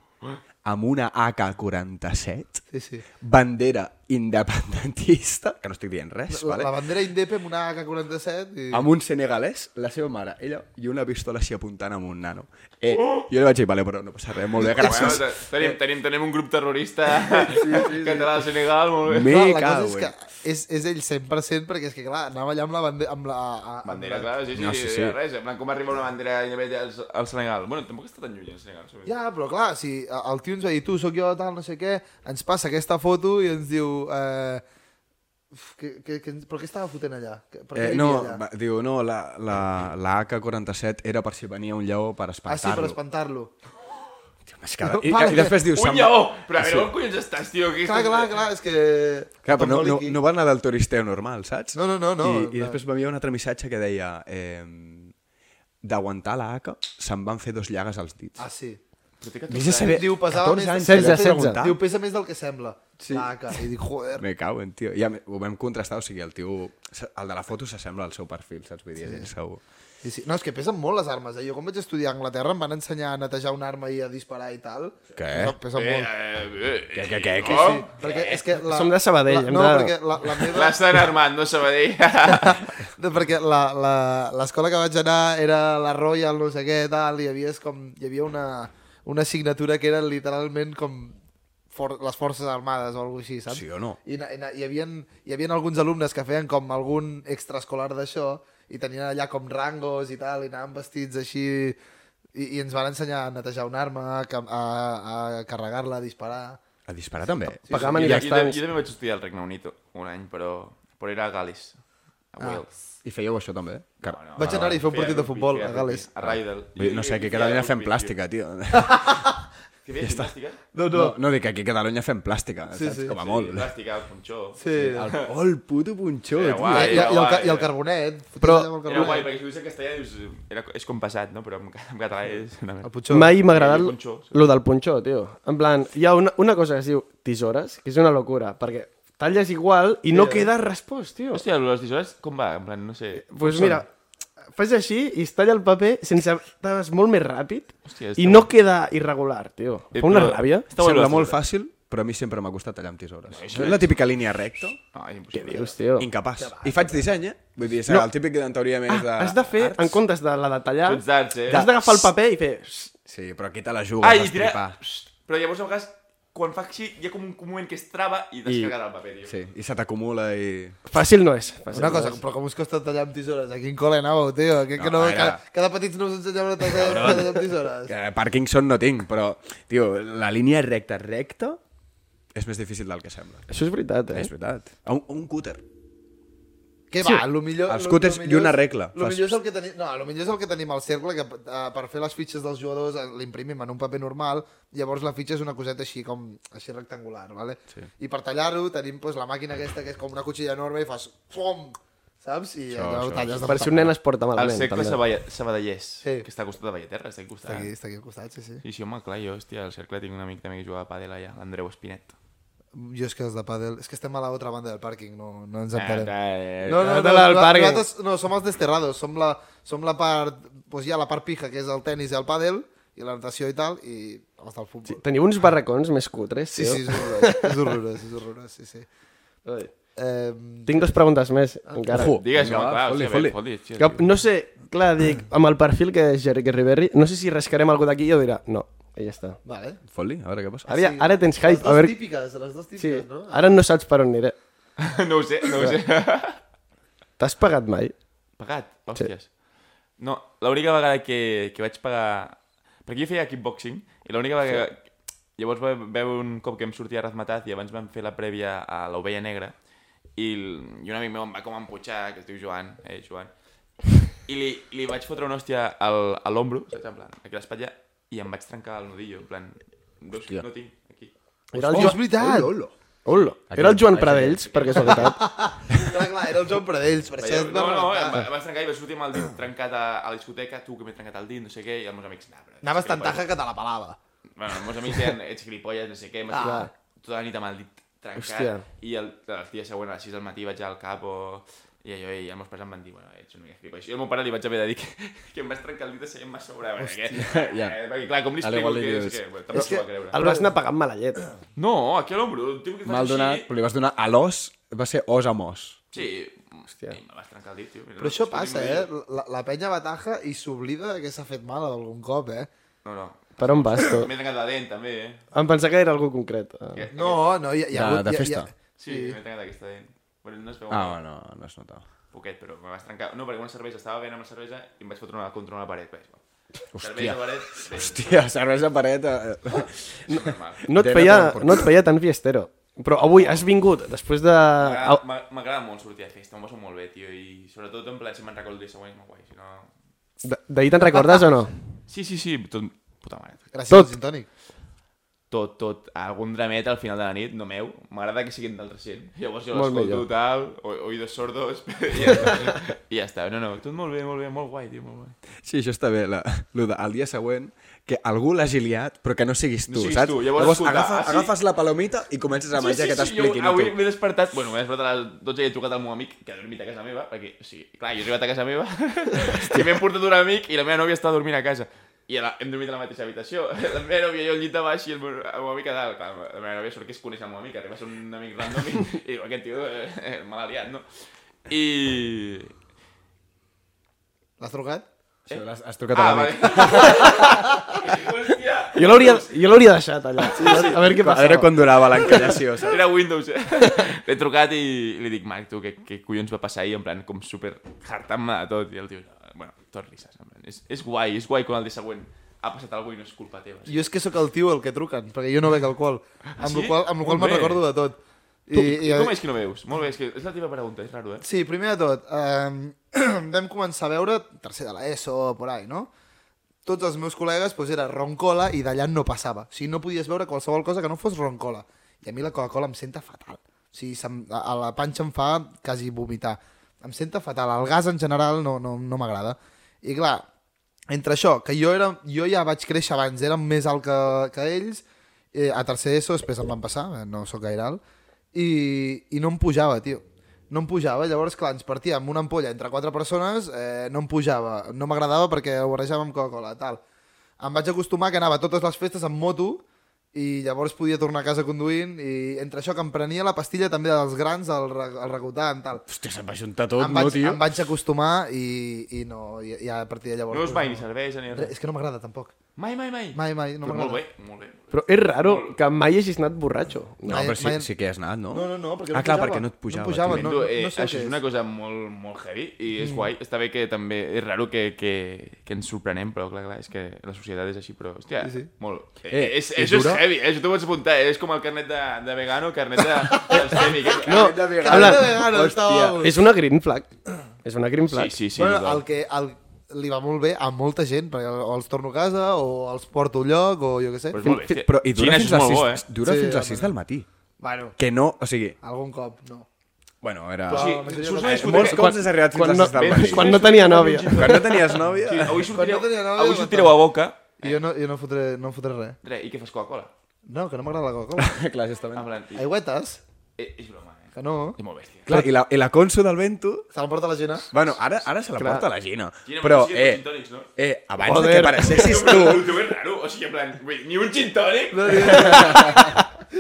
Speaker 5: amb una AK-47,
Speaker 4: Sí, sí.
Speaker 5: bandera independentista, que no estic dient res,
Speaker 4: La,
Speaker 5: vale?
Speaker 4: la bandera indepe amb una AK-47 i...
Speaker 2: Ah,
Speaker 5: amb un senegalès, la seva mare, ella, i una pistola així apuntant amb un nano. Eh, jo li vaig dir, vale, però no passa res, molt bé, gràcies.
Speaker 2: Bueno, te- tenim, tenim, tenim un grup terrorista català del Senegal, molt bé. eh.
Speaker 5: Me
Speaker 4: Clar, la
Speaker 5: cago,
Speaker 4: cosa és que és, és ell 100% perquè és que, clar, anava allà amb la bandera... Amb la, a, amb
Speaker 2: Bandera,
Speaker 4: la-
Speaker 2: clar, sí, sí,
Speaker 5: No,
Speaker 2: no,
Speaker 5: sí,
Speaker 2: sí,
Speaker 5: sí.
Speaker 2: res, en plan, com arriba una bandera independent al, al Senegal? Bueno, tampoc està tan lluny el Senegal. sobretot.
Speaker 4: Ja, però clar, si eh, el tio ens va dir tu, sóc jo, tal, no sé què, ens passa aquesta foto i ens diu... Eh, uf, que, que, que, ens- però què estava fotent allà? Que- Per què
Speaker 5: Eh,
Speaker 4: vivia
Speaker 5: no,
Speaker 4: allà?
Speaker 5: va, diu, no, la, la, la AK-47 era per si venia un lleó per
Speaker 4: Ah, sí, per
Speaker 5: espantar-lo.
Speaker 4: espantar-lo.
Speaker 5: Tio, és que... I,
Speaker 4: Vale.
Speaker 5: i després dius...
Speaker 2: Un
Speaker 5: se'n va-
Speaker 2: lleó! Però a veure, oh. on collons estàs, tio? Que...
Speaker 4: Clar, clar, clar, és que...
Speaker 5: Clar, però no, no, no va anar del turisteu normal, saps?
Speaker 4: No, no, no, no.
Speaker 5: I, i després va haver un altre missatge que deia... Eh, d'aguantar la haca, se'n van fer dos llagues als dits.
Speaker 4: Ah, sí.
Speaker 5: Vés a saber...
Speaker 4: Diu, pesava
Speaker 1: 14
Speaker 4: més...
Speaker 1: anys,
Speaker 4: del que-
Speaker 1: 16, 16.
Speaker 4: Diu, pesa més del que sembla. Sí. Laca. I dic, joder.
Speaker 5: Me cauen, tio. Ja ho vam contrastar, o sigui, el tio... El de la foto s'assembla al seu perfil, saps? Vull dir, sí. segur.
Speaker 4: Sí, sí. No, és que pesen molt les armes. Eh? Jo quan vaig estudiar a Anglaterra em van ensenyar a netejar una arma i a disparar i tal.
Speaker 5: Què?
Speaker 4: No, pesa
Speaker 2: Eh,
Speaker 4: molt.
Speaker 2: eh, eh,
Speaker 5: Què, què, què, què?
Speaker 2: no?
Speaker 4: Perquè és que la,
Speaker 1: Som de Sabadell,
Speaker 4: La,
Speaker 1: hem
Speaker 4: no,
Speaker 1: de-
Speaker 4: perquè la, la meva...
Speaker 2: L'has d'anar armant, no Sabadell.
Speaker 4: No, perquè la- la- l'escola que vaig anar era la Royal, no sé què, tal, i hi havia, és com, hi havia una, una assignatura que era literalment com for, les forces armades o alguna cosa així, saps?
Speaker 5: Sí o no?
Speaker 4: I, na- i, na- hi, havia, hi havia alguns alumnes que feien com algun extraescolar d'això i tenien allà com rangos i tal, i anaven vestits així... I, i ens van ensenyar a netejar una arma, a, cam- a, a carregar-la, a disparar...
Speaker 5: A disparar també.
Speaker 1: Sí, Pagam sí,
Speaker 2: jo, jo,
Speaker 1: manifestants.
Speaker 2: jo també vaig estudiar al Regne Unit un any, però, però era a Gales. A Wales.
Speaker 5: I fèieu això també? Car
Speaker 4: Ah,
Speaker 2: No,
Speaker 4: Vaig anar-hi a fer un
Speaker 2: feia
Speaker 4: partit de
Speaker 2: rugby,
Speaker 4: futbol
Speaker 2: feia
Speaker 4: a
Speaker 2: rugby,
Speaker 4: Gales.
Speaker 2: A Rydell.
Speaker 5: Ah, No sé, aquí a
Speaker 2: Feia
Speaker 5: Catalunya
Speaker 2: rugby,
Speaker 5: fem
Speaker 2: tio.
Speaker 5: plàstica, tio.
Speaker 2: Què feies, plàstica?
Speaker 5: No, no. No, dic, aquí a Catalunya fem plàstica,
Speaker 4: Sí,
Speaker 5: sí, saps?
Speaker 4: sí.
Speaker 5: Sí, Com a molt.
Speaker 2: Plàstica, el punxó.
Speaker 4: Sí.
Speaker 5: El, oh, el puto punxó,
Speaker 2: Era
Speaker 5: tio.
Speaker 2: guai,
Speaker 4: I, i,
Speaker 2: era
Speaker 4: el, ca-
Speaker 2: guai.
Speaker 4: I el carbonet.
Speaker 1: Però-
Speaker 4: foties allà amb el
Speaker 2: Era
Speaker 4: carbonet.
Speaker 2: guai, perquè si ho dius en castellà dius... Era, és com passat, no? Però en, ca- en català és una merda.
Speaker 4: El Puigdemont.
Speaker 1: Mai m'ha
Speaker 2: El
Speaker 1: agradat
Speaker 2: punxó, sí.
Speaker 1: lo del punxó, tio. En plan, hi ha una, una cosa que es diu tisores, que és una locura, perquè talles igual i no queda respost, tio.
Speaker 2: eh. Hòstia, les tisores com va? En plan, no sé...
Speaker 1: pues mira, fas així i es talla el paper sense... És molt més ràpid i
Speaker 2: Hòstia, està
Speaker 1: no queda irregular, tio.
Speaker 2: Eh,
Speaker 1: Fa una
Speaker 2: però-
Speaker 1: ràbia.
Speaker 2: Està guai
Speaker 5: Sembla
Speaker 2: les
Speaker 5: molt
Speaker 2: tisores.
Speaker 5: fàcil, però a mi sempre m'ha costat tallar amb tisores. és la típica línia recta,
Speaker 2: No, és impossible.
Speaker 1: Dius, tio.
Speaker 5: incapaç. I faig disseny, eh? Vull dir, és
Speaker 1: No. Ah,
Speaker 5: el típic que en teoria més de...
Speaker 1: Has de fer, en comptes de la de tallar,
Speaker 2: Tu ets d'arts, eh?
Speaker 1: has d'agafar el paper i fer...
Speaker 5: Sí, però aquí te la jugues,
Speaker 2: Ai,
Speaker 5: Ai,
Speaker 2: tira...
Speaker 5: estripar.
Speaker 2: Psst, Però llavors, a vegades, quan fa així, hi ha com un moment que es trava i descarga el paper, tio.
Speaker 5: Sí, i se t'acumula i...
Speaker 1: Fàcil no és. Fàcil
Speaker 4: Una
Speaker 1: no
Speaker 4: cosa,
Speaker 1: és.
Speaker 4: però com us costa tallar amb tisores? A quin col·le anàveu, tio? Que, que
Speaker 5: No,
Speaker 4: no,
Speaker 5: era-
Speaker 4: cada, cada petits no us ensenyaven a tallar, a tallar amb tisores.
Speaker 5: Eh, Parkinson no tinc, però, tio, la línia recta, recta, és més difícil del que sembla.
Speaker 1: Això és veritat, eh?
Speaker 5: És veritat. Un, un cúter.
Speaker 4: Què va, lo millor...
Speaker 5: Els
Speaker 4: lo-
Speaker 5: cúters
Speaker 4: lo
Speaker 5: i
Speaker 4: millor
Speaker 5: una
Speaker 4: és-
Speaker 5: regla.
Speaker 4: Lo
Speaker 5: Fas-
Speaker 4: millor és el que tenim... No, lo millor és el que tenim al cercle, que eh, per fer les fitxes dels jugadors eh, l'imprimim en un paper normal, llavors la fitxa és una coseta així, com així rectangular, vale? Sí. I per tallar-ho tenim pues, la màquina aquesta, que és com una cuchilla enorme, i fas... Pom! Saps? I allò ho talles. de
Speaker 1: Per si un nen es porta
Speaker 2: El
Speaker 1: malament.
Speaker 2: cercle
Speaker 1: també.
Speaker 2: Saballa- Sabadellers,
Speaker 4: Sí.
Speaker 2: que està al costat de Bellaterra, està al
Speaker 4: Està
Speaker 2: costat.
Speaker 4: aquí, està aquí al costat, sí, sí.
Speaker 2: Sí, sí, home, clar, jo, hòstia, al cercle tinc un amic també que jugava a pàdel allà, l'Andreu Espinet.
Speaker 4: Jo és que els de pàdel... És que estem a la otra banda del pàrquing, no, no
Speaker 5: Ah,
Speaker 4: ens entenem. No,
Speaker 2: No,
Speaker 4: no, no,
Speaker 1: Trata-la Eh, al
Speaker 4: no,
Speaker 1: pàrquing.
Speaker 4: nosaltres no, som els desterrados, som la, som la part, pues hi ha la part pija, que és el tennis i el pàdel, i la natació i tal, i els del futbol.
Speaker 1: Teniu uns barracons més cutres,
Speaker 4: Sí,
Speaker 1: tio.
Speaker 4: sí, és horrorós, és horrorós, és horrorós, sí, sí.
Speaker 1: Ai.
Speaker 4: Eh,
Speaker 1: Tinc dues preguntes més, encara.
Speaker 5: Ojo.
Speaker 2: Digues,
Speaker 5: Vinga,
Speaker 2: home,
Speaker 5: va,
Speaker 2: clar,
Speaker 5: fot-li,
Speaker 2: hòstia, bé,
Speaker 5: fot-li.
Speaker 2: fot-li.
Speaker 1: Que, no sé, clar, dic, amb el perfil que és Jerry Riveri, no sé si rescarem algú d'aquí i jo dirà, no, i ja està.
Speaker 4: vale.
Speaker 5: Foli, a veure què passa.
Speaker 1: Ara, ara tens
Speaker 4: Les
Speaker 1: hype,
Speaker 4: dues
Speaker 1: a veure...
Speaker 4: típiques, les dues
Speaker 1: Sí, Ah,
Speaker 4: típiques, no?
Speaker 1: ara no saps per on aniré.
Speaker 2: No ho sé, no ho sé.
Speaker 1: T'has pagat mai?
Speaker 2: Pagat, hòsties. No, l'única vegada que, que vaig pagar... Perquè jo feia kickboxing, i l'única vegada... Que... Llavors va veure un cop que em sortia Razmataz i abans vam fer la prèvia a l'Ovella Negra i, l- i un amic meu em va com emputxar, que es diu Joan, eh, Joan, i li, li vaig fotre una hòstia al, a l'ombro, saps? En plan, aquí a l'espatlla, i em vaig trencar el nudillo, en plan, dos, no tinc, aquí.
Speaker 1: Era el
Speaker 4: Oh, és
Speaker 1: Joan,
Speaker 4: veritat!
Speaker 1: Olo, era el Joan Pradells, per casualitat.
Speaker 4: Clar, clar, era el Joan Pradells, per això...
Speaker 2: Vaig,
Speaker 4: et va
Speaker 2: no, no, em
Speaker 4: rebentar.
Speaker 2: va- em vaig trencar i vaig sortir amb el dit trencat a, a la discoteca, tu que m'he trencat el dit, no sé què, i els meus amics... Nah, però,
Speaker 4: Anaves
Speaker 2: és
Speaker 4: tan
Speaker 2: gilipolles".
Speaker 4: taja que te la pelava.
Speaker 2: Bueno, els meus amics deien, ets gilipolles, no sé què, m'has
Speaker 1: Ah.
Speaker 2: ah. tota la nit amb el dit trencat, Hòstia.
Speaker 1: Hòstia.
Speaker 2: i el, el dia següent a les 6 del matí vaig al cap o... I allò, i els meus pares em van dir, bueno, ets una mica gilipolles. I al meu pare li vaig haver de dir que, que em vas trencar el dit asseient-me a sobre. Perquè,
Speaker 5: ja.
Speaker 2: eh, perquè, clar, com li
Speaker 5: Ara
Speaker 2: explico
Speaker 5: igual li
Speaker 2: que... no sé
Speaker 5: dius.
Speaker 2: què, Bueno, també s'ho va creure.
Speaker 1: El vas anar pagant mala llet.
Speaker 2: No, aquí a l'ombro, un tio que fa
Speaker 5: Mal
Speaker 2: així...
Speaker 5: donat, però li vas donar a l'os, va ser os amb os.
Speaker 2: Sí,
Speaker 1: Hòstia.
Speaker 2: i me vas trencar el dit, tio.
Speaker 4: Però això passa, eh? La, la penya va taja i s'oblida que s'ha fet mal algun cop, eh?
Speaker 2: No, no.
Speaker 1: Per on vas, tu?
Speaker 2: M'he trencat la dent, també, eh?
Speaker 1: Em pensava que era algú concret. Ah.
Speaker 2: Que-
Speaker 4: No, no, hi ha, hi ha
Speaker 5: De-
Speaker 4: hagut...
Speaker 5: de
Speaker 4: hi ha- hi
Speaker 5: festa?
Speaker 4: ha-
Speaker 2: Sí, sí. m'he trencat aquesta dent. Bueno, no es veu
Speaker 5: Ah, bueno, no es notava.
Speaker 2: poquet, però me vas trencar... No, perquè una cervesa, estava ben amb la cervesa i em vaig fotre una contra una paret. Vaig, Hòstia. Cervesa, paret... sí,
Speaker 5: Hòstia, cervesa pareta.
Speaker 2: és normal.
Speaker 1: No et,
Speaker 5: Dena
Speaker 1: feia,
Speaker 5: com per-
Speaker 1: no et feia tan fiestero. Però avui has vingut, després de...
Speaker 2: M'agrada-
Speaker 1: au-
Speaker 2: m'a- M'agrada molt sortir de festa, m'ho passo molt bé, tio, i sobretot en plan, si me'n recordo el dia següent, és molt guai, si no...
Speaker 1: d- D'ahir te'n recordes o no?
Speaker 2: Sí, sí, sí, tot... Puta mare.
Speaker 4: Gràcies
Speaker 1: Tot.
Speaker 4: al gin tònic.
Speaker 2: Tot, tot, algun dramet al final de la nit, no meu, m'agrada que siguin d'altra gent. Llavors jo
Speaker 1: Molt
Speaker 2: l'escolto
Speaker 1: millor.
Speaker 2: tal, o- oïdos sordos, i ja, està. i ja està. No, no, tot molt bé, molt bé, molt guai, tio, molt guai.
Speaker 5: Sí, això està bé, la, lo de, el dia següent, que algú l'hagi liat, però que no siguis tu,
Speaker 2: No siguis
Speaker 5: saps?
Speaker 2: tu, llavors escoltar,
Speaker 5: agafa,
Speaker 2: ah, sí.
Speaker 5: agafes la palomita i comences a menjar que t'expliquin.
Speaker 2: jo
Speaker 5: i
Speaker 2: avui
Speaker 5: tu.
Speaker 2: m'he despertat, bueno, m'he despertat a les 12 i he trucat al meu amic, que ha dormit a casa meva, perquè, o sigui, clar, jo he arribat a casa meva, i m'he portat un amic i la meva nòvia està dormint a casa. I a la, hem dormit a la mateixa habitació. La meva nòvia jo al llit de baix i el meu, el meu amic a dalt. Clar, la meva nòvia sort que es coneix el meu amic, arriba a ser un amic random i, i diu, aquest tio eh, eh, me l'ha liat, no? I...
Speaker 4: L'has trucat?
Speaker 5: Sí, Has, has trucat a
Speaker 2: Ah,
Speaker 5: l'amic.
Speaker 2: vale. Ah, Hòstia!
Speaker 1: Jo l'hauria jo l'hauria deixat allà. A veure què
Speaker 5: A
Speaker 1: passava.
Speaker 5: veure quan durava l'encallació, saps?
Speaker 2: Era Windows, eh? L'he trucat i li dic, Marc, tu, què, què collons va passar ahir? En plan, com super hartant-me de tot. I el tio, bueno, tot risses. En plan, és, és guai, és guai quan el dia següent ha passat alguna i no és culpa teva.
Speaker 4: Jo és que sóc el tio el que truquen, perquè jo no bec alcohol. Amb
Speaker 2: Ah, sí?
Speaker 4: la qual, amb la qual
Speaker 2: Molt
Speaker 4: me'n
Speaker 2: bé.
Speaker 4: recordo de tot. I,
Speaker 2: I, Com és que no veus? Molt bé, és que és la teva pregunta, és raro, eh?
Speaker 4: Sí, primer de tot, eh, vam començar a veure, tercer de l'ESO, por ahí, no? Tots els meus col·legues doncs, era roncola i d'allà no passava. O sigui, no podies veure qualsevol cosa que no fos roncola. I a mi la Coca-Cola em senta fatal. O sigui, se'm, a a la panxa em fa quasi vomitar. Em senta fatal. El gas en general no, no, no m'agrada. I clar, entre això, que jo, era, jo ja vaig créixer abans, érem més alt que, que ells, eh, a tercer ESO, després em van passar, eh, no sóc gaire alt, i, i no em pujava, tio. No em pujava, llavors, clar, ens partia amb una ampolla entre quatre persones, eh, no em pujava, no m'agradava perquè ho barrejava amb Coca-Cola, tal. Em vaig acostumar que anava a totes les festes amb moto i llavors podia tornar a casa conduint i entre això que em prenia la pastilla també dels grans, el, re- el recotant, tal.
Speaker 5: Hòstia, se'm va juntar tot,
Speaker 4: em, vaig, em vaig acostumar i, i no, i, i a partir de llavors...
Speaker 2: No us mai ni serveix ni
Speaker 4: Re-
Speaker 2: res.
Speaker 4: És que no m'agrada tampoc.
Speaker 2: Mai, mai, mai.
Speaker 4: Mai, mai, no
Speaker 2: Però Molt bé,
Speaker 4: m'agrada.
Speaker 2: molt bé. molt bé.
Speaker 1: Però és raro que mai hagis anat borratxo.
Speaker 5: No,
Speaker 4: Mai-
Speaker 5: però sí,
Speaker 4: mai-
Speaker 5: sí que has anat, no?
Speaker 4: No, no, no, perquè no
Speaker 5: Ah, clar,
Speaker 4: pujava.
Speaker 5: perquè no et
Speaker 4: No
Speaker 5: pujava.
Speaker 4: pujava,
Speaker 5: tio.
Speaker 4: no.
Speaker 2: Tu, eh,
Speaker 4: sé
Speaker 2: això
Speaker 4: què
Speaker 2: és
Speaker 4: és.
Speaker 2: una cosa molt, molt heavy i és guai. Està bé que també és raro que, que, que ens sorprenem, però clar, clar, és que la societat és així, però hòstia, sí, sí. molt... Eh, eh, és,
Speaker 5: és
Speaker 2: és, això és
Speaker 5: dura?
Speaker 2: heavy, eh? això t'ho pots apuntar, eh? és com el carnet de, de vegano, carnet de, de semi, que...
Speaker 1: No,
Speaker 4: Carnet de
Speaker 1: habla,
Speaker 4: vegano, estava...
Speaker 5: Hòstia.
Speaker 1: és una green flag. És una green
Speaker 2: Sí,
Speaker 1: flag.
Speaker 2: sí, sí.
Speaker 4: bueno,
Speaker 2: total.
Speaker 4: el que el, li va molt bé a molta gent, perquè o els torno a casa, o els porto a un lloc, o jo què sé.
Speaker 2: Però és molt bé, hòstia.
Speaker 5: Però i dura
Speaker 2: Xina és
Speaker 5: fins a
Speaker 2: molt bo,
Speaker 5: 6,
Speaker 2: eh?
Speaker 5: dura
Speaker 4: Sí,
Speaker 5: fins a
Speaker 4: home.
Speaker 5: 6 del matí.
Speaker 4: Bueno,
Speaker 5: Que no, o sigui,
Speaker 4: algun cop, no.
Speaker 5: bueno, era...
Speaker 4: Però-
Speaker 2: Sí,
Speaker 4: la majoria
Speaker 2: surts
Speaker 4: de
Speaker 2: a
Speaker 4: les-
Speaker 2: discoteca-
Speaker 5: Molts cops has arribat fins
Speaker 1: Quan
Speaker 5: a
Speaker 1: no,
Speaker 5: 6 del matí.
Speaker 1: quan no tenia nòvia.
Speaker 5: Quan no tenies nòvia...
Speaker 2: Sí, avui sortireu,
Speaker 4: no tenia nòvia,
Speaker 2: avui
Speaker 4: va
Speaker 2: sortireu a boca.
Speaker 4: I jo no, jo no fotré, no fotré res.
Speaker 2: Re, I què fas Coca-Cola?
Speaker 4: No, que no m'agrada la Coca-Cola.
Speaker 5: Clar, justament.
Speaker 2: En plan, i-
Speaker 4: Aigüetes,
Speaker 2: eh, és broma, eh?
Speaker 4: que no.
Speaker 2: És molt bèstia.
Speaker 5: Clar, i la, i la Consu del Vento...
Speaker 4: Se l'emporta la Gina.
Speaker 5: Bueno, ara, ara se la porta la Gina.
Speaker 2: Gina,
Speaker 5: Però,
Speaker 2: potser sí,
Speaker 5: eh,
Speaker 2: gin tònics, no?
Speaker 5: eh, abans de
Speaker 1: Joder.
Speaker 5: que apareixessis
Speaker 2: Però
Speaker 5: tu...
Speaker 2: el teu és raro, o sigui, en plan, vull dir, ni un gin tònic.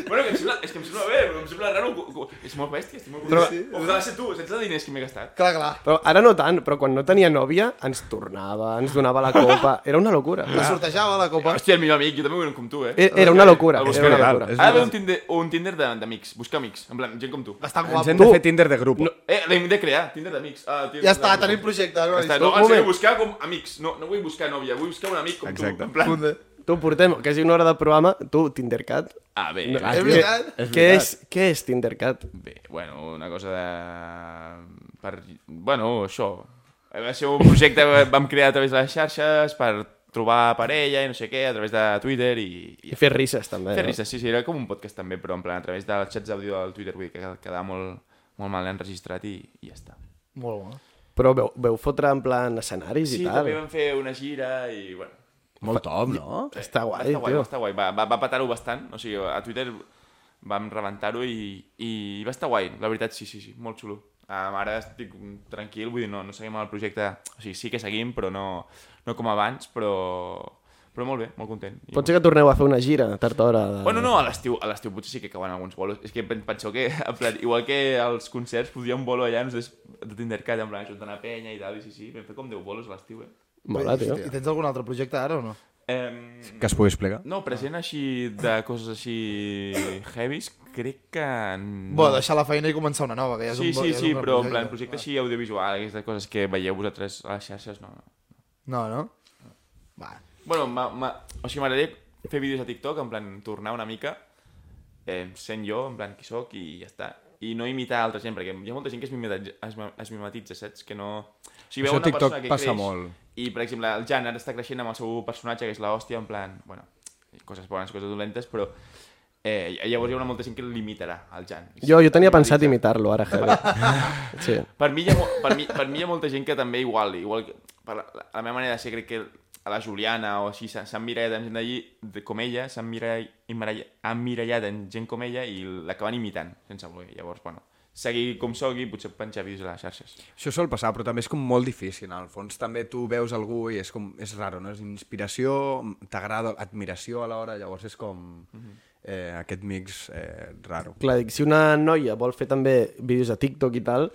Speaker 2: bueno, que em sembla, és que em sembla bé, però em sembla raro. co- co- És molt bèstia, estic molt content. Sí, O que ha de ser tu, sense els diners que m'he gastat.
Speaker 4: Clar, clar.
Speaker 1: Però ara no tant, però quan no tenia nòvia ens tornava, ens donava la copa. Era una locura.
Speaker 4: La sortejava, la copa.
Speaker 2: Hòstia, el millor amic, jo també ho era com tu, eh?
Speaker 1: E- Era una locura.
Speaker 2: Algú
Speaker 1: Era una
Speaker 5: espera,
Speaker 1: locura.
Speaker 5: és
Speaker 2: Ha d'haver un Tinder, un Tinder de- d'amics, busca amics, en plan, gent com tu.
Speaker 4: Bastant
Speaker 5: Ens
Speaker 4: guapo.
Speaker 5: hem de fer Tinder de grup.
Speaker 2: Eh, l'hem de crear, Tinder d'amics. Ah, Tinder
Speaker 4: Ja està,
Speaker 2: de-
Speaker 4: tenim projecte. No,
Speaker 2: Ja està,
Speaker 4: no,
Speaker 2: no, ens hem de
Speaker 1: moment.
Speaker 2: buscar com amics, no, no vull buscar nòvia, vull buscar un amic com
Speaker 5: Exacte.
Speaker 2: tu. En plan,
Speaker 1: Tu portem quasi una hora de programa, tu, Tindercat.
Speaker 2: ah, bé,
Speaker 1: No,
Speaker 2: clar,
Speaker 4: és
Speaker 1: què-
Speaker 4: veritat,
Speaker 5: és
Speaker 1: Què
Speaker 5: veritat.
Speaker 1: és, què és Tindercat?
Speaker 2: Bé, bueno, una cosa de... Per... Bueno, això. Va ser un projecte que vam crear a través de les xarxes per trobar parella i no sé què, a través de Twitter i... i...
Speaker 1: I fer risses, també.
Speaker 2: Fer
Speaker 1: no?
Speaker 2: risques, sí, sí, era com un podcast també, però en plan a través dels xats d'àudio del Twitter, vull dir que quedava molt, molt mal enregistrat i, i ja està.
Speaker 4: Molt bo. eh?
Speaker 1: Però veu, veu fotre en plan escenaris
Speaker 2: Sí,
Speaker 1: i tal.
Speaker 2: també vam fer una gira i, bueno,
Speaker 5: Molt top, no?
Speaker 1: Està guai,
Speaker 2: està guai,
Speaker 1: tio.
Speaker 2: va estar guai. Va, va, va petar-ho bastant, o sigui, a Twitter vam rebentar-ho i, i va estar guai, la veritat, sí, sí, sí, molt xulo. Um, ara estic tranquil, vull dir, no, no seguim el projecte, o sigui, sí que seguim, però no, no com abans, però, però molt bé, molt content. I
Speaker 1: Pot ser que torneu a fer una gira a tard hora. De...
Speaker 2: Bueno, no, a l'estiu a l'estiu potser sí que cauen alguns bolos. És que pen- penseu que, en plan, igual que als concerts, podria un bolo allà, no sé, de Tindercat, en plan, juntant a penya i tal, i sí, sí, vam fer com 10 bolos a l'estiu, eh?
Speaker 1: Mola, tio.
Speaker 4: I tens algun altre projecte ara o no?
Speaker 2: Em,
Speaker 5: Que es pugui explicar.
Speaker 2: No, present així de coses així heavies, crec que... No.
Speaker 4: Bo, deixar la feina i començar una nova, que ja és
Speaker 2: Sí,
Speaker 4: un bo-
Speaker 2: sí,
Speaker 4: ja és
Speaker 2: sí,
Speaker 4: un gran
Speaker 2: però en plan projecte així audiovisual, aquestes coses que veieu vosaltres a les xarxes, no. no.
Speaker 4: No, no? Va.
Speaker 2: Bueno, ma, ma, o sigui, m'agradaria fer vídeos a TikTok, en plan, tornar una mica, eh, sent jo, en plan, qui sóc i ja està. I no imitar altra gent, perquè hi ha molta gent que es mimetitza, es, ma- es mimetitza saps? Que no... O sigui,
Speaker 5: Això
Speaker 2: veu
Speaker 5: a
Speaker 2: una
Speaker 5: TikTok
Speaker 2: persona que
Speaker 5: passa
Speaker 2: creix
Speaker 5: molt.
Speaker 2: I, per exemple, el Jan ara està creixent amb el seu personatge, que és l'hòstia, en plan, bueno, coses bones, coses dolentes, però eh, llavors hi haurà molta gent que l'imitarà, el Jan.
Speaker 1: Jo, jo tenia pensat imitar-lo ara, Hebe. Sí.
Speaker 2: Per mi, hi ha, mo- per, mi, per mi hi ha molta gent que també igual, igual que, per la, la meva manera de ser, crec que a la Juliana o així s'ha s'ha emmirallat en gent d'allí de- com ella, s'ha emmirall- emmirall- ha emmirallat en gent com ella i l'acaben imitant, sense voler. Llavors, bueno, seguir com sogui, potser penjar vídeos a les xarxes.
Speaker 5: Això sol passar, però també és com molt difícil. Al fons també tu veus algú i és com... És raro, no? És inspiració, t'agrada, admiració alhora, llavors és com... Eh, aquest mix eh, raro.
Speaker 1: Clar, dic, si una noia vol fer també vídeos a TikTok i tal,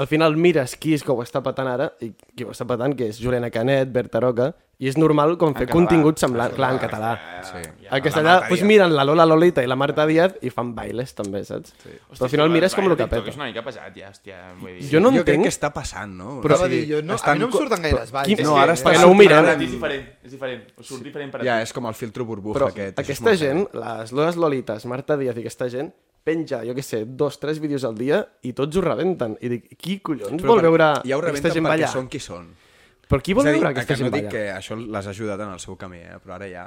Speaker 1: al final mires qui és que ho està patant ara, i qui ho està patant, que és Juliana Canet, Berta Roca, i és normal com fer
Speaker 2: català,
Speaker 1: contingut semblant, clar, en català.
Speaker 5: Sí.
Speaker 1: En castellà, doncs miren la Lola Lolita i la Marta Díaz i fan bailes també, saps? Sí. Però al final mires com el que
Speaker 2: És
Speaker 1: peta.
Speaker 2: una mica pesat, ja, hòstia. Vull dir...
Speaker 1: Jo no
Speaker 5: jo crec que
Speaker 1: entenc...
Speaker 5: està passant, no?
Speaker 4: Però sí, dir, jo no, a mi no em
Speaker 5: co-
Speaker 4: surten gaires eh? balls.
Speaker 1: Quin-
Speaker 4: És
Speaker 5: No,
Speaker 4: que-
Speaker 5: ara
Speaker 1: Sí,
Speaker 5: està...
Speaker 1: perquè no ho mirem.
Speaker 5: sortint
Speaker 2: És diferent, és diferent. O surt diferent per a
Speaker 5: Ja,
Speaker 2: tu.
Speaker 5: és com el filtro burbuja
Speaker 1: Però
Speaker 5: aquest. és
Speaker 1: aquesta
Speaker 5: molt
Speaker 1: gent, les Loles Lolites, Marta Díaz i aquesta gent, penja, jo què sé, dos, tres vídeos al dia i tots ho rebenten. I dic, qui collons
Speaker 5: Però
Speaker 1: vol
Speaker 5: per-
Speaker 1: veure
Speaker 5: ja ho
Speaker 1: aquesta
Speaker 5: rebenten
Speaker 1: gent
Speaker 5: perquè
Speaker 1: ballar?
Speaker 5: són qui són.
Speaker 1: Però qui vol
Speaker 5: És a dir,
Speaker 1: veure aquesta
Speaker 5: que
Speaker 1: gent
Speaker 5: no dic
Speaker 1: ballar?
Speaker 5: que això l'has ajudat en el seu camí, eh? però ara ja...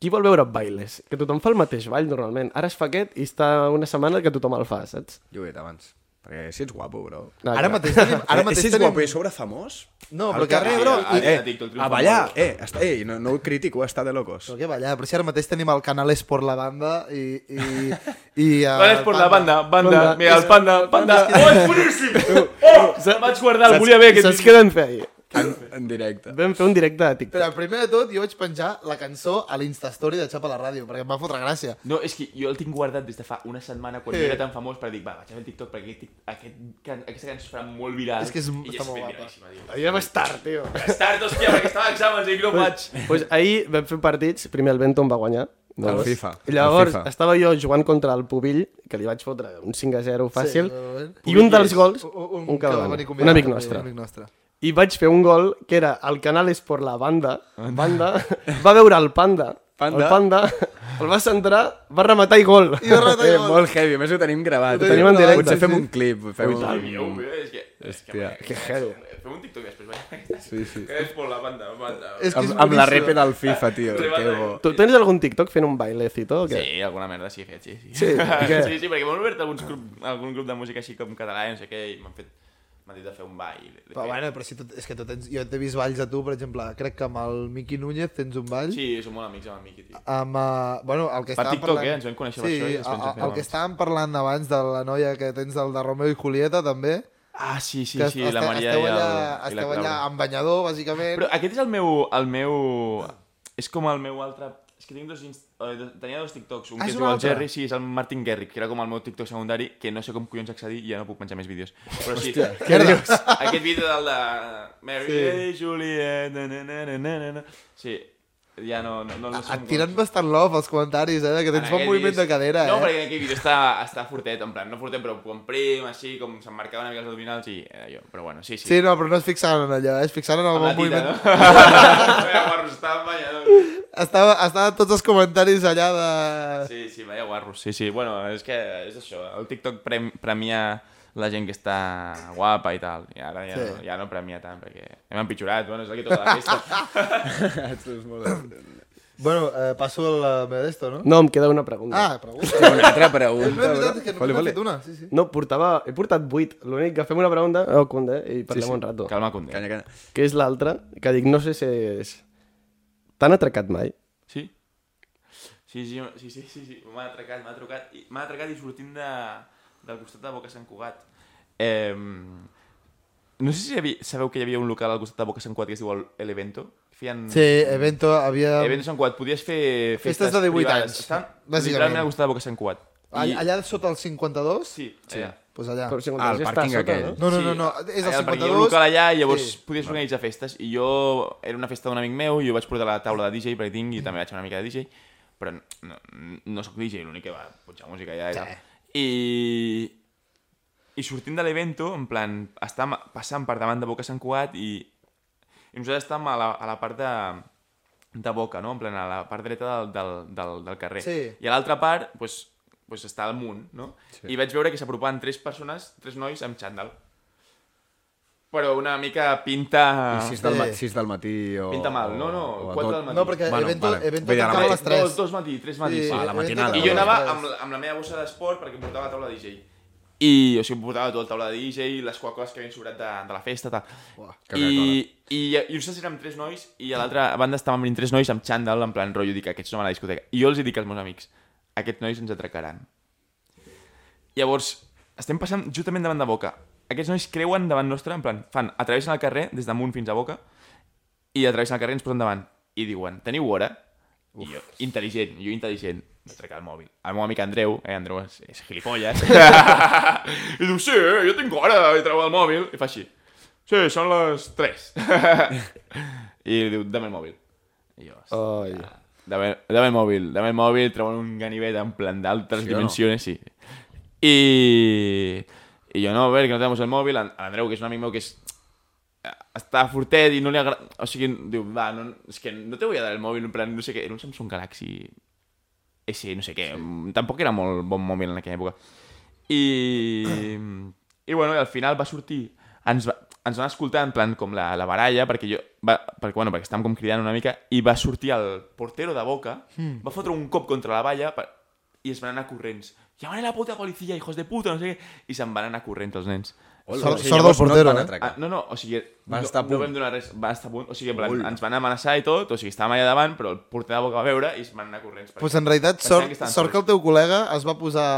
Speaker 1: Qui vol veure bailes? Que tothom fa el mateix ball, normalment. Ara es fa aquest i està una setmana que tothom el fa, saps?
Speaker 5: Jo ho he dit abans. Perquè si ets guapo, bro.
Speaker 1: No,
Speaker 4: Ara mateix tenim...
Speaker 5: Ara
Speaker 4: Ara mateix
Speaker 5: si ets guapo i
Speaker 4: tenim...
Speaker 5: a sobre famós...
Speaker 4: No,
Speaker 5: al
Speaker 4: però que
Speaker 5: carrer,
Speaker 4: ara-
Speaker 5: bro,
Speaker 2: ara-
Speaker 5: i-
Speaker 2: ara TikTok
Speaker 5: eh,
Speaker 2: triomfa
Speaker 5: a ballar,
Speaker 2: molt.
Speaker 5: eh, està, eh, no, no ho critico, està de locos.
Speaker 4: Però què ballar? Però si ara mateix tenim el canal Esport la Banda i... i, i uh,
Speaker 2: Vale, és per la banda, banda,
Speaker 1: Banda.
Speaker 2: mira, el panda, panda. Oh, és boníssim! Oh, el vaig guardar, el volia bé.
Speaker 1: que saps què vam fer ahir?
Speaker 5: En, en directe.
Speaker 1: Vam fer un directe de TikTok.
Speaker 4: Però primer de tot jo vaig penjar la cançó a l'Instastory de Xapa la Ràdio, perquè em va fotre gràcia.
Speaker 2: No, és que jo el tinc guardat des de fa una setmana quan
Speaker 4: Sí.
Speaker 2: sí. era tan famós, per dir, va, vaig a fer el TikTok perquè aquest, aquest, can, aquesta cançó es farà molt viral.
Speaker 4: És que és-
Speaker 2: I
Speaker 4: està
Speaker 2: és
Speaker 4: molt
Speaker 2: ben
Speaker 4: guapa.
Speaker 2: viralíssima, tio.
Speaker 1: Ahir vam estar, tio.
Speaker 2: Start, hòstia, perquè estava a exàmens i no vaig.
Speaker 1: pues ahir vam fer partits, primer el Benton va guanyar.
Speaker 5: El FIFA,
Speaker 1: I llavors
Speaker 5: el FIFA.
Speaker 1: estava jo jugant contra el Pubill, que li vaig fotre un 5 a 0 fàcil,
Speaker 4: Sí,
Speaker 1: i un dels gols,
Speaker 4: Un, un,
Speaker 1: un, que va venir, un
Speaker 4: convidat,
Speaker 1: amic nostre.
Speaker 4: Un amic nostre.
Speaker 1: I vaig fer un gol que era el canal és per la banda, banda, va veure el panda,
Speaker 5: Panda.
Speaker 1: el panda, el va centrar, va rematar i gol.
Speaker 4: I va rematar i
Speaker 5: Eh,
Speaker 4: gol.
Speaker 5: molt heavy, a més ho tenim gravat.
Speaker 1: Ho tenim en directe,
Speaker 5: Potser fem
Speaker 1: sí.
Speaker 5: un clip. Fem un...
Speaker 2: Déu meu, és que... És que,
Speaker 5: Hòstia.
Speaker 2: que
Speaker 1: heavy.
Speaker 2: Fem un TikTok i després, vaja.
Speaker 5: Sí, sí.
Speaker 2: És molt la banda, la banda.
Speaker 4: És que és
Speaker 5: Amb, amb la
Speaker 4: boníssim.
Speaker 5: repe del FIFA, tio. Que bo.
Speaker 1: Tu tens algun TikTok fent un bailecito? O què?
Speaker 2: Sí, alguna merda sí he fet, sí. Sí,
Speaker 1: Sí, i què?
Speaker 2: sí, sí perquè m'han obert alguns grup, algun grup de música així com català, no sé què, i m'han fet... M'han dit de fer un ball. i l'he
Speaker 4: Però
Speaker 2: fet.
Speaker 4: bueno, però si tu, és que tu tens, jo t'he vist balls a tu, per exemple, crec que amb el Miqui Núñez tens un ball.
Speaker 2: Sí, som molt amics amb el Miqui, tio.
Speaker 4: Amb, uh, bueno, el que
Speaker 2: Per
Speaker 4: estàvem
Speaker 2: TikTok,
Speaker 4: parlant...
Speaker 2: eh? Ens vam conèixer per
Speaker 4: sí,
Speaker 2: això i ens
Speaker 4: a-
Speaker 2: vam
Speaker 4: a-
Speaker 2: fer
Speaker 4: el que
Speaker 2: amics.
Speaker 4: estàvem parlant abans de la noia que tens del de Romeo i Julieta, també.
Speaker 2: Ah, sí, sí,
Speaker 4: que
Speaker 2: sí,
Speaker 4: est-
Speaker 2: la
Speaker 4: este-
Speaker 2: Maria
Speaker 4: esteu
Speaker 2: i, el,
Speaker 4: allà,
Speaker 2: i la
Speaker 4: Esteu allà
Speaker 2: Clara.
Speaker 4: amb banyador, bàsicament.
Speaker 2: Però aquest és el meu... El meu... És com el meu altre... És que tinc dos... inst- eh, dos- Tenia dos TikToks. Un
Speaker 4: Ah,
Speaker 2: que
Speaker 4: és
Speaker 2: es
Speaker 4: un
Speaker 2: diu el
Speaker 4: altre.
Speaker 2: Jerry, sí, és el Martin Garrick, que era com el meu TikTok secundari, que no sé com collons accedir i ja no puc penjar més vídeos. Però sí,
Speaker 4: Què dius?
Speaker 2: aquest vídeo del de... Mary sí. Juliet... Na, na, na, na, na, na, na. Sí, ja no... no, no, no sé
Speaker 4: Ah, Et
Speaker 2: com-
Speaker 4: tiren bastant love als comentaris, eh? Que tens
Speaker 2: en
Speaker 4: bon
Speaker 2: aquell
Speaker 4: moviment de
Speaker 2: disc-
Speaker 4: cadera,
Speaker 2: no,
Speaker 4: eh?
Speaker 2: No, perquè en aquell vídeo està, està fortet, en plan, no fortet, però com prim, així, com s'emmarcava una mica els abdominals i era jo. Però bueno, sí, sí.
Speaker 4: Sí, no, però no es fixaven en allò, eh? es fixaven en el
Speaker 2: Amb la
Speaker 4: bon
Speaker 2: tita,
Speaker 4: moviment.
Speaker 2: no? Vaya guarros, estava banyador.
Speaker 4: Estava, estaven tots els comentaris allà de...
Speaker 2: Sí, sí, vaya guarros. Sí, sí, bueno, és que és això. El TikTok prem premia la gent que està guapa i tal. I ara ja,
Speaker 4: Sí.
Speaker 2: no, ja no premia tant, perquè hem empitjorat, bueno, és aquí tota la festa.
Speaker 4: Bueno, eh, passo el eh, meu d'esto, no?
Speaker 1: No, em queda una pregunta.
Speaker 4: Ah, pregunta.
Speaker 5: Una altra
Speaker 4: No, és
Speaker 5: pregunta.
Speaker 4: veritat,
Speaker 5: bro.
Speaker 4: és que no
Speaker 5: Vale,
Speaker 4: n'he
Speaker 5: vale.
Speaker 4: fet una. Sí, sí.
Speaker 1: No, portava... He portat 8. L'únic que fem una pregunta... Oh, Conde, i parlem un rato.
Speaker 2: Calma, Condé.
Speaker 5: Canya, canya.
Speaker 1: que és l'altra, que dic, no sé si és... T'han atracat mai?
Speaker 2: Sí? Sí, sí, sí, sí, sí, sí. m'ha atracat, m'ha trucat, i- m'ha atracat i sortint de, del costat de Boca Sant Cugat. Eh, no sé si sabeu, sabeu que hi havia un local al costat de Boca Sant Cugat que es diu el- El Evento. Feien...
Speaker 4: Sí, evento, havia...
Speaker 2: Evento Sant Cugat, podies fer
Speaker 4: Em, Festes de 18
Speaker 2: privades.
Speaker 4: anys,
Speaker 2: Estan
Speaker 4: bàsicament.
Speaker 2: literalment em al costat de Boca Sant Cugat.
Speaker 4: All- Allà sota el 52?
Speaker 2: Sí, sí. Allà.
Speaker 4: Pues allà.
Speaker 1: Però si
Speaker 5: Ah, el
Speaker 1: ja està
Speaker 5: pàrquing
Speaker 1: a
Speaker 5: aquell.
Speaker 1: No?
Speaker 4: No, no, no, no, és el
Speaker 2: allà, perquè hi
Speaker 4: 52.
Speaker 2: havia un local allà i llavors
Speaker 4: Sí.
Speaker 2: sí. podies organitzar festes. I jo, era una festa d'un amic meu i jo vaig portar la taula de DJ perquè tinc i també vaig fer una mica de DJ. Però no, no sóc DJ, l'únic que va punxar música allà era. I, i sortint de l'evento, en plan, estàvem passant per davant de Boca Sant Cugat i, i nosaltres estàvem a la, a la part de, de Boca, no? En plan, a la part dreta del, del, del, del carrer.
Speaker 4: Sí.
Speaker 2: I a l'altra part, doncs, doncs està al munt, no? Sí. I vaig veure que s'apropaven tres persones, tres nois amb xandall però una mica
Speaker 5: Ah,
Speaker 2: pinta...
Speaker 6: I 6 del, ma
Speaker 4: Eh.
Speaker 6: 6 del matí o...
Speaker 2: Pinta mal. No, no,
Speaker 6: o a
Speaker 2: quatre
Speaker 6: tot-
Speaker 2: del matí.
Speaker 4: No, perquè
Speaker 6: Bueno,
Speaker 4: bueno, evento,
Speaker 6: vale.
Speaker 4: vale. evento
Speaker 6: Vull dir, a la
Speaker 4: tancava a
Speaker 6: ma-
Speaker 4: les 3.
Speaker 2: Dos, dos matí, tres matí.
Speaker 4: Sí,
Speaker 2: Sí,
Speaker 6: a la
Speaker 4: evento
Speaker 6: matinada.
Speaker 4: tancava
Speaker 2: I
Speaker 4: a
Speaker 2: jo
Speaker 4: les
Speaker 2: anava
Speaker 4: tres.
Speaker 2: amb, amb la meva bossa d'esport perquè em portava taula de DJ. I, o sigui, em portava tot taula de DJ, les Coca-Coles que havien sobrat de, de la festa, tal.
Speaker 5: que
Speaker 2: I, i, I uns érem tres nois i a l'altra banda estàvem venint tres nois amb xandall, en plan rotllo, dic, aquests no van a la discoteca. I jo els hi dic als meus amics, aquests nois ens atracaran. Llavors, estem passant justament davant de Boca. Aquests nois creuen davant nostre, en plan, fan, atravessen el carrer, des damunt fins a Boca, i atravessen el carrer i ens posen davant. I diuen, teniu hora? I jo, intel·ligent, jo intel·ligent. Vaig trecar el mòbil. El meu amic Andreu, eh, Andreu és, és gilipolles. I diu, sí, eh, jo tinc hora, i treu el mòbil. I fa així, sí, són les 3. I li diu, dame el mòbil. I jo, oh.
Speaker 1: Ai.
Speaker 2: dame, dame el mòbil, dame el mòbil, treuen un ganivet en plan d'altres sí, dimensions, no? sí. I... I jo, no, a veure, que no tenemos el mòbil. En- Andreu, que és un amic meu que és està fortet i no li agrada... O sigui, diu, va, no, és que no te voy a dar el mòbil, en plan, no sé què, era un Samsung Galaxy S, no sé què, Eh, sí. tampoc era molt bon mòbil en aquella època. I, i bueno, i al final va sortir, ens, va, ens van escoltar en plan com la, la baralla, perquè jo, va, perquè, bueno, perquè estàvem com cridant una mica, i va sortir el portero de Boca,
Speaker 6: Hmm.
Speaker 2: mm. va fotre un cop contra la valla per, i es van anar corrents. Llamaré la puta policia, hijos de puta, no sé què. I se'n van anar corrents els nens.
Speaker 6: Hola,
Speaker 4: Sort-
Speaker 6: o sigui,
Speaker 4: sort
Speaker 6: llavors no
Speaker 4: del
Speaker 6: et
Speaker 4: portero,
Speaker 6: van
Speaker 4: eh?
Speaker 6: atracar.
Speaker 2: Ah, no, no, o sigui,
Speaker 6: Va
Speaker 2: no,
Speaker 6: estar a
Speaker 2: no
Speaker 6: punt.
Speaker 2: vam donar res, va estar a punt, o sigui, en plan,
Speaker 6: Ui.
Speaker 2: ens van amenaçar i tot, o sigui, estàvem allà davant, però el porter de boca va veure i es van anar corrents. perquè-
Speaker 4: Pues en realitat,
Speaker 2: Pensava
Speaker 4: sort,
Speaker 2: que estaven
Speaker 4: sort que el
Speaker 2: sols.
Speaker 4: teu col·lega es va posar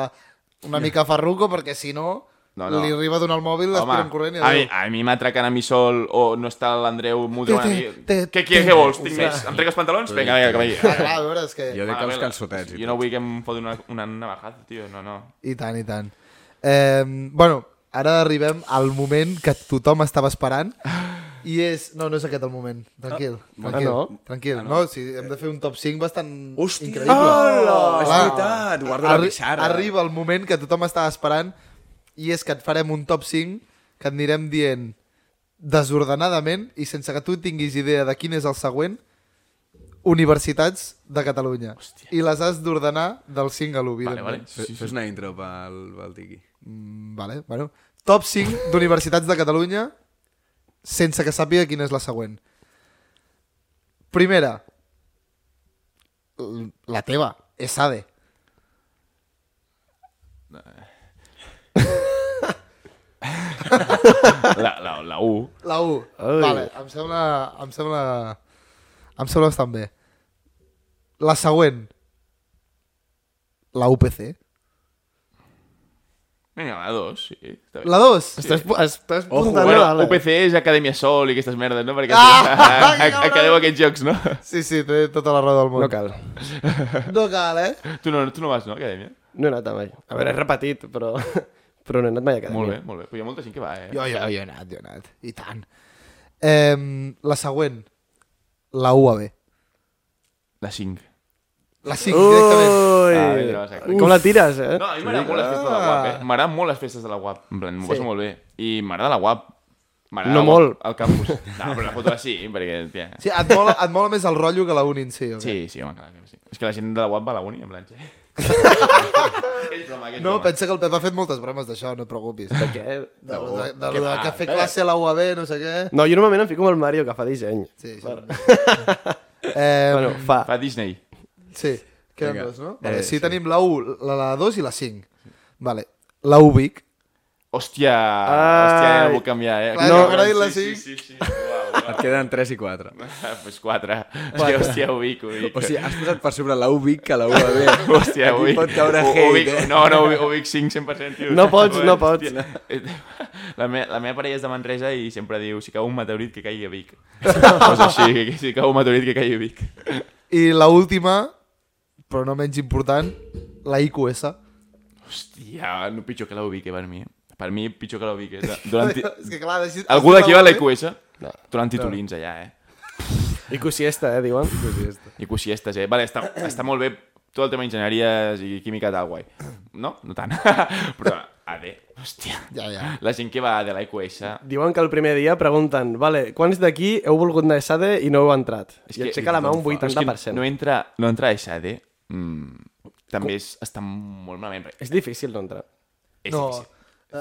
Speaker 4: una mica farruco, perquè si no,
Speaker 2: No, no.
Speaker 4: li arriba a donar el mòbil, l'espira en corrent i
Speaker 2: a mi,
Speaker 4: adéu.
Speaker 2: a mi m'atraquen a mi sol o no està l'Andreu, m'ho treuen a mi.
Speaker 4: Té, té,
Speaker 2: Què,
Speaker 4: té.
Speaker 2: què, què vols? Tinc
Speaker 4: Uf,
Speaker 2: més? Em trec els pantalons? Vinga, vinga, que
Speaker 4: Ah,
Speaker 2: vagi.
Speaker 4: clar, a veure, és que...
Speaker 6: Jo dic que els calçotets. i
Speaker 2: Jo no vull que em fotin una, una navajazo, tio, no, no.
Speaker 4: I tant, i tant. Eh, bueno, ara arribem al moment que tothom estava esperant, i és... No, no és aquest el moment. Tranquil, tranquil.
Speaker 1: Ah, no?
Speaker 4: Tranquil. No, sí, hem de fer un top 5 bastant
Speaker 5: Hòstia!
Speaker 4: increïble.
Speaker 5: Hola! És
Speaker 4: Clar.
Speaker 5: veritat, guarda la
Speaker 4: Arri-
Speaker 5: pixara.
Speaker 4: Arriba el moment que tothom estava esperant i és que et farem un top 5 que et anirem dient desordenadament i sense que tu tinguis idea de quin és el següent, universitats de Catalunya. Hòstia. I les has d'ordenar del 5 a l'1,
Speaker 2: Vale, vale.
Speaker 4: evidentment.
Speaker 5: Fes fes una intro pel, pel Tiqui.
Speaker 4: Vale, bueno. Top 5 d'universitats de Catalunya sense que sàpiga quina és la següent. Primera, l- la teva, ESADE.
Speaker 2: La, la, la U.
Speaker 4: La 1.
Speaker 1: Ai.
Speaker 4: Vale, em sembla... Em sembla... Em sembla bastant bé. La següent. La UPC.
Speaker 2: Vinga, la 2, sí. Està bé.
Speaker 4: La 2.
Speaker 1: Estàs, pu- estàs
Speaker 2: Ojo,
Speaker 1: puntant
Speaker 2: bueno,
Speaker 1: a la-
Speaker 2: UPC és Acadèmia Sol i aquestes merdes, no? Perquè
Speaker 4: Ah!
Speaker 2: a, a, a, quedeu aquests jocs, no?
Speaker 4: Sí, sí, té tota la raó del món.
Speaker 1: No cal.
Speaker 4: no cal eh?
Speaker 2: Tu no, tu no vas, no, a Acadèmia?
Speaker 1: No he anat mai. A veure, he repetit, però, però no he anat mai a acadèmia.
Speaker 2: Molt bé, molt bé. Però hi ha molta gent que va, eh?
Speaker 4: Jo, jo, jo he anat, jo he anat. I tant. Eh, la següent. La UAB.
Speaker 2: La 5.
Speaker 4: La 5,
Speaker 1: Uh!
Speaker 4: directament.
Speaker 1: Ui.
Speaker 2: Ah, bé, vas a-
Speaker 1: Com la tires, eh?
Speaker 2: No, a mi m'agraden molt les festes de la UAP, eh? M'agraden molt les festes de la UAP. En plan, m'ho passo molt bé. I m'agrada la UAP. M'agrada
Speaker 1: No
Speaker 2: la UAP
Speaker 1: molt.
Speaker 2: Al campus. No, però la foto sí, perquè... Tia.
Speaker 4: Sí, et mola, et mola més el rotllo que la uni en si, o què?
Speaker 2: Sí, sí, home, clar que sí. És que la gent de la UAP va a la uni, en plan... Sí. Aquell broma, aquell
Speaker 4: No,
Speaker 2: broma.
Speaker 4: pensa que el Pep ha fet moltes bromes d'això, no et preocupis. De,
Speaker 1: Què? eh?
Speaker 4: de, de, de, de que fer classe a la UAB, no sé què...
Speaker 1: No, jo normalment em fico amb el Mario, que fa disseny.
Speaker 4: Sí, sí. Eh,
Speaker 1: Bueno, fa.
Speaker 2: Fa Disney.
Speaker 4: Sí, queden
Speaker 5: Vinga.
Speaker 4: dos, no? Vale,
Speaker 5: Eh,
Speaker 4: sí,
Speaker 5: sí.
Speaker 4: tenim la 1, la, la 2 i la 5. Vale. La Ubic.
Speaker 2: Hòstia, hòstia, ja
Speaker 1: Ai.
Speaker 2: no puc canviar, eh?
Speaker 4: Clar,
Speaker 1: no,
Speaker 4: m'agrada dir la
Speaker 2: sí, sí, sí, sí. Uau,
Speaker 5: Et queden 3 i 4.
Speaker 2: uau. pues quatre. Hòstia, hòstia, ubic, ubic.
Speaker 5: O sigui, has posat per sobre la UBIC que la UAB.
Speaker 2: Hòstia,
Speaker 5: Aquí
Speaker 2: Ubic.
Speaker 5: pot caure
Speaker 2: U-
Speaker 5: hate,
Speaker 2: Ubic-
Speaker 5: eh?
Speaker 2: No, no, Ubic, Ubic 5, 100%, tio.
Speaker 1: No pots, no
Speaker 2: Hòstia. La, me, la meva parella és de Manresa i sempre diu si cau un meteorit que caigui a Vic. Pues així, que, que si cau un meteorit que caigui a Vic.
Speaker 4: I la última, però no menys important, la IQS.
Speaker 2: Hòstia, no pitjor que la Ubic, eh, per mi. Per mi, pitjor que la Ubic. És, eh. durant...
Speaker 4: És que clar, així...
Speaker 2: Algú d'aquí va a la
Speaker 4: UAB,
Speaker 2: IQS? No. Durant titulins allà, eh?
Speaker 1: I cosiesta, eh, diuen.
Speaker 2: I cosiestes, eh? Vale, està, està molt bé tot el tema d'enginyeries i química tal, guai. No? No tant. Però, a ver, hòstia.
Speaker 4: Ja, ja.
Speaker 2: La gent que va de la IQS...
Speaker 1: Diuen que el primer dia pregunten, vale, quants d'aquí heu volgut anar a ESADE i no heu entrat? I et aixeca la mà un
Speaker 2: Però És
Speaker 1: 80%.
Speaker 2: que no entra, no entra a SAD. Mm, també és, està molt malament. perquè
Speaker 1: És difícil no entrar.
Speaker 2: És
Speaker 4: No,
Speaker 2: difícil.
Speaker 4: eh? Ah,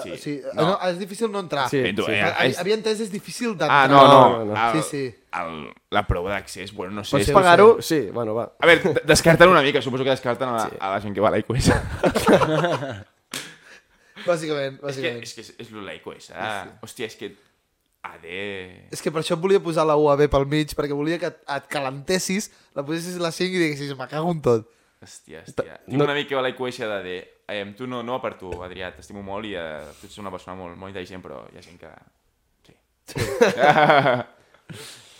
Speaker 4: Sí.
Speaker 2: Sí.
Speaker 4: O sigui, no.
Speaker 2: No.
Speaker 4: no, és difícil no entrar.
Speaker 1: Sí,
Speaker 2: tu,
Speaker 1: sí.
Speaker 2: eh,
Speaker 4: Ha-
Speaker 2: és-
Speaker 4: Havia entès, Ah, és difícil d'entrar.
Speaker 2: Ah, no, no.
Speaker 1: No, no,
Speaker 4: no.
Speaker 2: El,
Speaker 4: Sí, sí.
Speaker 2: El, la prova d'accés, bueno, no sé.
Speaker 1: Pots
Speaker 2: és-
Speaker 1: pagar-ho? Sí, bueno, va.
Speaker 2: A veure, d- descarten una mica, suposo que descarten a la, a la gent que va a la IQS.
Speaker 4: Bàsicament,
Speaker 2: és que
Speaker 4: bàsicament.
Speaker 2: és, que és, és lo de la IQS. Ah, hòstia, és que... Ade...
Speaker 4: És que per això et volia posar la UAB pel mig, perquè volia que et, et calentessis, la posessis a les 5 i diguessis, me cago en tot.
Speaker 2: Hòstia, hòstia.
Speaker 1: no-
Speaker 2: Tinc una mica la IQS de dir... Eh, tu no, no va per tu, Adrià, t'estimo molt i eh, tu ets una persona molt, molt intel·ligent, però hi ha gent que... Sí.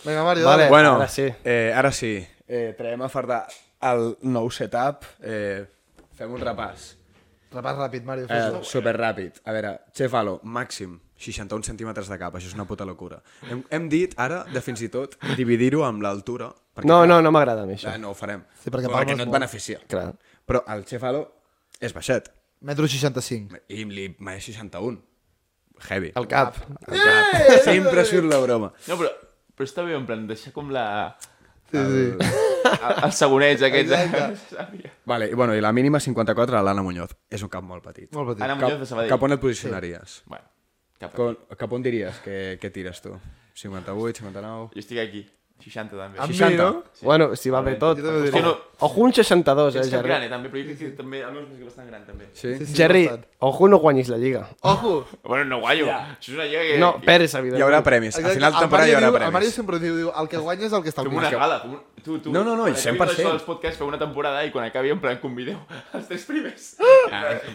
Speaker 4: Vinga, Mario,
Speaker 1: Vale.
Speaker 4: vale. dale.
Speaker 1: Bueno,
Speaker 5: Bueno,
Speaker 1: ara sí.
Speaker 5: Eh, ara sí. Eh, traiem a Fardà el nou setup. Eh, fem un repàs.
Speaker 4: Repàs ràpid, Mario.
Speaker 5: Eh,
Speaker 4: Eh,
Speaker 5: superràpid. A veure, Chefalo, màxim 61 centímetres de cap, això és una puta locura. Hem, hem dit ara de fins i tot dividir-ho amb l'altura. perquè,
Speaker 1: No,
Speaker 5: clar,
Speaker 1: no, no m'agrada a mi això.
Speaker 5: Ah, no ho farem.
Speaker 4: Sí, perquè
Speaker 5: perquè
Speaker 4: palmes
Speaker 5: no et
Speaker 4: molt.
Speaker 5: beneficia.
Speaker 1: Clar.
Speaker 5: Però el Chefalo és baixet.
Speaker 4: Metro 65.
Speaker 5: I li mai 61. Heavy.
Speaker 1: El cap.
Speaker 5: cap. Sempre surt la broma.
Speaker 2: No, però, però està bé, en plan, deixar com la...
Speaker 4: Sí, sí.
Speaker 2: el- els segonets aquests.
Speaker 4: Exacte.
Speaker 5: Vale, i, bueno, i la mínima 54 a l'Anna Muñoz. És un cap molt petit.
Speaker 4: Molt petit.
Speaker 2: Ara
Speaker 4: Ara...
Speaker 2: Muñoz de Sabadell.
Speaker 5: cap on et posicionaries?
Speaker 2: Bueno, cap aquí.
Speaker 5: Com, cap on diries que, que tires tu? 58, 59...
Speaker 2: Jo estic aquí. 60 també.
Speaker 4: Amb mi,
Speaker 5: 60.
Speaker 4: no?
Speaker 1: Sí. Bueno, si va bé tot.
Speaker 4: també ho diré.
Speaker 1: Ojo- Ojo un 62, eh,
Speaker 2: És Gerri. gran,
Speaker 1: Jerry.
Speaker 2: eh, també, però jo crec que també el meu és bastant gran, també.
Speaker 5: Sí? sí, sí.
Speaker 1: Jerry,
Speaker 4: bastant.
Speaker 1: ojo no guanyis la lliga.
Speaker 4: Ojo!
Speaker 2: Bueno, no guanyo. Això és una lliga que...
Speaker 1: No,
Speaker 2: que-
Speaker 1: perds,
Speaker 5: Hi haurà
Speaker 1: evidentment.
Speaker 5: premis. A final de
Speaker 4: el
Speaker 5: temporada hi
Speaker 4: Mario
Speaker 5: haurà
Speaker 4: diu, El Mario
Speaker 5: premis.
Speaker 4: sempre diu, diu, el que guanya és el que està al
Speaker 2: Fem una
Speaker 4: mig.
Speaker 2: gala. Fem un... Tu, tu.
Speaker 5: No, no, no, i
Speaker 2: quan
Speaker 5: 100%.
Speaker 2: acabi tot això dels podcasts, fem una temporada i quan acabi, en plan, convideu els tres primers.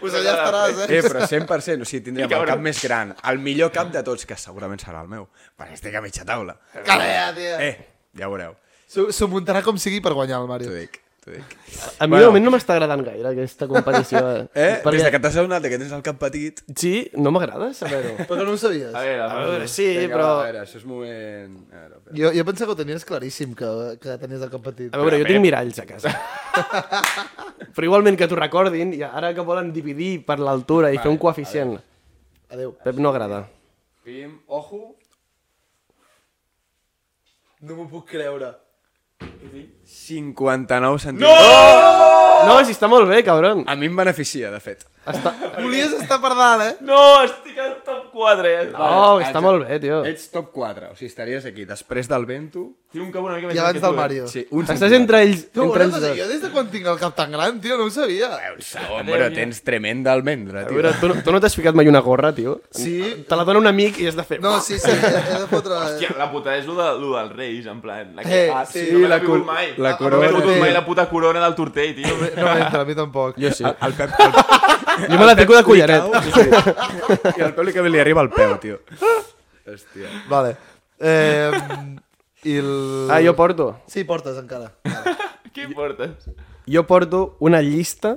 Speaker 4: Pues allà estaràs, eh?
Speaker 5: Eh, però 100%, o sigui, tindrem
Speaker 2: I
Speaker 5: el
Speaker 2: cabrón.
Speaker 5: cap més gran, el millor cap de tots, que segurament serà el meu, perquè estic a mitja taula.
Speaker 4: Calea, tia.
Speaker 5: Eh, ja veureu,
Speaker 4: S'ho s'ho muntarà com sigui per guanyar el
Speaker 5: t'ho
Speaker 4: Mario.
Speaker 5: dic, t'ho dic.
Speaker 1: A mi de
Speaker 5: Bueno.
Speaker 1: moment no m'està agradant gaire aquesta competició.
Speaker 5: Eh,
Speaker 1: Perquè-
Speaker 5: des de que t'has adonat que tens el cap petit...
Speaker 1: Sí, no m'agrada saber-ho.
Speaker 4: Però no ho sabies.
Speaker 2: A veure,
Speaker 1: A veure,
Speaker 2: veure.
Speaker 1: sí, però...
Speaker 5: A veure, això és moment... A veure, espera.
Speaker 4: Jo, jo pensava que ho tenies claríssim, que, que tenies el cap petit.
Speaker 1: A veure, jo
Speaker 2: Pep.
Speaker 1: tinc miralls a casa. Però igualment que t'ho recordin, i ara que volen dividir per l'altura i fer un coeficient.
Speaker 4: Adéu.
Speaker 1: Pep no agrada.
Speaker 5: Pim, ojo...
Speaker 4: No m'ho puc creure.
Speaker 5: 59 centímetres.
Speaker 1: No, si està molt bé, cabron.
Speaker 5: A mi em beneficia, de fet.
Speaker 1: Està...
Speaker 4: Volies estar per dalt, eh?
Speaker 2: No, estic al top 4, eh? No.
Speaker 1: Oh, està molt bé, tio.
Speaker 5: Ets top 4, o sigui, estaries aquí. Després del vento...
Speaker 2: Tinc un cap una mica
Speaker 4: I
Speaker 2: més gran
Speaker 4: abans
Speaker 2: que
Speaker 4: del
Speaker 2: tu, eh?
Speaker 4: Mario.
Speaker 5: Sí, un
Speaker 1: Estàs entre ells.
Speaker 4: Tu,
Speaker 1: Entre
Speaker 4: una
Speaker 1: ells
Speaker 4: cosa,
Speaker 1: dos.
Speaker 4: jo des de quan tinc el cap tan gran, tio, no ho sabia.
Speaker 5: Eh, Hombre, tens tremenda almendra,
Speaker 1: A
Speaker 5: tio.
Speaker 1: veure, tu, no- tu no t'has ficat mai una gorra, tio?
Speaker 4: Sí.
Speaker 1: Te la dona un amic i has de fer...
Speaker 4: No, sí, sí, he de fotre...
Speaker 2: Hòstia, la putada és lo, de, lo dels reis, en plan... La
Speaker 4: Eh,
Speaker 2: ah,
Speaker 4: sí,
Speaker 2: no me
Speaker 5: la
Speaker 2: n'ha vingut
Speaker 5: cor-
Speaker 2: mai.
Speaker 5: la
Speaker 2: No
Speaker 5: corona.
Speaker 2: m'he vingut mai
Speaker 4: Sí.
Speaker 2: la puta corona del tortell, tio.
Speaker 4: No m'entra, a mi tampoc.
Speaker 1: Jo sí.
Speaker 5: El, el Pep... El,
Speaker 1: Jo me la fico de collaret.
Speaker 5: sí. I el Pep li, que li arriba al peu, tio. Hòstia.
Speaker 4: Vale. Eh, I el...
Speaker 1: Ah, jo porto.
Speaker 4: Sí, portes encara.
Speaker 2: Què portes?
Speaker 1: Jo porto una llista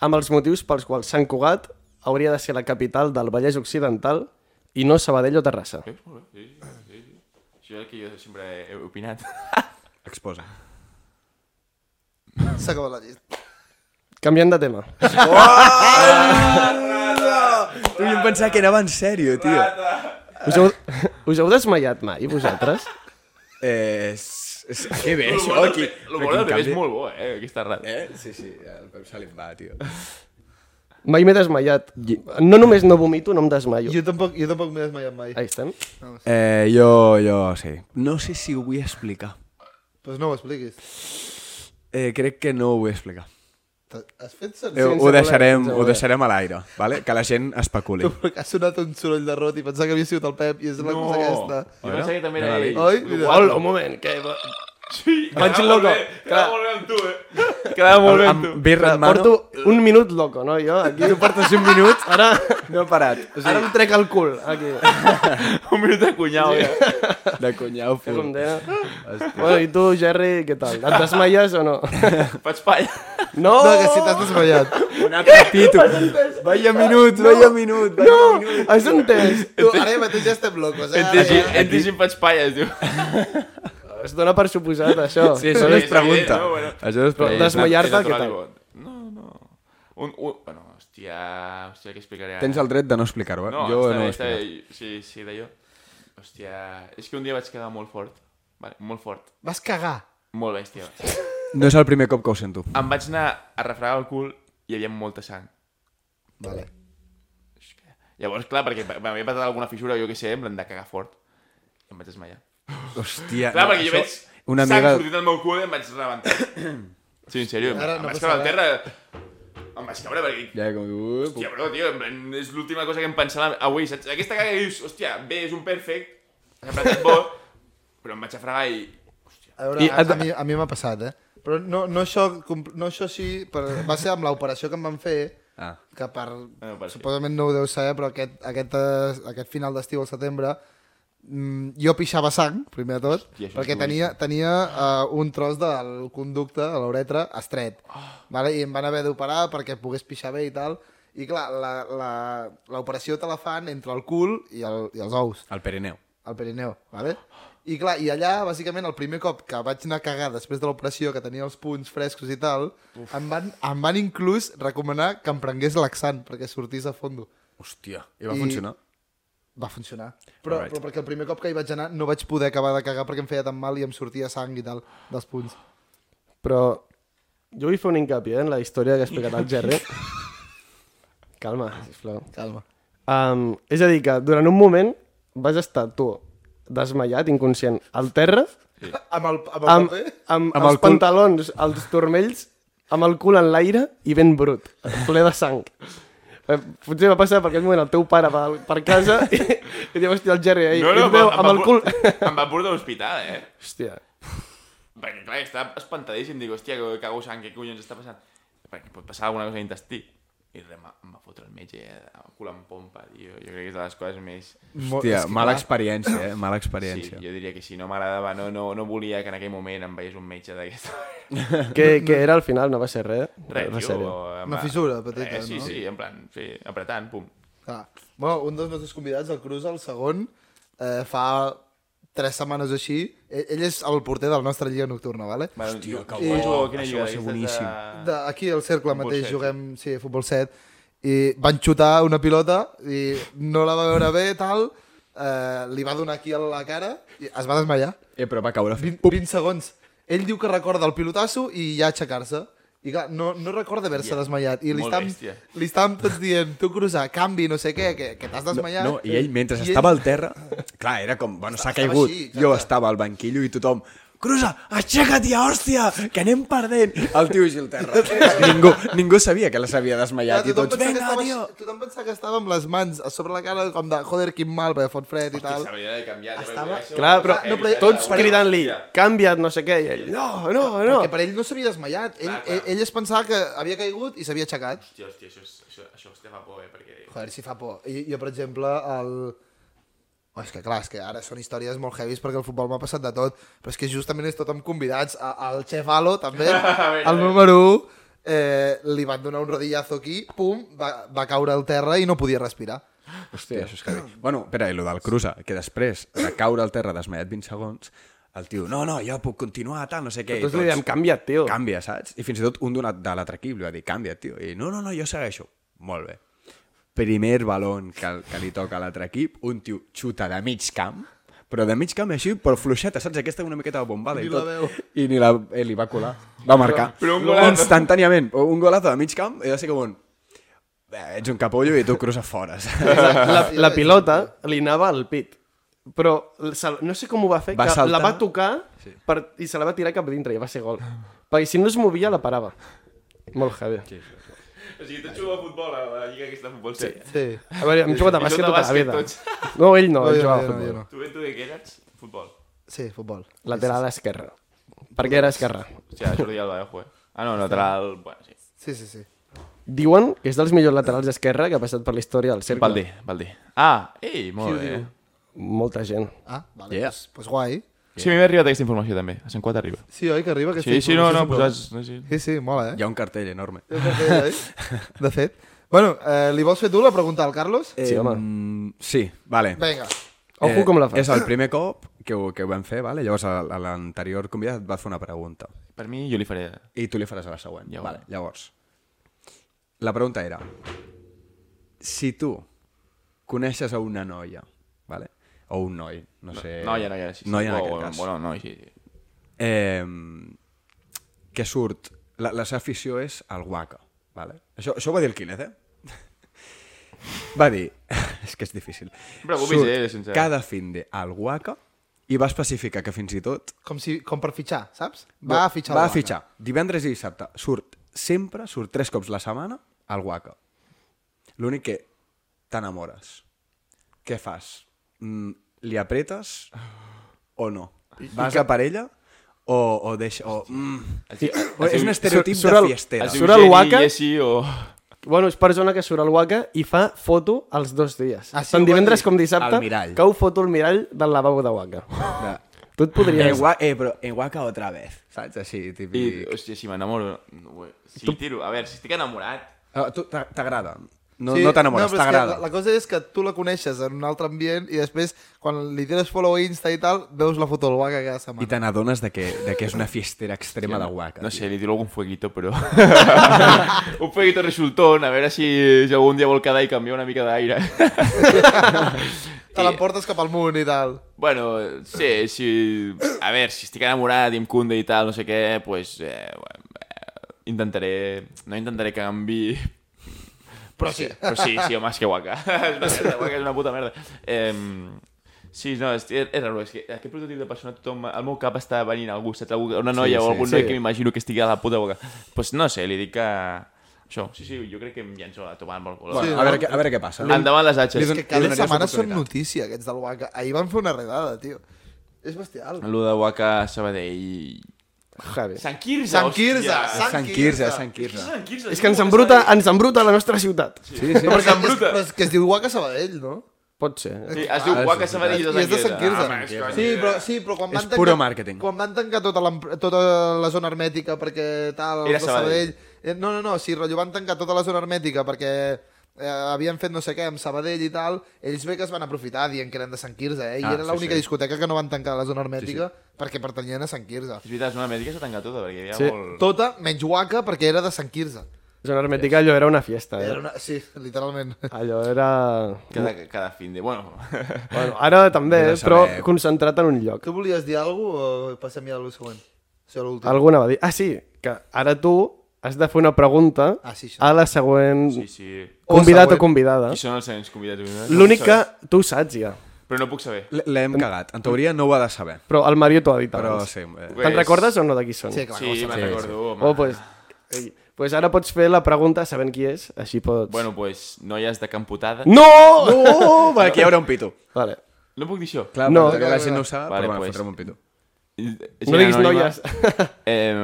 Speaker 1: amb els motius pels quals Sant Cugat hauria de ser la capital del Vallès Occidental i no Sabadell o Terrassa.
Speaker 2: Eh, molt bé, sí, sí, sí, sí. Això és el que jo sempre he opinat.
Speaker 5: Exposa.
Speaker 4: S'ha acabat la llista.
Speaker 1: Canviant de tema.
Speaker 5: Tu jo em pensava que anava en sèrio, tio.
Speaker 1: Us heu, us heu desmaiat mai, vosaltres?
Speaker 5: Eh, és, és, que bé,
Speaker 2: Lo
Speaker 5: això,
Speaker 2: bo del
Speaker 5: aquí.
Speaker 2: Pe- Lo bo del Pep és molt bo, eh, aquesta ràdio.
Speaker 5: Eh? Sí, sí, el Pep se li va, tio.
Speaker 1: Mai m'he desmaiat. No només no vomito, no em desmaio.
Speaker 4: Jo tampoc, jo tampoc m'he desmaiat mai.
Speaker 1: Ahí estem.
Speaker 5: Eh, jo, jo, sí. No sé si ho vull explicar.
Speaker 4: Doncs no ho expliquis.
Speaker 5: Eh, crec que no ho vull explicar.
Speaker 4: T'ha- Has fet sencer?
Speaker 5: Eh, ho, deixarem, ho deixarem a l'aire, vale? que la gent especuli.
Speaker 4: Tu, perquè ha sonat un soroll de rot i pensava que havia sigut el Pep i és la cosa aquesta.
Speaker 2: Jo pensava que també era ell.
Speaker 4: Oi? Mira.
Speaker 1: Hola, un moment, que...
Speaker 2: Sí,
Speaker 1: Vaig
Speaker 2: quedava
Speaker 1: loco.
Speaker 2: molt bé, Quedava molt bé amb tu, eh? Quedava molt bé amb
Speaker 5: Amb
Speaker 2: tu.
Speaker 5: birra en mano, Porto...
Speaker 1: Porto un minut loco, no? Jo aquí... Tu portes un minut? Ara,
Speaker 5: no he parat. O
Speaker 1: ara em trec el cul, aquí.
Speaker 2: Un minut de cunyau, eh?
Speaker 5: sigui, de conyau
Speaker 1: És com
Speaker 5: full.
Speaker 1: deia. Bueno, i tu, Jerry, què tal? Et desmaies o no?
Speaker 2: Faig palla.
Speaker 1: No!
Speaker 4: No, que si t'has desmaiat.
Speaker 5: Un altre títol. Vaya minut, vaya minut, vaya no. minut.
Speaker 1: Has entès?
Speaker 4: Tu, ara mateix ja estem locos, eh?
Speaker 2: Hem
Speaker 4: Ara
Speaker 2: dit-
Speaker 4: ja.
Speaker 2: Hem dit si em faig palla, es diu.
Speaker 1: Es dona per suposat, això.
Speaker 5: Sí, això
Speaker 2: Sí,
Speaker 5: no es
Speaker 2: és
Speaker 5: pregunta.
Speaker 2: evident, no? Bueno.
Speaker 5: Això no es
Speaker 1: Però
Speaker 5: pregunta.
Speaker 1: desmaiar-te,
Speaker 2: És natural
Speaker 1: què tal?
Speaker 2: i bo. No, no. Un, un... Bueno, hòstia, hòstia, què explicaré ara?
Speaker 5: Tens el dret de no explicar-ho, eh?
Speaker 2: No,
Speaker 5: jo
Speaker 2: està
Speaker 5: no
Speaker 2: bé,
Speaker 5: ho
Speaker 2: està
Speaker 5: explico.
Speaker 2: bé. Sí, sí, d'allò. Hòstia, és que un dia vaig quedar molt fort. Vale, molt fort.
Speaker 4: Vas cagar.
Speaker 2: Molt bèstia.
Speaker 5: No és el primer cop que ho sento.
Speaker 2: Em vaig anar a refregar el cul i hi havia molta sang.
Speaker 4: Vale.
Speaker 2: Llavors, clar, perquè m'havia patat alguna fissura, jo què sé, em l'han de cagar fort. I em vaig desmaiar.
Speaker 5: Hòstia.
Speaker 2: Clar, perquè jo veig
Speaker 5: Eh, Una
Speaker 2: sang
Speaker 5: amiga...
Speaker 2: sortint del meu cul i em vaig rebentar. sí, en sèrio, em,
Speaker 4: Ara
Speaker 2: em
Speaker 4: no
Speaker 2: vaig
Speaker 4: passa
Speaker 2: caure al terra... Em vaig caure perquè...
Speaker 5: Ja, com... que, Uh,
Speaker 2: Hòstia, bro, tio, en plan, és l'última cosa que em pensava avui, saps? Aquesta cara que dius, hòstia, bé, és un perfect, ha semblat bo, però em vaig a fregar i...
Speaker 4: A veure, a, a mi, a mi m'ha passat, eh? Però no, no, això, comp- no això sí, però va ser amb l'operació que em van fer, ah. que per...
Speaker 2: Ah, operació.
Speaker 4: Suposament no ho deu saber, però aquest, aquest, eh, aquest final d'estiu al setembre mm, jo pixava sang, primer de tot,
Speaker 2: Hòstia, això és
Speaker 4: perquè
Speaker 2: duríssim.
Speaker 4: tenia, tenia uh, un tros del conducte, de l'uretra, estret. Oh. Vale? I em van haver d'operar perquè pogués pixar bé i tal. I clar, la- la- l'operació te la fan entre el cul i, el, i els ous
Speaker 5: El Perineu.
Speaker 4: al Pirineu, vale? I clar, i allà, bàsicament, el primer cop que vaig anar a cagar després de l'operació, que tenia els punts frescos i tal, em van, em van inclús recomanar que em prengués laxant perquè sortís a fondo.
Speaker 5: Hòstia. I va
Speaker 4: I-
Speaker 5: funcionar?
Speaker 4: Va funcionar. Però,
Speaker 5: Alright.
Speaker 4: right. però perquè el primer cop que hi vaig anar no vaig poder acabar de cagar perquè em feia tan mal i em sortia sang i tal dels punts.
Speaker 1: Però jo vull fer un hincapié en la història que ha explicat el Gerri. Calma, sisplau.
Speaker 4: Calma.
Speaker 1: Um, és a dir, que durant un moment vas estar tu desmaiat, inconscient, al terra,
Speaker 4: Amb el, amb el
Speaker 1: amb,
Speaker 4: paper?
Speaker 1: amb, amb els pantalons, els turmells, amb el cul en l'aire i ben brut, ple de sang. Eh, Potser va passar per aquell moment el teu pare per, per casa i, i diu, hòstia, el Gerri, eh?
Speaker 2: em va-
Speaker 1: veu,
Speaker 2: em
Speaker 1: amb
Speaker 2: va
Speaker 1: el
Speaker 2: por-
Speaker 1: cul...
Speaker 2: Em va portar a l'hospital, eh?
Speaker 1: Hòstia,
Speaker 2: Perquè, clar, estava espantadíssim. Dic, hòstia, que cago sang, què collons està passant? Perquè pot passar alguna cosa a l'intestí. I res, em va- em va fotre el metge eh, amb el cul en pompa, tio. Jo crec que és de les coses més...
Speaker 5: Hòstia, mala experiència, eh? Mala
Speaker 2: Sí,
Speaker 5: experiència.
Speaker 2: jo diria que si no m'agradava, no, no, no volia que en aquell moment em veiés un metge d'aquesta
Speaker 1: que, que era al final, no va ser res.
Speaker 2: Res,
Speaker 1: va ser
Speaker 2: tio.
Speaker 1: res.
Speaker 2: em
Speaker 4: Una
Speaker 2: va-
Speaker 4: fissura petita,
Speaker 2: res, sí,
Speaker 4: no?
Speaker 2: Sí, sí, en plan, sí, apretant, pum.
Speaker 4: Clar. Bueno, un dels nostres convidats, el Cruz, el segon, eh, fa tres setmanes o així, e-, ell, ell és el porter de la nostra lliga nocturna, vale?
Speaker 2: Hòstia, que
Speaker 4: bo,
Speaker 2: això va ser boníssim.
Speaker 5: Ah.
Speaker 4: de, aquí al cercle
Speaker 2: Futbol
Speaker 4: mateix
Speaker 2: set,
Speaker 4: juguem, sí, a futbol 7, i van xutar una pilota i no la va veure bé, tal, eh, li va donar aquí a la cara i es va desmaiar.
Speaker 5: Eh, però va caure...
Speaker 4: 20, 20 segons. Ell diu que recorda el pilotasso i ja aixecar-se. I clar, no, no recorda haver-se
Speaker 2: Hòstia,
Speaker 4: desmaiat. I li
Speaker 2: molt
Speaker 4: estàvem,
Speaker 2: bèstia.
Speaker 4: li estàvem tots dient, tu cruzar, canvi, no sé què, que, que t'has desmaiat.
Speaker 5: No, i ell, mentre
Speaker 4: I
Speaker 5: estava al terra... Clar, era com... Bueno, s'ha
Speaker 4: Estava
Speaker 5: caigut.
Speaker 4: així, exacte.
Speaker 5: Jo estava al banquillo i tothom... Cruza, aixeca't ja, hòstia, que anem perdent. El tio i el terra. ningú, ningú sabia que la s'havia
Speaker 4: Clar,
Speaker 5: desmaiat i
Speaker 4: tothom,
Speaker 5: tots,
Speaker 4: pensava que
Speaker 5: vinga,
Speaker 4: estava,
Speaker 5: tio.
Speaker 4: tothom pensava que estava amb les mans a sobre la cara, com de, joder, quin mal, perquè fot fred i tal.
Speaker 2: S'havia de canviar.
Speaker 4: Estava-
Speaker 1: Clar, però,
Speaker 4: no, però-
Speaker 1: tots
Speaker 2: eh?
Speaker 4: però-
Speaker 1: cridant-li, canvia't, no sé què, i ell, no, no, no.
Speaker 4: Perquè per ell no s'havia desmaiat. Ell,
Speaker 2: Clar, clar.
Speaker 4: ell, ell es pensava que havia caigut i s'havia aixecat.
Speaker 2: Hòstia, hòstia, això, és- això, això hòstia fa por, eh? Perquè...
Speaker 4: Joder, si fa por. I, jo, per exemple, el... Oh, és que clar, és que ara són històries molt heavies perquè el futbol m'ha passat de tot, però és que justament és tot amb convidats. A- El xef Alo, també, el número 1, eh, li van donar un rodillazo aquí, pum, va, va caure al terra i no podia respirar.
Speaker 5: Hòstia, això és que... Bueno, espera, i lo del cruza, que després de caure al terra desmaiat 20 segons, el tio, no, no, jo puc continuar, tal, no sé què. i
Speaker 1: Tots li diem, canvia't, tio.
Speaker 5: canvia, saps? I fins i tot un donat de l'altre equip li va dir, canvia, tio. I no, no, no, jo segueixo. Molt bé. Primer balon que, que li toca a l'altre equip, un tio xuta de mig camp, però de mig camp així, però fluixeta, saps? Aquesta una miqueta de bombada
Speaker 4: Ni
Speaker 5: i
Speaker 4: la
Speaker 5: tot.
Speaker 4: veu.
Speaker 5: I ni la, eh, li va colar. Va marcar.
Speaker 2: però un golazo.
Speaker 5: Instantàniament. Un golazo de mig camp i va ser com un... "Eh, Ets un capollo i tu cruza fora, saps?
Speaker 1: la, la pilota li anava al pit. Però se- no sé com ho va fer,
Speaker 5: Va
Speaker 1: que
Speaker 5: saltar.
Speaker 1: la va tocar sí. per, i se la va tirar cap dintre i va ser gol. Perquè si no es movia, la parava. Molt heavy. Sí.
Speaker 2: O sigui, tots juguen a futbol, a la lliga aquesta de futbol. Sí.
Speaker 4: Sí.
Speaker 1: A veure, hem jugat a
Speaker 2: I
Speaker 1: bàsquet
Speaker 2: tot a
Speaker 1: tota la
Speaker 2: bàsquet,
Speaker 1: vida.
Speaker 2: tots.
Speaker 1: No, ell no,
Speaker 4: No,
Speaker 1: ell
Speaker 4: jo no,
Speaker 1: jugava a
Speaker 4: jo no, jo
Speaker 1: futbol.
Speaker 4: no.
Speaker 2: Tu ben tu de què eres? Futbol.
Speaker 4: Sí, futbol.
Speaker 1: Lateral esquerra. Perquè era esquerra.
Speaker 2: Hòstia, Jordi Alba, eh, joder. Ah, no, lateral... Bueno, sí.
Speaker 4: Sí, sí, sí.
Speaker 1: Diuen que és dels millors laterals d'esquerra que ha passat per la història del cercle.
Speaker 2: Valdi, Valdi. Ah, ei, molt bé.
Speaker 1: Molta gent.
Speaker 4: Ah, vale,
Speaker 5: Yeah.
Speaker 4: yeah. pues, pues guai.
Speaker 2: Sí, a mi m'ha arribat aquesta informació també. A 104 arriba.
Speaker 4: Sí, oi, que arriba aquesta
Speaker 2: Sí, sí, no, no,
Speaker 4: informació
Speaker 2: posats... No, sí.
Speaker 4: sempre? Sí, sí, mola, eh?
Speaker 5: Hi ha un cartell enorme.
Speaker 4: De fet. Bueno, eh, li vols fer tu la pregunta al Carlos?
Speaker 1: Sí, home.
Speaker 5: Mm, sí, vale.
Speaker 4: Vinga.
Speaker 1: Ojo com la fas.
Speaker 5: És el primer cop que ho, que ho vam fer, vale? llavors a- a l'anterior convidat et va fer una pregunta
Speaker 2: Per mi, jo li faré...
Speaker 5: i tu li faràs a la següent.
Speaker 2: Ja ho
Speaker 5: vale.
Speaker 2: veurem.
Speaker 5: Llavors, la pregunta era, si tu coneixes a una noia, vale? o un noi, no sé...
Speaker 2: Noia, Eh, noia, sí. sí.
Speaker 5: Noia en
Speaker 2: O-
Speaker 5: aquest cas.
Speaker 2: Bueno, noi, sí, sí.
Speaker 5: Eh, que surt... La, la seva afició és el guaca, vale? Això, això ho va dir el Quínez, eh? Va dir... és que és difícil.
Speaker 2: Però ho
Speaker 5: Surt
Speaker 2: vigilé, sincer.
Speaker 5: cada fin de al Waka i va especificar que fins i tot...
Speaker 4: Com, si, com per fitxar, saps? Va a fitxar.
Speaker 5: Va
Speaker 4: el
Speaker 5: a
Speaker 4: Waka.
Speaker 5: fitxar. Divendres i dissabte. Surt sempre, surt tres cops la setmana al Waka. L'únic que t'enamores. Què fas? Mm, li apretes o no? Vas a parella o, o deixa... O, mm. és un estereotip
Speaker 1: surt
Speaker 5: de
Speaker 1: el-
Speaker 5: fiestera.
Speaker 1: surt el Waka?
Speaker 2: Yessi o...
Speaker 1: Bueno, és persona que surt al Waka i fa foto els dos dies.
Speaker 4: Ah,
Speaker 1: Ah,
Speaker 4: sí,
Speaker 1: sí, Tant
Speaker 4: ho va
Speaker 1: divendres
Speaker 4: dir.
Speaker 1: com dissabte,
Speaker 5: Al mirall.
Speaker 1: cau foto al mirall del lavabo de Waka. Tu et
Speaker 5: En,
Speaker 1: podries...
Speaker 5: gua, eh, però en Waka otra vez. Saps? Així,
Speaker 2: I,
Speaker 5: típic...
Speaker 2: hòstia, si m'enamoro... No, si tiro... A veure, si estic enamorat...
Speaker 5: Ah, tu t'a- t'agrada. No,
Speaker 4: Sí,
Speaker 5: sí, no t'enamores, no,
Speaker 4: però és que
Speaker 5: t'agrada.
Speaker 4: La, la cosa és que tu la coneixes en un altre ambient i després, quan li tires follow a Insta i tal, veus la foto del Waka cada setmana.
Speaker 5: I te n'adones de, que, de que és una fiestera extrema de guaca.
Speaker 2: No sé, li tiro algun fueguito, però... un fueguito resultón, a veure si, si algun dia vol quedar i canviar una mica d'aire.
Speaker 4: Te l'emportes cap al munt i tal.
Speaker 2: Bueno, sí, sí. A veure, si estic enamorat i em cunde i tal, no sé què, pues, eh, bueno, eh, intentaré... No intentaré que canvi... Però sí. Però sí, sí, home, és que guaca. és una merda, guaca és una puta merda. Eh, sí, no, és, és, és raro, és que aquest prototip de persona, tothom, al meu cap està venint algú, saps? Algú, una noia sí, o algun sí, noi sí. que m'imagino que estigui a la puta boca. Doncs pues no sé, li dic que... Això, sí, sí, jo crec que em llenço a tomar amb el color.
Speaker 5: Bueno,
Speaker 2: Bueno,
Speaker 5: a, veure, què- a veure què passa.
Speaker 2: Endavant les atxes.
Speaker 4: Que cada setmana són notícia, aquests del Waka. Ahir van fer una redada, tio. És bestial.
Speaker 2: Lo de Waka Sabadell...
Speaker 1: Javi.
Speaker 2: Sant Quirze,
Speaker 4: Sant Quirze,
Speaker 2: hòstia.
Speaker 5: Sant Quirze, Sant Quirze.
Speaker 2: Sant Quirze.
Speaker 1: És que ens embruta, ens embruta la nostra ciutat. Sí.
Speaker 5: Sí, sí.
Speaker 4: Però és, és,
Speaker 2: Sant Bruta.
Speaker 4: però és que es diu Waka Sabadell, no?
Speaker 1: Pot ser. eh?
Speaker 2: Sí, es diu Guaca Sabadell
Speaker 4: I
Speaker 2: de
Speaker 4: és de Sant Quirze.
Speaker 2: Ah, home, és que-
Speaker 4: sí, però, sí, però quan
Speaker 5: És
Speaker 4: van tancar...
Speaker 5: puro màrqueting.
Speaker 4: Quan van tancar tota, l'em- tota la zona hermètica perquè tal... els
Speaker 2: Era
Speaker 4: de
Speaker 2: Sabadell.
Speaker 4: eh, No, no, no, sí, rotllo, van tancar tota la zona hermètica perquè eh, havien fet no sé què amb Sabadell i tal, ells bé que es van aprofitar dient que eren de Sant Quirze, eh? I
Speaker 5: Ah,
Speaker 4: era
Speaker 5: sí,
Speaker 4: l'única
Speaker 5: sí.
Speaker 4: discoteca que no van tancar a la zona hermètica perquè pertanyien a Sant Quirze.
Speaker 2: És veritat, és una mèdica s'ha tancat tota, perquè hi havia
Speaker 1: Sí.
Speaker 2: molt...
Speaker 4: Tota menys Waka perquè era de Sant Quirze.
Speaker 1: Zona hermètica, allò era una fiesta. Eh?
Speaker 4: Era una... Sí, literalment.
Speaker 1: Allò era...
Speaker 2: Cada, cada fin de... Bueno,
Speaker 1: Bueno, ara també,
Speaker 5: Vés a
Speaker 1: eh, però
Speaker 5: saber.
Speaker 1: concentrat en un lloc.
Speaker 4: Tu volies dir alguna cosa o passem ja a lo següent? O sigui, a l'últim.
Speaker 1: Alguna va dir... Ah, sí, que ara tu has de fer una pregunta
Speaker 4: Ah, sí, això.
Speaker 1: a la següent
Speaker 2: sí, sí.
Speaker 1: convidat
Speaker 4: següent.
Speaker 1: o convidada.
Speaker 2: Qui són els següents convidats? No
Speaker 1: L'únic
Speaker 2: puc
Speaker 1: que
Speaker 2: saber.
Speaker 1: tu ho saps ja,
Speaker 2: Però no puc saber.
Speaker 5: L- L'hem cagat. En teoria no ho ha de saber.
Speaker 1: però el Mario t'ho ha dit
Speaker 5: Però
Speaker 1: abans.
Speaker 5: sí. eh,
Speaker 1: Te'n
Speaker 2: És-
Speaker 1: recordes o no de qui són?
Speaker 4: Sí, clar,
Speaker 2: Sí,
Speaker 4: sí,
Speaker 2: me'n recordo, home.
Speaker 1: Oh, pues, ei, pues ara pots fer la pregunta sabent qui és, així pots...
Speaker 2: Bueno, pues, noies de camputada.
Speaker 1: No!
Speaker 5: Oh, va, aquí hi haurà un pito.
Speaker 1: Vale.
Speaker 2: No puc dir això. Eh,
Speaker 5: Clar,
Speaker 1: No.
Speaker 5: no, perquè la gent no ho sap,
Speaker 2: Vale,
Speaker 5: però bueno,
Speaker 2: pues.
Speaker 5: fotrem un pito.
Speaker 2: Gent
Speaker 1: No diguis
Speaker 2: anònima.
Speaker 1: noies.
Speaker 2: Eh,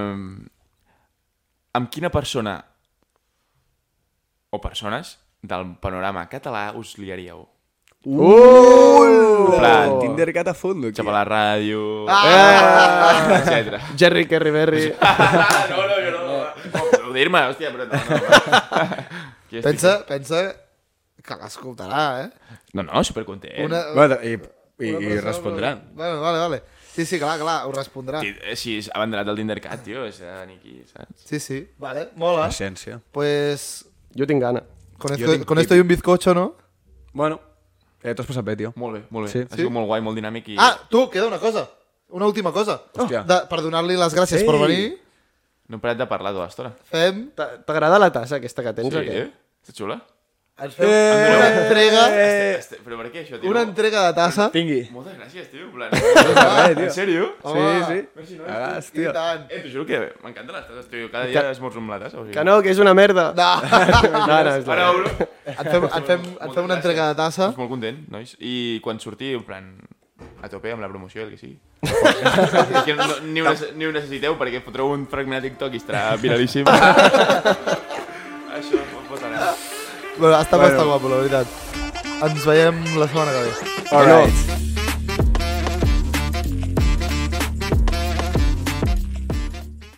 Speaker 2: amb quina persona o persones del panorama català us liaríeu?
Speaker 1: Uh!
Speaker 4: Oh.
Speaker 2: plan,
Speaker 5: Tinder gat a fondo, aquí.
Speaker 2: Xapa la ràdio...
Speaker 1: Ah!
Speaker 2: Etcètera.
Speaker 1: Jerry Kerry Berry.
Speaker 2: no, no, jo no. Podeu dir-me, hòstia, però no. no. Aquí estic-
Speaker 4: Pensa, pensa que l'escoltarà, eh?
Speaker 2: No, no, supercontent. Una...
Speaker 4: Una,
Speaker 5: Bueno, i, i,
Speaker 4: una
Speaker 5: i
Speaker 4: persona-
Speaker 5: respondran.
Speaker 4: Vale, vale, vale. Sí, sí, clar, clar, ho respondrà.
Speaker 2: Si és abanderat del Tindercat, tio, és de Niki, saps?
Speaker 4: Sí, sí. Vale, mola.
Speaker 5: Essència.
Speaker 4: Pues,
Speaker 1: Jo tinc gana.
Speaker 4: con
Speaker 5: Jo
Speaker 4: esto,
Speaker 5: tinc
Speaker 4: con
Speaker 5: tip.
Speaker 4: esto y un bizcocho, no?
Speaker 5: Bueno, eh, t'ho has passat bé, tio.
Speaker 2: Molt bé, molt bé.
Speaker 5: Sí.
Speaker 2: Sí. Ha sigut molt guai, molt dinàmic i...
Speaker 4: Ah, tu, queda una cosa. Una última cosa.
Speaker 5: Hòstia.
Speaker 4: De, per donar-li les gràcies
Speaker 5: Sí.
Speaker 4: per venir,
Speaker 2: No he parat de parlar tota l'estona.
Speaker 4: fem,
Speaker 1: T'a- T'agrada la tassa aquesta que tens?
Speaker 2: Sí,
Speaker 1: o què?
Speaker 2: eh? Està xula?
Speaker 4: ens fem una entrega,
Speaker 2: Eh... Este, però per què això, tio?
Speaker 4: una entrega de tassa.
Speaker 5: Tingui.
Speaker 2: Moltes gràcies, tio. en Plan... en sèrio?
Speaker 4: Ah.
Speaker 5: Sí, sí.
Speaker 2: Merci, nois.
Speaker 5: Cagas,
Speaker 4: I
Speaker 5: tio.
Speaker 4: tant.
Speaker 2: Eh, t'ho juro que m'encanten les tasses, tio. Cada dia esmorzo amb la tassa. O sigui...
Speaker 1: Que no, que és una merda.
Speaker 4: No.
Speaker 1: no, no és
Speaker 2: Ara
Speaker 1: la...
Speaker 2: obro.
Speaker 4: Et fem, et fem, et fem una entrega de tassa.
Speaker 2: Estic molt content, nois. I quan surti, en plan, a tope amb la promoció, el que sigui. És que no, ni, ho, nece- ni ho necessiteu, perquè fotreu un fragment a TikTok i estarà viralíssim. Això ho pot anar.
Speaker 4: Bueno, està bastant guapo, la veritat. Ens veiem la setmana que ve.
Speaker 1: All right.